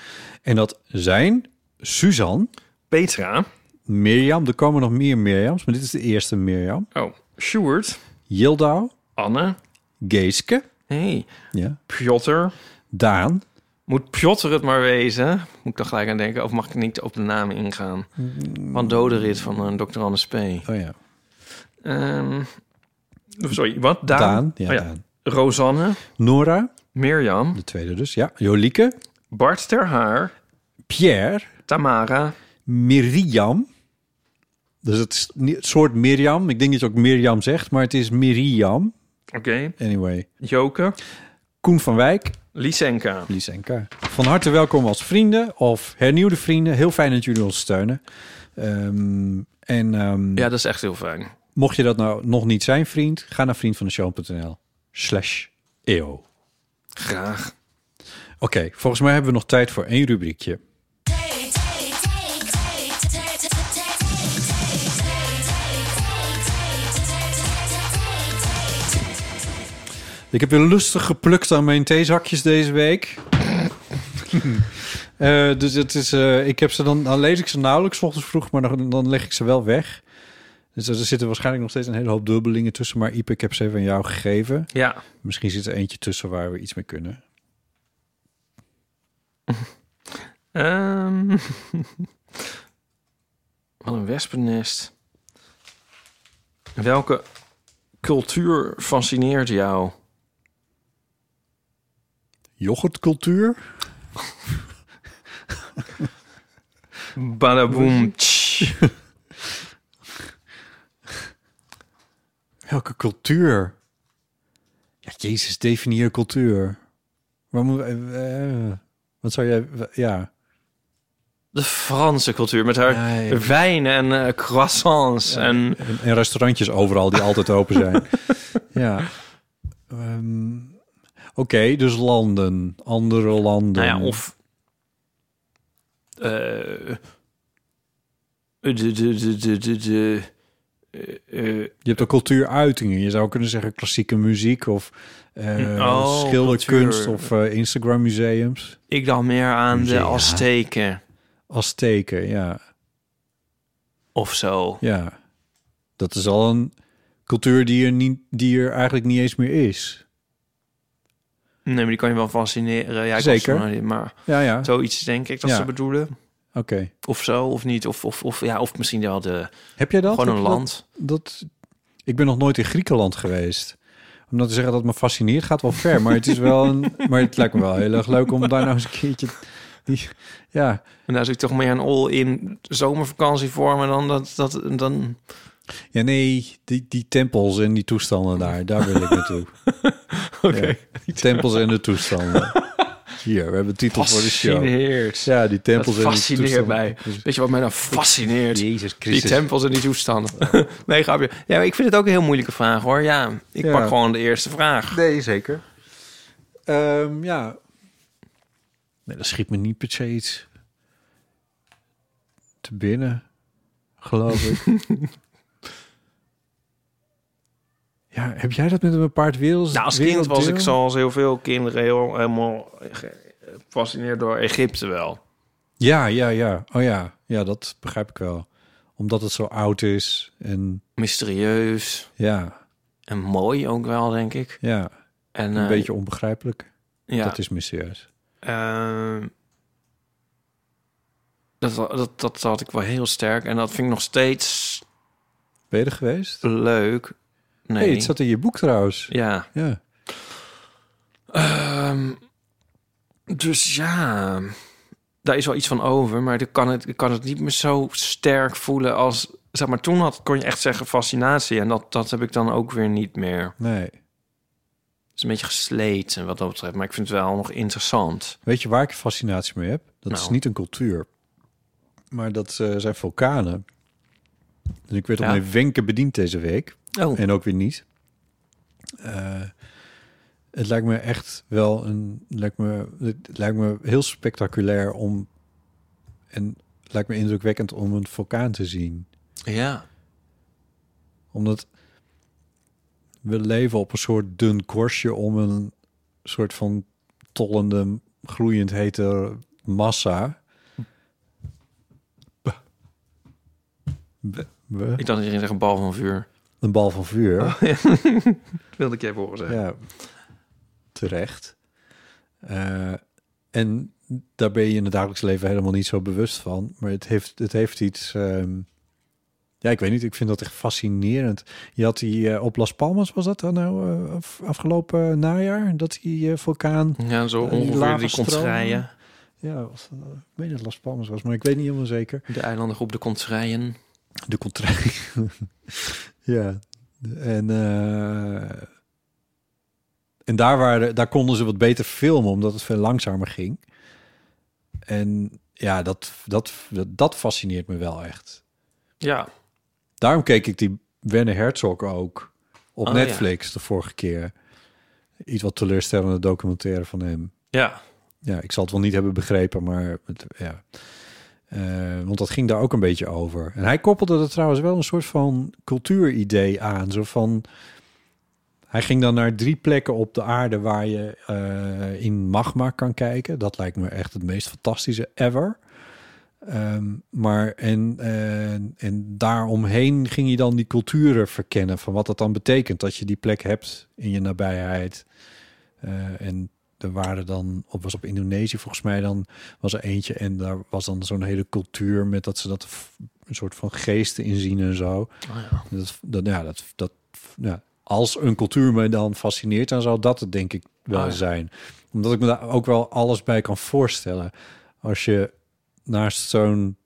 Speaker 1: En dat zijn Suzanne,
Speaker 2: Petra.
Speaker 1: Mirjam, er komen nog meer Mirjams, maar dit is de eerste Mirjam.
Speaker 2: Oh, Sjoerd.
Speaker 1: Jildau,
Speaker 2: Anne.
Speaker 1: Geeske,
Speaker 2: hey,
Speaker 1: ja,
Speaker 2: Piotr.
Speaker 1: Daan,
Speaker 2: Moet Piotr het maar wezen? Moet ik dan gelijk aan denken? Of mag ik niet op de naam ingaan? Van Doderit van eh Dr. Anne P.
Speaker 1: oh ja,
Speaker 2: Ehm, sorry, wat? Daan?
Speaker 1: Daan, ja,
Speaker 2: Oh ja.
Speaker 1: Daan.
Speaker 2: Rosanne.
Speaker 1: Nora,
Speaker 2: Mirjam.
Speaker 1: de tweede dus, ja, Jolieke,
Speaker 2: Bart ter Haar.
Speaker 1: Pierre,
Speaker 2: Tamara.
Speaker 1: Miriam. Dus het is niet- het soort Mirjam. Ik denk dat je ook Mirjam zegt, maar het is Miriam.
Speaker 2: Oké.
Speaker 1: Anyway.
Speaker 2: Joke.
Speaker 1: Koen van Wijk,
Speaker 2: Lysenka.
Speaker 1: Lies en K. Van harte welkom als vrienden of hernieuwde vrienden. Heel fijn dat jullie ons steunen. Ehm, en ehm,
Speaker 2: Ja, dat is echt heel fijn.
Speaker 1: mocht je dat nou nog niet zijn, vriend, ga naar vriendvandeshow.nl slash E eeuw. Oké,
Speaker 2: Graag.
Speaker 1: volgens mij hebben we nog tijd voor één rubriekje. Ik heb weer lustig geplukt aan mijn theezakjes deze week. Eh, dus het is, eh, ik heb ze dan, dan lees ik ze nauwelijks 's ochtends vroeg, maar dan, dan leg ik ze wel weg. Dus er zitten waarschijnlijk nog steeds een hele hoop dubbelingen tussen. Maar Ipe, ik heb ze even aan jou gegeven.
Speaker 2: Ja.
Speaker 1: Misschien zit er eentje tussen waar we iets mee kunnen.
Speaker 2: Ehm, wat een wespennest. Welke cultuur fascineert jou?
Speaker 1: Yoghurtcultuur?
Speaker 2: Badaboom. tsch.
Speaker 1: Welke cultuur? Ja, Jezus, definieer cultuur. Waar moet, eh, eh, wat zou jij... Ja.
Speaker 2: De Franse cultuur met haar
Speaker 1: Ja, ja.
Speaker 2: wijn en eh, croissants. En nou
Speaker 1: En, en restaurantjes overal die altijd open zijn. ja. Ehm, Oké, dus landen. Andere landen.
Speaker 2: nou ja, of. eh, de, de, de, de, de, de, eh, eh,
Speaker 1: Je hebt ook cultuuruitingen. Je zou kunnen zeggen klassieke muziek of eh,
Speaker 2: Oh,
Speaker 1: schilderkunst
Speaker 2: cultuur.
Speaker 1: of eh, Instagram museums.
Speaker 2: ik dacht meer aan de
Speaker 1: Ja.
Speaker 2: Azteken
Speaker 1: Azteken, ja.
Speaker 2: of zo.
Speaker 1: Ja, dat is al een cultuur die er, niet, die er eigenlijk niet eens meer is.
Speaker 2: Nee, maar die kan je wel fascineren. Ja, ik
Speaker 1: Zeker.
Speaker 2: was er nog niet, Maar
Speaker 1: Ja, ja. Oké.
Speaker 2: zoiets denk ik dat
Speaker 1: Ja.
Speaker 2: ze bedoelen. Of zo, of niet. Of, of, of, ja, of misschien wel de,
Speaker 1: Heb jij dat?
Speaker 2: gewoon een
Speaker 1: Heb je dat-
Speaker 2: land.
Speaker 1: Dat, ik ben nog nooit in Griekenland geweest. Om dat te zeggen dat het me fascineert gaat wel ver. Maar het, is wel nou een, maar het lijkt me wel heel erg leuk om daar nou eens een keertje Die, ja,
Speaker 2: En daar zit ik toch meer een all-in zomervakantie voor me dan dat, dat dan.
Speaker 1: ja, nee, die, die tempels en die toestanden daar, daar wil ik naartoe.
Speaker 2: Oké.
Speaker 1: Ja, die tempels en de toestanden. Hier, we hebben de titel voor de show.
Speaker 2: Fascineert.
Speaker 1: Ja, die
Speaker 2: dat
Speaker 1: tempels en de
Speaker 2: fascineert
Speaker 1: toestanden.
Speaker 2: mij. Weet je wat mij nou fascineert?
Speaker 1: Jezus
Speaker 2: Die
Speaker 1: Christus.
Speaker 2: tempels en die toestanden. nee, grapje. Ja, maar ik vind het ook een heel moeilijke vraag hoor. Ja, ik
Speaker 1: Ja.
Speaker 2: pak gewoon de eerste vraag.
Speaker 1: Nee, zeker. Ehm, ja. Nee, dat schiet me niet per se iets te binnen, geloof ik. ja, heb jij dat met een bepaard wereld?
Speaker 2: Nou, als kind was ik
Speaker 1: werelddeel?
Speaker 2: zoals heel veel kinderen heel, helemaal ge- gefascineerd door Egypte wel.
Speaker 1: Ja, ja, ja. Oh ja, ja, dat begrijp ik wel. Omdat het zo oud is en
Speaker 2: Mysterieus
Speaker 1: ja,
Speaker 2: en mooi ook wel, denk ik.
Speaker 1: ja,
Speaker 2: En,
Speaker 1: een
Speaker 2: eh,
Speaker 1: beetje onbegrijpelijk.
Speaker 2: ja,
Speaker 1: Dat is mysterieus.
Speaker 2: ehm, dat, dat, dat had ik wel heel sterk. En dat vind ik nog steeds
Speaker 1: Ben je er geweest?
Speaker 2: leuk. Nee.
Speaker 1: hey, het zat in je boek trouwens.
Speaker 2: Ja.
Speaker 1: Ja.
Speaker 2: Ehm, dus ja, daar is wel iets van over, maar ik kan het, ik kan het niet meer zo sterk voelen als. Zeg maar, toen had, kon je echt zeggen fascinatie. En dat, dat heb ik dan ook weer niet meer.
Speaker 1: Nee.
Speaker 2: Het is een beetje gesleten wat dat betreft. Maar ik vind het wel nog interessant.
Speaker 1: Weet je waar ik fascinatie mee heb? Dat is
Speaker 2: Nou.
Speaker 1: niet een cultuur, maar dat eh, zijn vulkanen. Dus ik werd op
Speaker 2: Ja.
Speaker 1: mijn wenken bediend deze week.
Speaker 2: Oh,
Speaker 1: En ook weer niet. Eh, het lijkt me echt wel een. Lijkt me, het lijkt me heel spectaculair om. En het lijkt me indrukwekkend om een vulkaan te zien.
Speaker 2: ja.
Speaker 1: Omdat we leven op een soort dun korstje om een soort van tollende, gloeiend hete massa. Be- be-
Speaker 2: Ik dacht dat je ging zeggen bal van vuur.
Speaker 1: Een bal van vuur.
Speaker 2: Dat wilde ik je even horen zeggen.
Speaker 1: Ja, eh, terecht. Eh, en daar ben je in het dagelijks leven helemaal niet zo bewust van. Maar het heeft, het heeft iets... ehm, ja, ik weet niet. Ik vind dat echt fascinerend. Je had die eh, op Las Palmas, was dat dan nou eh, af- afgelopen najaar? Dat die eh, vulkaan...
Speaker 2: Ja, zo
Speaker 1: En die
Speaker 2: ongeveer die
Speaker 1: lavastroom.
Speaker 2: contraien.
Speaker 1: Ja, was, dat- ik weet dat het Las Palmas was, maar ik weet niet helemaal zeker.
Speaker 2: De eilandengroep de contraien.
Speaker 1: De contraien. ja. En, eh, en daar, waren, daar konden ze wat beter filmen, omdat het veel langzamer ging. En ja, dat, dat, dat, dat fascineert me wel echt.
Speaker 2: Ja.
Speaker 1: Daarom keek ik die Werner Herzog ook op
Speaker 2: Oh,
Speaker 1: Netflix de vorige keer. Iets wat teleurstellende documentaire van hem.
Speaker 2: Ja.
Speaker 1: Ja, ik zal het wel niet hebben begrepen, maar het, ja. Eh, want dat ging daar ook een beetje over. En hij koppelde er trouwens wel een soort van cultuuridee aan. Zo van. Hij ging dan naar drie plekken op de aarde waar je eh, in magma kan kijken. Dat lijkt me echt het meest fantastische ever. Ehm, maar en, eh, en daaromheen ging je dan die culturen verkennen. Van wat dat dan betekent dat je die plek hebt in je nabijheid. Eh, en er waren dan, op was op Indonesië volgens mij, dan was er eentje en daar was dan zo'n hele cultuur met dat ze dat f- een soort van geesten inzien en
Speaker 2: Oh,
Speaker 1: zo. En Dat, dat, ja, dat, dat, ja, als een cultuur mij dan fascineert, dan zou dat het denk ik wel
Speaker 2: Ah, ja.
Speaker 1: zijn. Omdat ik me daar ook wel alles bij kan voorstellen. Als je naast zo'n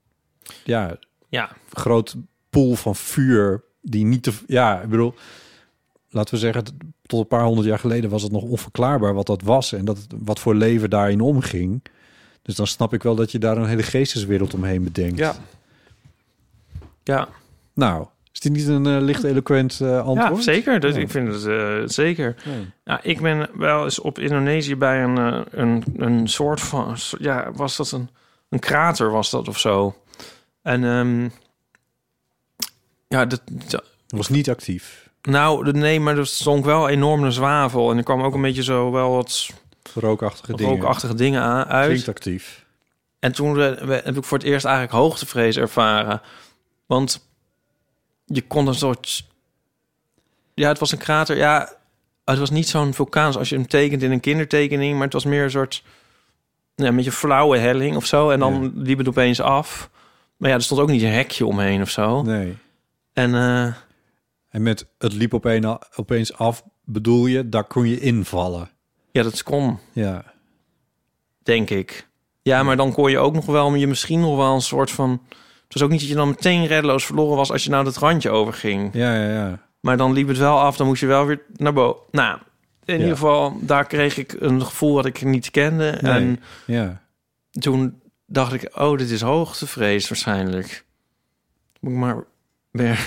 Speaker 1: ja,
Speaker 2: Ja.
Speaker 1: groot pool van vuur die niet te... Ja, ik bedoel, laten we zeggen, tot een paar honderd jaar geleden was het nog onverklaarbaar wat dat was en dat, wat voor leven daarin omging. Dus dan snap ik wel dat je daar een hele geesteswereld omheen bedenkt.
Speaker 2: Ja. Ja.
Speaker 1: Nou, is dit niet een eh, licht eloquent eh, antwoord?
Speaker 2: Ja, zeker. Dus
Speaker 1: Ja.
Speaker 2: ik vind het eh, zeker.
Speaker 1: Ja.
Speaker 2: Ja, ik ben wel eens op Indonesië bij een, eh, een, een soort van... Ja, was dat een, een krater was dat of zo? En ehm, ja, dat, dat-
Speaker 1: Was niet actief.
Speaker 2: nou, de- nee, maar er stond wel enorme zwavel. En er kwam ook een beetje zo wel wat
Speaker 1: Rookachtige dingen.
Speaker 2: rookachtige dingen aan, uit.
Speaker 1: Klinkt actief.
Speaker 2: En toen eh, we- heb ik voor het eerst eigenlijk hoogtevrees ervaren. Want je kon een soort... Ja, het was een krater. Ja, het was niet zo'n vulkaan zoals als je hem tekent in een kindertekening. Maar het was meer een soort... Ja, een beetje flauwe helling of zo. En dan liep het opeens af. Maar ja, er stond ook niet een hekje omheen of zo.
Speaker 1: Nee.
Speaker 2: En eh,
Speaker 1: En met het liep opeen- opeens af bedoel je, daar kon je invallen.
Speaker 2: ja, dat kon,
Speaker 1: Ja.
Speaker 2: denk ik. Ja, maar dan kon je ook nog wel, je misschien nog wel een soort van... Het was ook niet dat je dan meteen reddeloos verloren was als je nou dat randje overging.
Speaker 1: Ja, ja, ja.
Speaker 2: Maar dan liep het wel af, dan moest je wel weer naar boven. Nou, in ieder geval, daar kreeg ik een gevoel wat ik niet kende.
Speaker 1: Nee.
Speaker 2: En
Speaker 1: ja.
Speaker 2: toen dacht ik, oh, dit is hoogtevrees waarschijnlijk. Moet ik maar weer...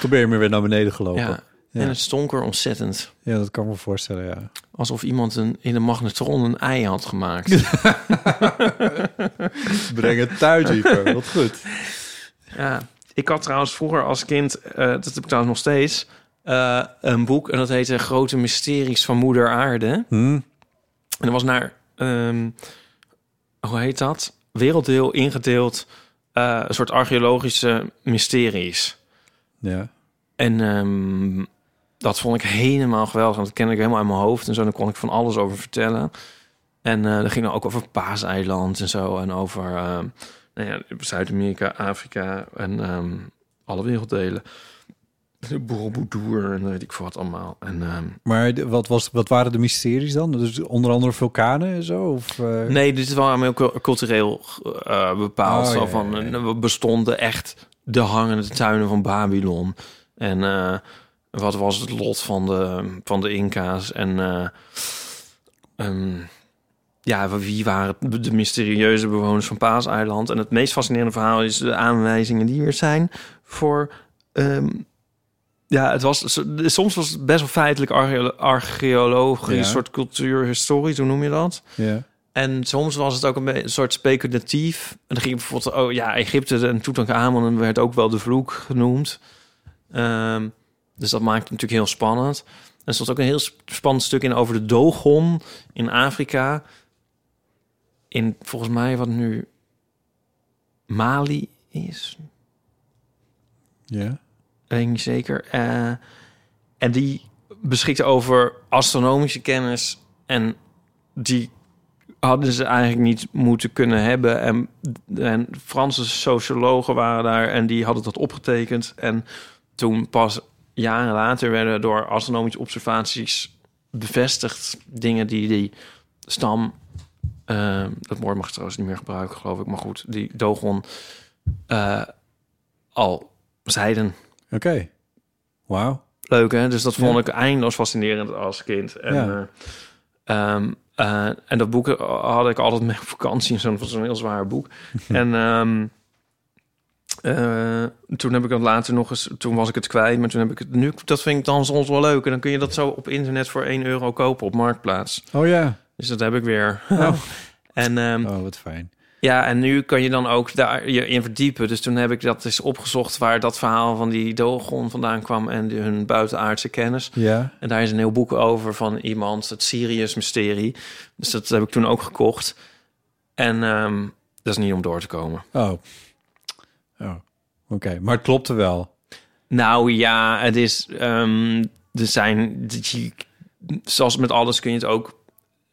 Speaker 1: Toen ben je maar weer naar beneden gelopen.
Speaker 2: Ja.
Speaker 1: Ja,
Speaker 2: En het stonk er ontzettend.
Speaker 1: dat kan ik me voorstellen, ja.
Speaker 2: Alsof iemand een, in een magnetron een ei had gemaakt.
Speaker 6: Breng het thuis, Ieper. Wat goed.
Speaker 2: Ja, ik had trouwens vroeger als kind, eh, dat heb ik trouwens nog steeds, eh, een boek en dat heette Grote Mysteries van Moeder Aarde. En
Speaker 1: Hm?
Speaker 2: dat was naar, ehm, hoe heet dat? Werelddeel ingedeeld, eh, een soort archeologische mysteries.
Speaker 1: Ja.
Speaker 2: En ehm, dat vond ik helemaal geweldig. Want dat kende ik helemaal uit mijn hoofd. En zo, daar kon ik van alles over vertellen. En eh dat ging dan ook over Paaseiland en zo. En over ehm, nou ja, Zuid-Amerika, Afrika en ehm, alle werelddelen. De Borobudur en weet ik veel wat allemaal. En, ehm,
Speaker 1: Maar de- wat, was, wat waren de mysteries dan? Dus onder andere vulkanen en zo? Of, eh,
Speaker 2: nee, dit is wel heel cul- cultureel eh, bepaald.
Speaker 1: Oh,
Speaker 2: zo
Speaker 1: ja,
Speaker 2: van,
Speaker 1: ja, ja.
Speaker 2: eh, bestonden echt de hangende tuinen van Babylon. En eh, wat was het lot van de, van de Inca's? En eh, ehm, ja, wie waren de mysterieuze bewoners van Paaseiland? En het meest fascinerende verhaal is de aanwijzingen die er zijn voor... ehm, ja, het was, soms was het best wel feitelijk archeolo- archeologisch,
Speaker 1: Ja.
Speaker 2: soort cultuurhistorisch, hoe noem je dat?
Speaker 1: Ja.
Speaker 2: En soms was het ook een, be- een soort speculatief. En dan ging bijvoorbeeld, oh ja, Egypte en Tutankhamon werd ook wel de vloek genoemd. Ehm, dus dat maakt het natuurlijk heel spannend. En er stond ook een heel sp- spannend stuk in over de Dogon in Afrika. In volgens mij wat nu Mali is.
Speaker 1: ja.
Speaker 2: Dat weet ik niet zeker. Eh, en die beschikte over astronomische kennis. En die hadden ze eigenlijk niet moeten kunnen hebben. En, en Franse sociologen waren daar en die hadden dat opgetekend. En toen pas jaren later werden door astronomische observaties bevestigd dingen die die stam... eh, dat woord mag ik trouwens niet meer gebruiken, geloof ik. Maar goed, die Dogon eh, al zeiden
Speaker 1: Oké. Wauw.
Speaker 2: leuk, hè? Dus dat vond ik eindeloos fascinerend als kind. En,
Speaker 1: Ja.
Speaker 2: eh, ehm, eh, en dat boek had ik altijd mee op vakantie. Zo'n was een heel zwaar boek. en ehm, eh, toen heb ik dat later nog eens... Toen was ik het kwijt, maar toen heb ik het... Nu, dat vind ik dan soms wel leuk. En dan kun je dat zo op internet voor 1 euro kopen op Marktplaats.
Speaker 1: Oh ja.
Speaker 2: Dus dat heb ik weer.
Speaker 1: Oh.
Speaker 2: en ehm,
Speaker 1: Oh, wat fijn.
Speaker 2: ja, en nu kan je dan ook daar je in verdiepen. Dus toen heb ik dat eens opgezocht waar dat verhaal van die Dogon vandaan kwam en die- hun buitenaardse kennis.
Speaker 1: Ja.
Speaker 2: En daar is een heel boek over van iemand, het Sirius Mysterie. Dus dat heb ik toen ook gekocht. En ehm, dat is niet om door te komen.
Speaker 1: Oh. Oh. Oké. Maar het klopte wel.
Speaker 2: Nou ja, het is. ehm, er zijn. dat je- Zoals met alles kun je het ook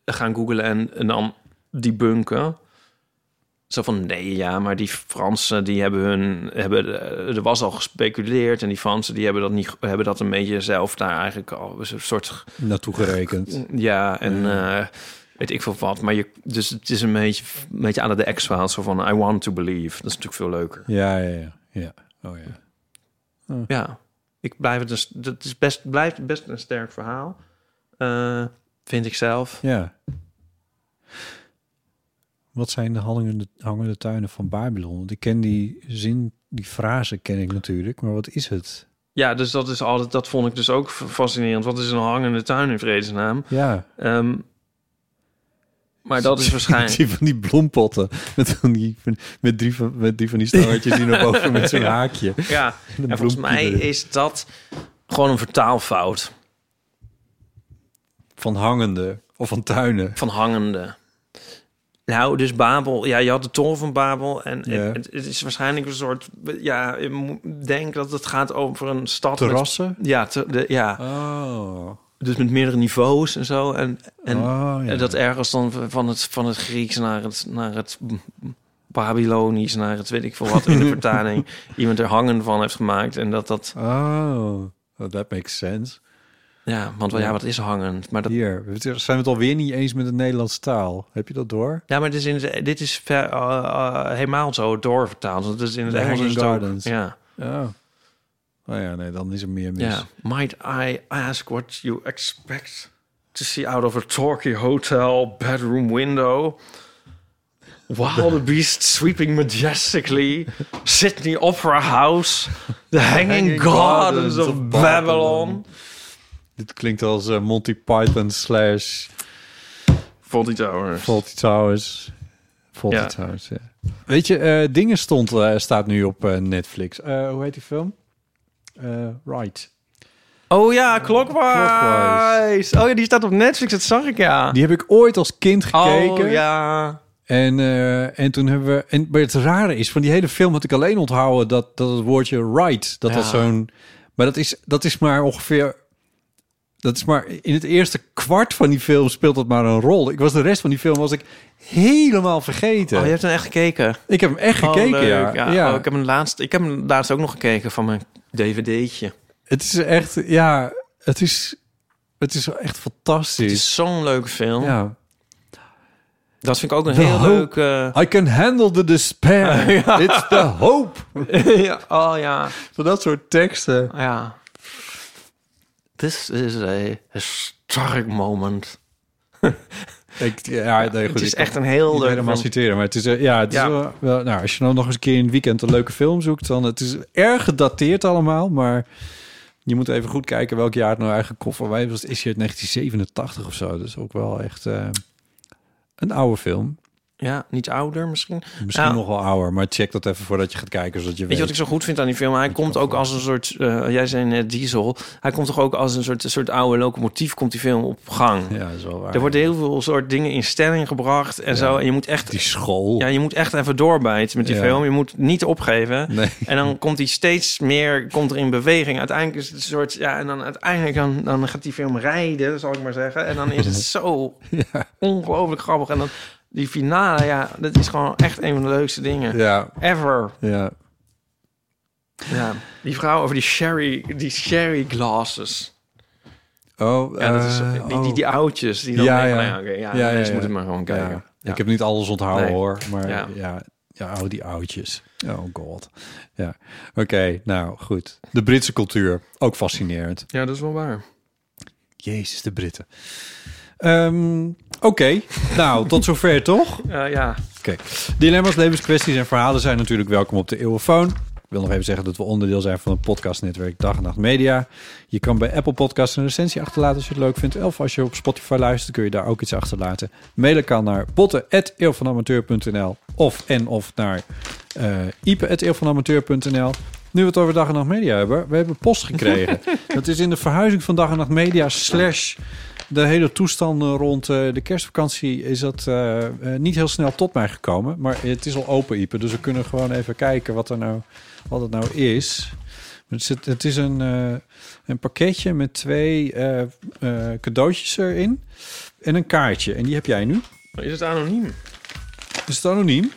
Speaker 2: gaan googlen en, en dan debunken. Zo van nee, ja, maar die Fransen die hebben hun. Hebben, eh, er was al gespeculeerd en die Fransen die hebben dat, niet, hebben dat een beetje zelf daar eigenlijk al. Een soort.
Speaker 1: Naartoe gerekend.
Speaker 2: Ja, en eh, weet ik veel wat. Maar je, dus het is een beetje, een beetje aan de X-Files. Zo van I want to believe. Dat is natuurlijk veel leuker.
Speaker 1: Ja, ja, ja. ja. Oh ja.
Speaker 2: Ja, ik blijf het dus. Dat is best, blijft best een sterk verhaal. Eh, vind ik zelf.
Speaker 1: Ja. Wat zijn de hangende, hangende tuinen van Babylon? Want ik ken die zin, die frase ken ik natuurlijk, maar wat is het?
Speaker 2: Ja, dus dat is altijd. Dat vond ik dus ook f- fascinerend. Wat is een hangende tuin in vredesnaam?
Speaker 1: Ja.
Speaker 2: Ehm, maar dat is waarschijnlijk.
Speaker 1: Die van die bloempotten met, van die, met, drie, van, met drie van die staartjes die naar boven met zo'n haakje.
Speaker 2: Ja, en volgens mij
Speaker 1: bloempje.
Speaker 2: is dat gewoon een vertaalfout
Speaker 1: Van hangende of van tuinen.
Speaker 2: van hangende. Nou, dus Babel. Ja, je had de toren van Babel. En
Speaker 1: Ja.
Speaker 2: het, het is waarschijnlijk een soort. Ja, ik moet- denk dat het gaat over een stad. met-
Speaker 1: Terrassen?
Speaker 2: ja, te- de, ja.
Speaker 1: Oh.
Speaker 2: dus met meerdere niveaus en zo. En, en
Speaker 1: oh, ja.
Speaker 2: en dat ergens dan van het, van het Grieks naar het, naar het Babylonisch, naar het weet ik veel wat in de vertaling, iemand er hangen van heeft gemaakt. En dat dat,
Speaker 1: Oh, well, that makes Oh, sense.
Speaker 2: Ja, want wel, ja, wat is hangend? Maar dat,
Speaker 1: Hier, we zijn het alweer niet eens met de Nederlandse taal. Heb je dat door?
Speaker 2: ja, maar dit is, in, het- dit is ver- eh, eh, helemaal zo doorvertaald. Want het is in het
Speaker 1: The
Speaker 2: Engels
Speaker 1: Hanging
Speaker 2: is het ook-
Speaker 1: Gardens.
Speaker 2: Ja,
Speaker 1: Oh. Nou ja, nee, dan is er meer mis.
Speaker 2: ja. Might I ask what you expect to see out of a Torquay hotel bedroom window? While the beast sweeping majestically, Sydney Opera House, the hanging,
Speaker 1: Hanging
Speaker 2: gardens,
Speaker 1: Gardens
Speaker 2: of,
Speaker 1: of
Speaker 2: Babylon.
Speaker 1: Dit klinkt als eh, Monty Python slash
Speaker 2: Faulty Towers.
Speaker 1: Faulty Towers. Faulty
Speaker 2: Ja.
Speaker 1: Towers, ja. Weet je, eh, Dingen stond, eh, staat nu op eh, Netflix. Eh, hoe heet die film? Eh, right.
Speaker 2: Oh ja, Clockwise. Oh ja, die staat op Netflix, dat zag ik ja.
Speaker 1: Die heb ik ooit als kind gekeken.
Speaker 2: Oh ja.
Speaker 1: En, eh, en toen hebben we... En, maar het rare is, van die hele film had ik alleen onthouden... dat, dat het woordje right, dat
Speaker 2: Ja.
Speaker 1: dat zo'n... Maar dat is, dat is maar ongeveer... Dat is maar... In het eerste kwart van die film speelt dat maar een rol. Ik was de rest van die film was ik helemaal vergeten.
Speaker 2: Oh, je hebt hem echt gekeken.
Speaker 1: Ik heb hem echt gekeken,
Speaker 2: Oh, leuk.
Speaker 1: ja.
Speaker 2: ja.
Speaker 1: Ja.
Speaker 2: oh, ik, heb hem laatst, ik heb hem laatst ook nog gekeken van mijn dvd'tje.
Speaker 1: Het is echt... Ja, het is... Het is echt
Speaker 2: Het
Speaker 1: fantastisch.
Speaker 2: is zo'n leuke film.
Speaker 1: ja.
Speaker 2: Dat vind ik ook een
Speaker 1: De
Speaker 2: heel
Speaker 1: hoop.
Speaker 2: leuk... eh,
Speaker 1: I can handle the despair. It's the hope.
Speaker 2: ja, oh ja,
Speaker 1: Van dat soort teksten.
Speaker 2: ja. This is a historic moment.
Speaker 1: Ik, ja, nee, goed,
Speaker 2: Het is
Speaker 1: ik
Speaker 2: echt
Speaker 1: kan
Speaker 2: een heel
Speaker 1: niet
Speaker 2: leuk
Speaker 1: helemaal
Speaker 2: film.
Speaker 1: citeren, maar het is, eh, ja, het
Speaker 2: Ja.
Speaker 1: is wel, wel- nou, als je nou nog eens een keer in het weekend een leuke film zoekt, dan het is erg gedateerd allemaal, maar je moet even goed kijken welk jaar het nou eigenlijk komt. Voor mij was het- is hier uit 1987 of zo, dus ook wel echt eh, een oude film.
Speaker 2: Ja, niet ouder misschien.
Speaker 1: Misschien
Speaker 2: Ja.
Speaker 1: nog wel ouder, maar check dat even voordat je gaat kijken, zodat je
Speaker 2: Nou. Weet
Speaker 1: weet.
Speaker 2: je wat ik zo goed vind aan die film? Hij komt ook als een soort, eh, jij zei net Diesel, hij komt toch ook als een soort, soort oude locomotief, komt die film op gang.
Speaker 1: Ja, dat is wel waar.
Speaker 2: Er worden heel veel soort dingen in stelling gebracht en zo. En je moet echt,
Speaker 1: Die school.
Speaker 2: ja, je moet echt even doorbijten met die
Speaker 1: Ja.
Speaker 2: film. Je moet niet opgeven.
Speaker 1: Nee.
Speaker 2: En dan komt die steeds meer komt er in beweging. Uiteindelijk is het een soort, ja, en dan uiteindelijk dan, dan gaat die film rijden, zal ik maar zeggen. En dan is het zo ongelooflijk grappig. En dan die finale, ja, dat is gewoon echt een van de leukste dingen.
Speaker 1: Ja,
Speaker 2: Ever.
Speaker 1: ja.
Speaker 2: Ja, die vrouw over die sherry, die sherry glasses.
Speaker 1: Oh,
Speaker 2: Ja, dat is,
Speaker 1: eh,
Speaker 2: die, die,
Speaker 1: oh.
Speaker 2: die oudjes. Die dan
Speaker 1: Ja,
Speaker 2: denken,
Speaker 1: ja.
Speaker 2: nou oké, ja,
Speaker 1: Ja, ja,
Speaker 2: mensen
Speaker 1: ja.
Speaker 2: moeten maar gewoon kijken.
Speaker 1: Ja.
Speaker 2: Ja.
Speaker 1: Ik heb niet alles onthouden
Speaker 2: Nee.
Speaker 1: hoor, maar ja.
Speaker 2: Ja.
Speaker 1: ja, oh, die oudjes. Oh god. Ja. Oké, nou goed. De Britse cultuur, ook fascinerend.
Speaker 2: ja, dat is wel waar.
Speaker 1: Jezus, de Britten. Ehm, Oké, nou tot zover toch?
Speaker 2: Eh, ja,
Speaker 1: Oké. Dilemma's, levenskwesties en verhalen zijn natuurlijk welkom op de Eeuwenfoon. Ik wil nog even zeggen dat we onderdeel zijn van het podcastnetwerk Dag en Nacht Media. Je kan bij Apple Podcasts een recensie achterlaten als je het leuk vindt. Of als je op Spotify luistert, kun je daar ook iets achterlaten. Mailen kan naar botten.eeuwvanamateur.nl of en of naar eh ipe.eeuwvanamateur.nl. Nu we het over Dag en Nacht Media hebben, we hebben post gekregen. dat is in de verhuizing van Dag en Nacht Media slash de hele toestanden rond eh, de kerstvakantie is dat eh, eh, niet heel snel tot mij gekomen. Maar het is al open, Ipe. Dus we kunnen gewoon even kijken wat, er nou, wat het nou is. Het is, het is een, eh, een pakketje met twee eh, eh, cadeautjes erin. En een kaartje. En die heb jij nu.
Speaker 2: is het anoniem?
Speaker 1: Is het anoniem?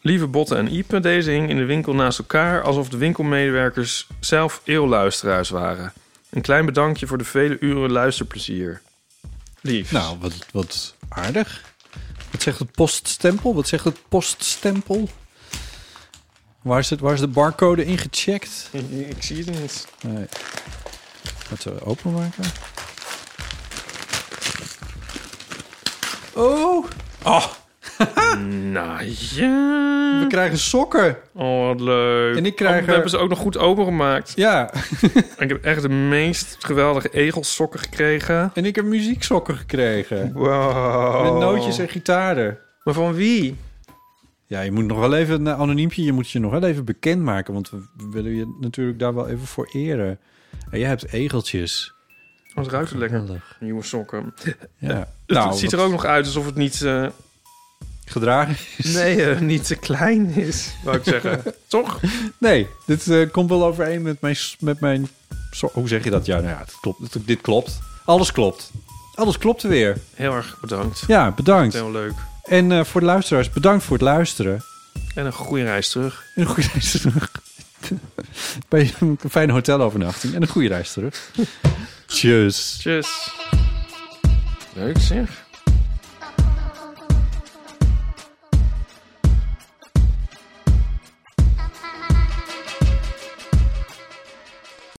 Speaker 2: Lieve Botten en Ipe, deze hing in de winkel naast elkaar... alsof de winkelmedewerkers zelf eeuwluisteraars waren. Een klein bedankje voor de vele uren luisterplezier. Lief.
Speaker 1: Nou, wat, wat aardig. Wat zegt het poststempel? Wat zegt het poststempel? Waar is, het, waar is de barcode ingecheckt?
Speaker 2: ik zie het niet.
Speaker 1: Nee. Laten we openmaken. Oh,
Speaker 2: Ah. Nou ja.
Speaker 1: we krijgen sokken.
Speaker 2: Oh, wat leuk.
Speaker 1: En ik krijg
Speaker 2: Oh,
Speaker 1: er-
Speaker 2: dat hebben ze ook nog goed opengemaakt.
Speaker 1: Ja,
Speaker 2: Ik heb echt de meest geweldige egelsokken gekregen.
Speaker 1: en ik heb muzieksokken gekregen.
Speaker 2: Wow.
Speaker 1: Met nootjes en gitaren.
Speaker 2: Maar van wie?
Speaker 1: Ja, je moet nog wel even een anoniempje. Je moet je nog wel even bekendmaken. Want we willen je natuurlijk daar wel even voor eren. En jij hebt egeltjes.
Speaker 2: Wat ruikt Oh, het lekker.
Speaker 1: Geweldig.
Speaker 2: Nieuwe sokken.
Speaker 1: Ja. Nou,
Speaker 2: Het ziet er
Speaker 1: wat
Speaker 2: ook nog uit alsof het niet, eh,
Speaker 1: gedragen is.
Speaker 2: nee, eh, niet te klein is, wou ik zeggen. Toch?
Speaker 1: Nee, dit eh, komt wel overeen met mijn, s- met mijn... so- Hoe zeg je dat? Ja, nou ja, het klopt. Dit- dit klopt. Alles klopt. Alles klopt weer.
Speaker 2: Heel erg bedankt.
Speaker 1: Ja, bedankt.
Speaker 2: Heel leuk.
Speaker 1: En eh, voor de luisteraars, bedankt voor het luisteren.
Speaker 2: En een goede reis terug.
Speaker 1: En een goede reis terug. Bij een fijne hotelovernachting en een goede reis terug. Tjus.
Speaker 2: Tjus. Leuk zeg.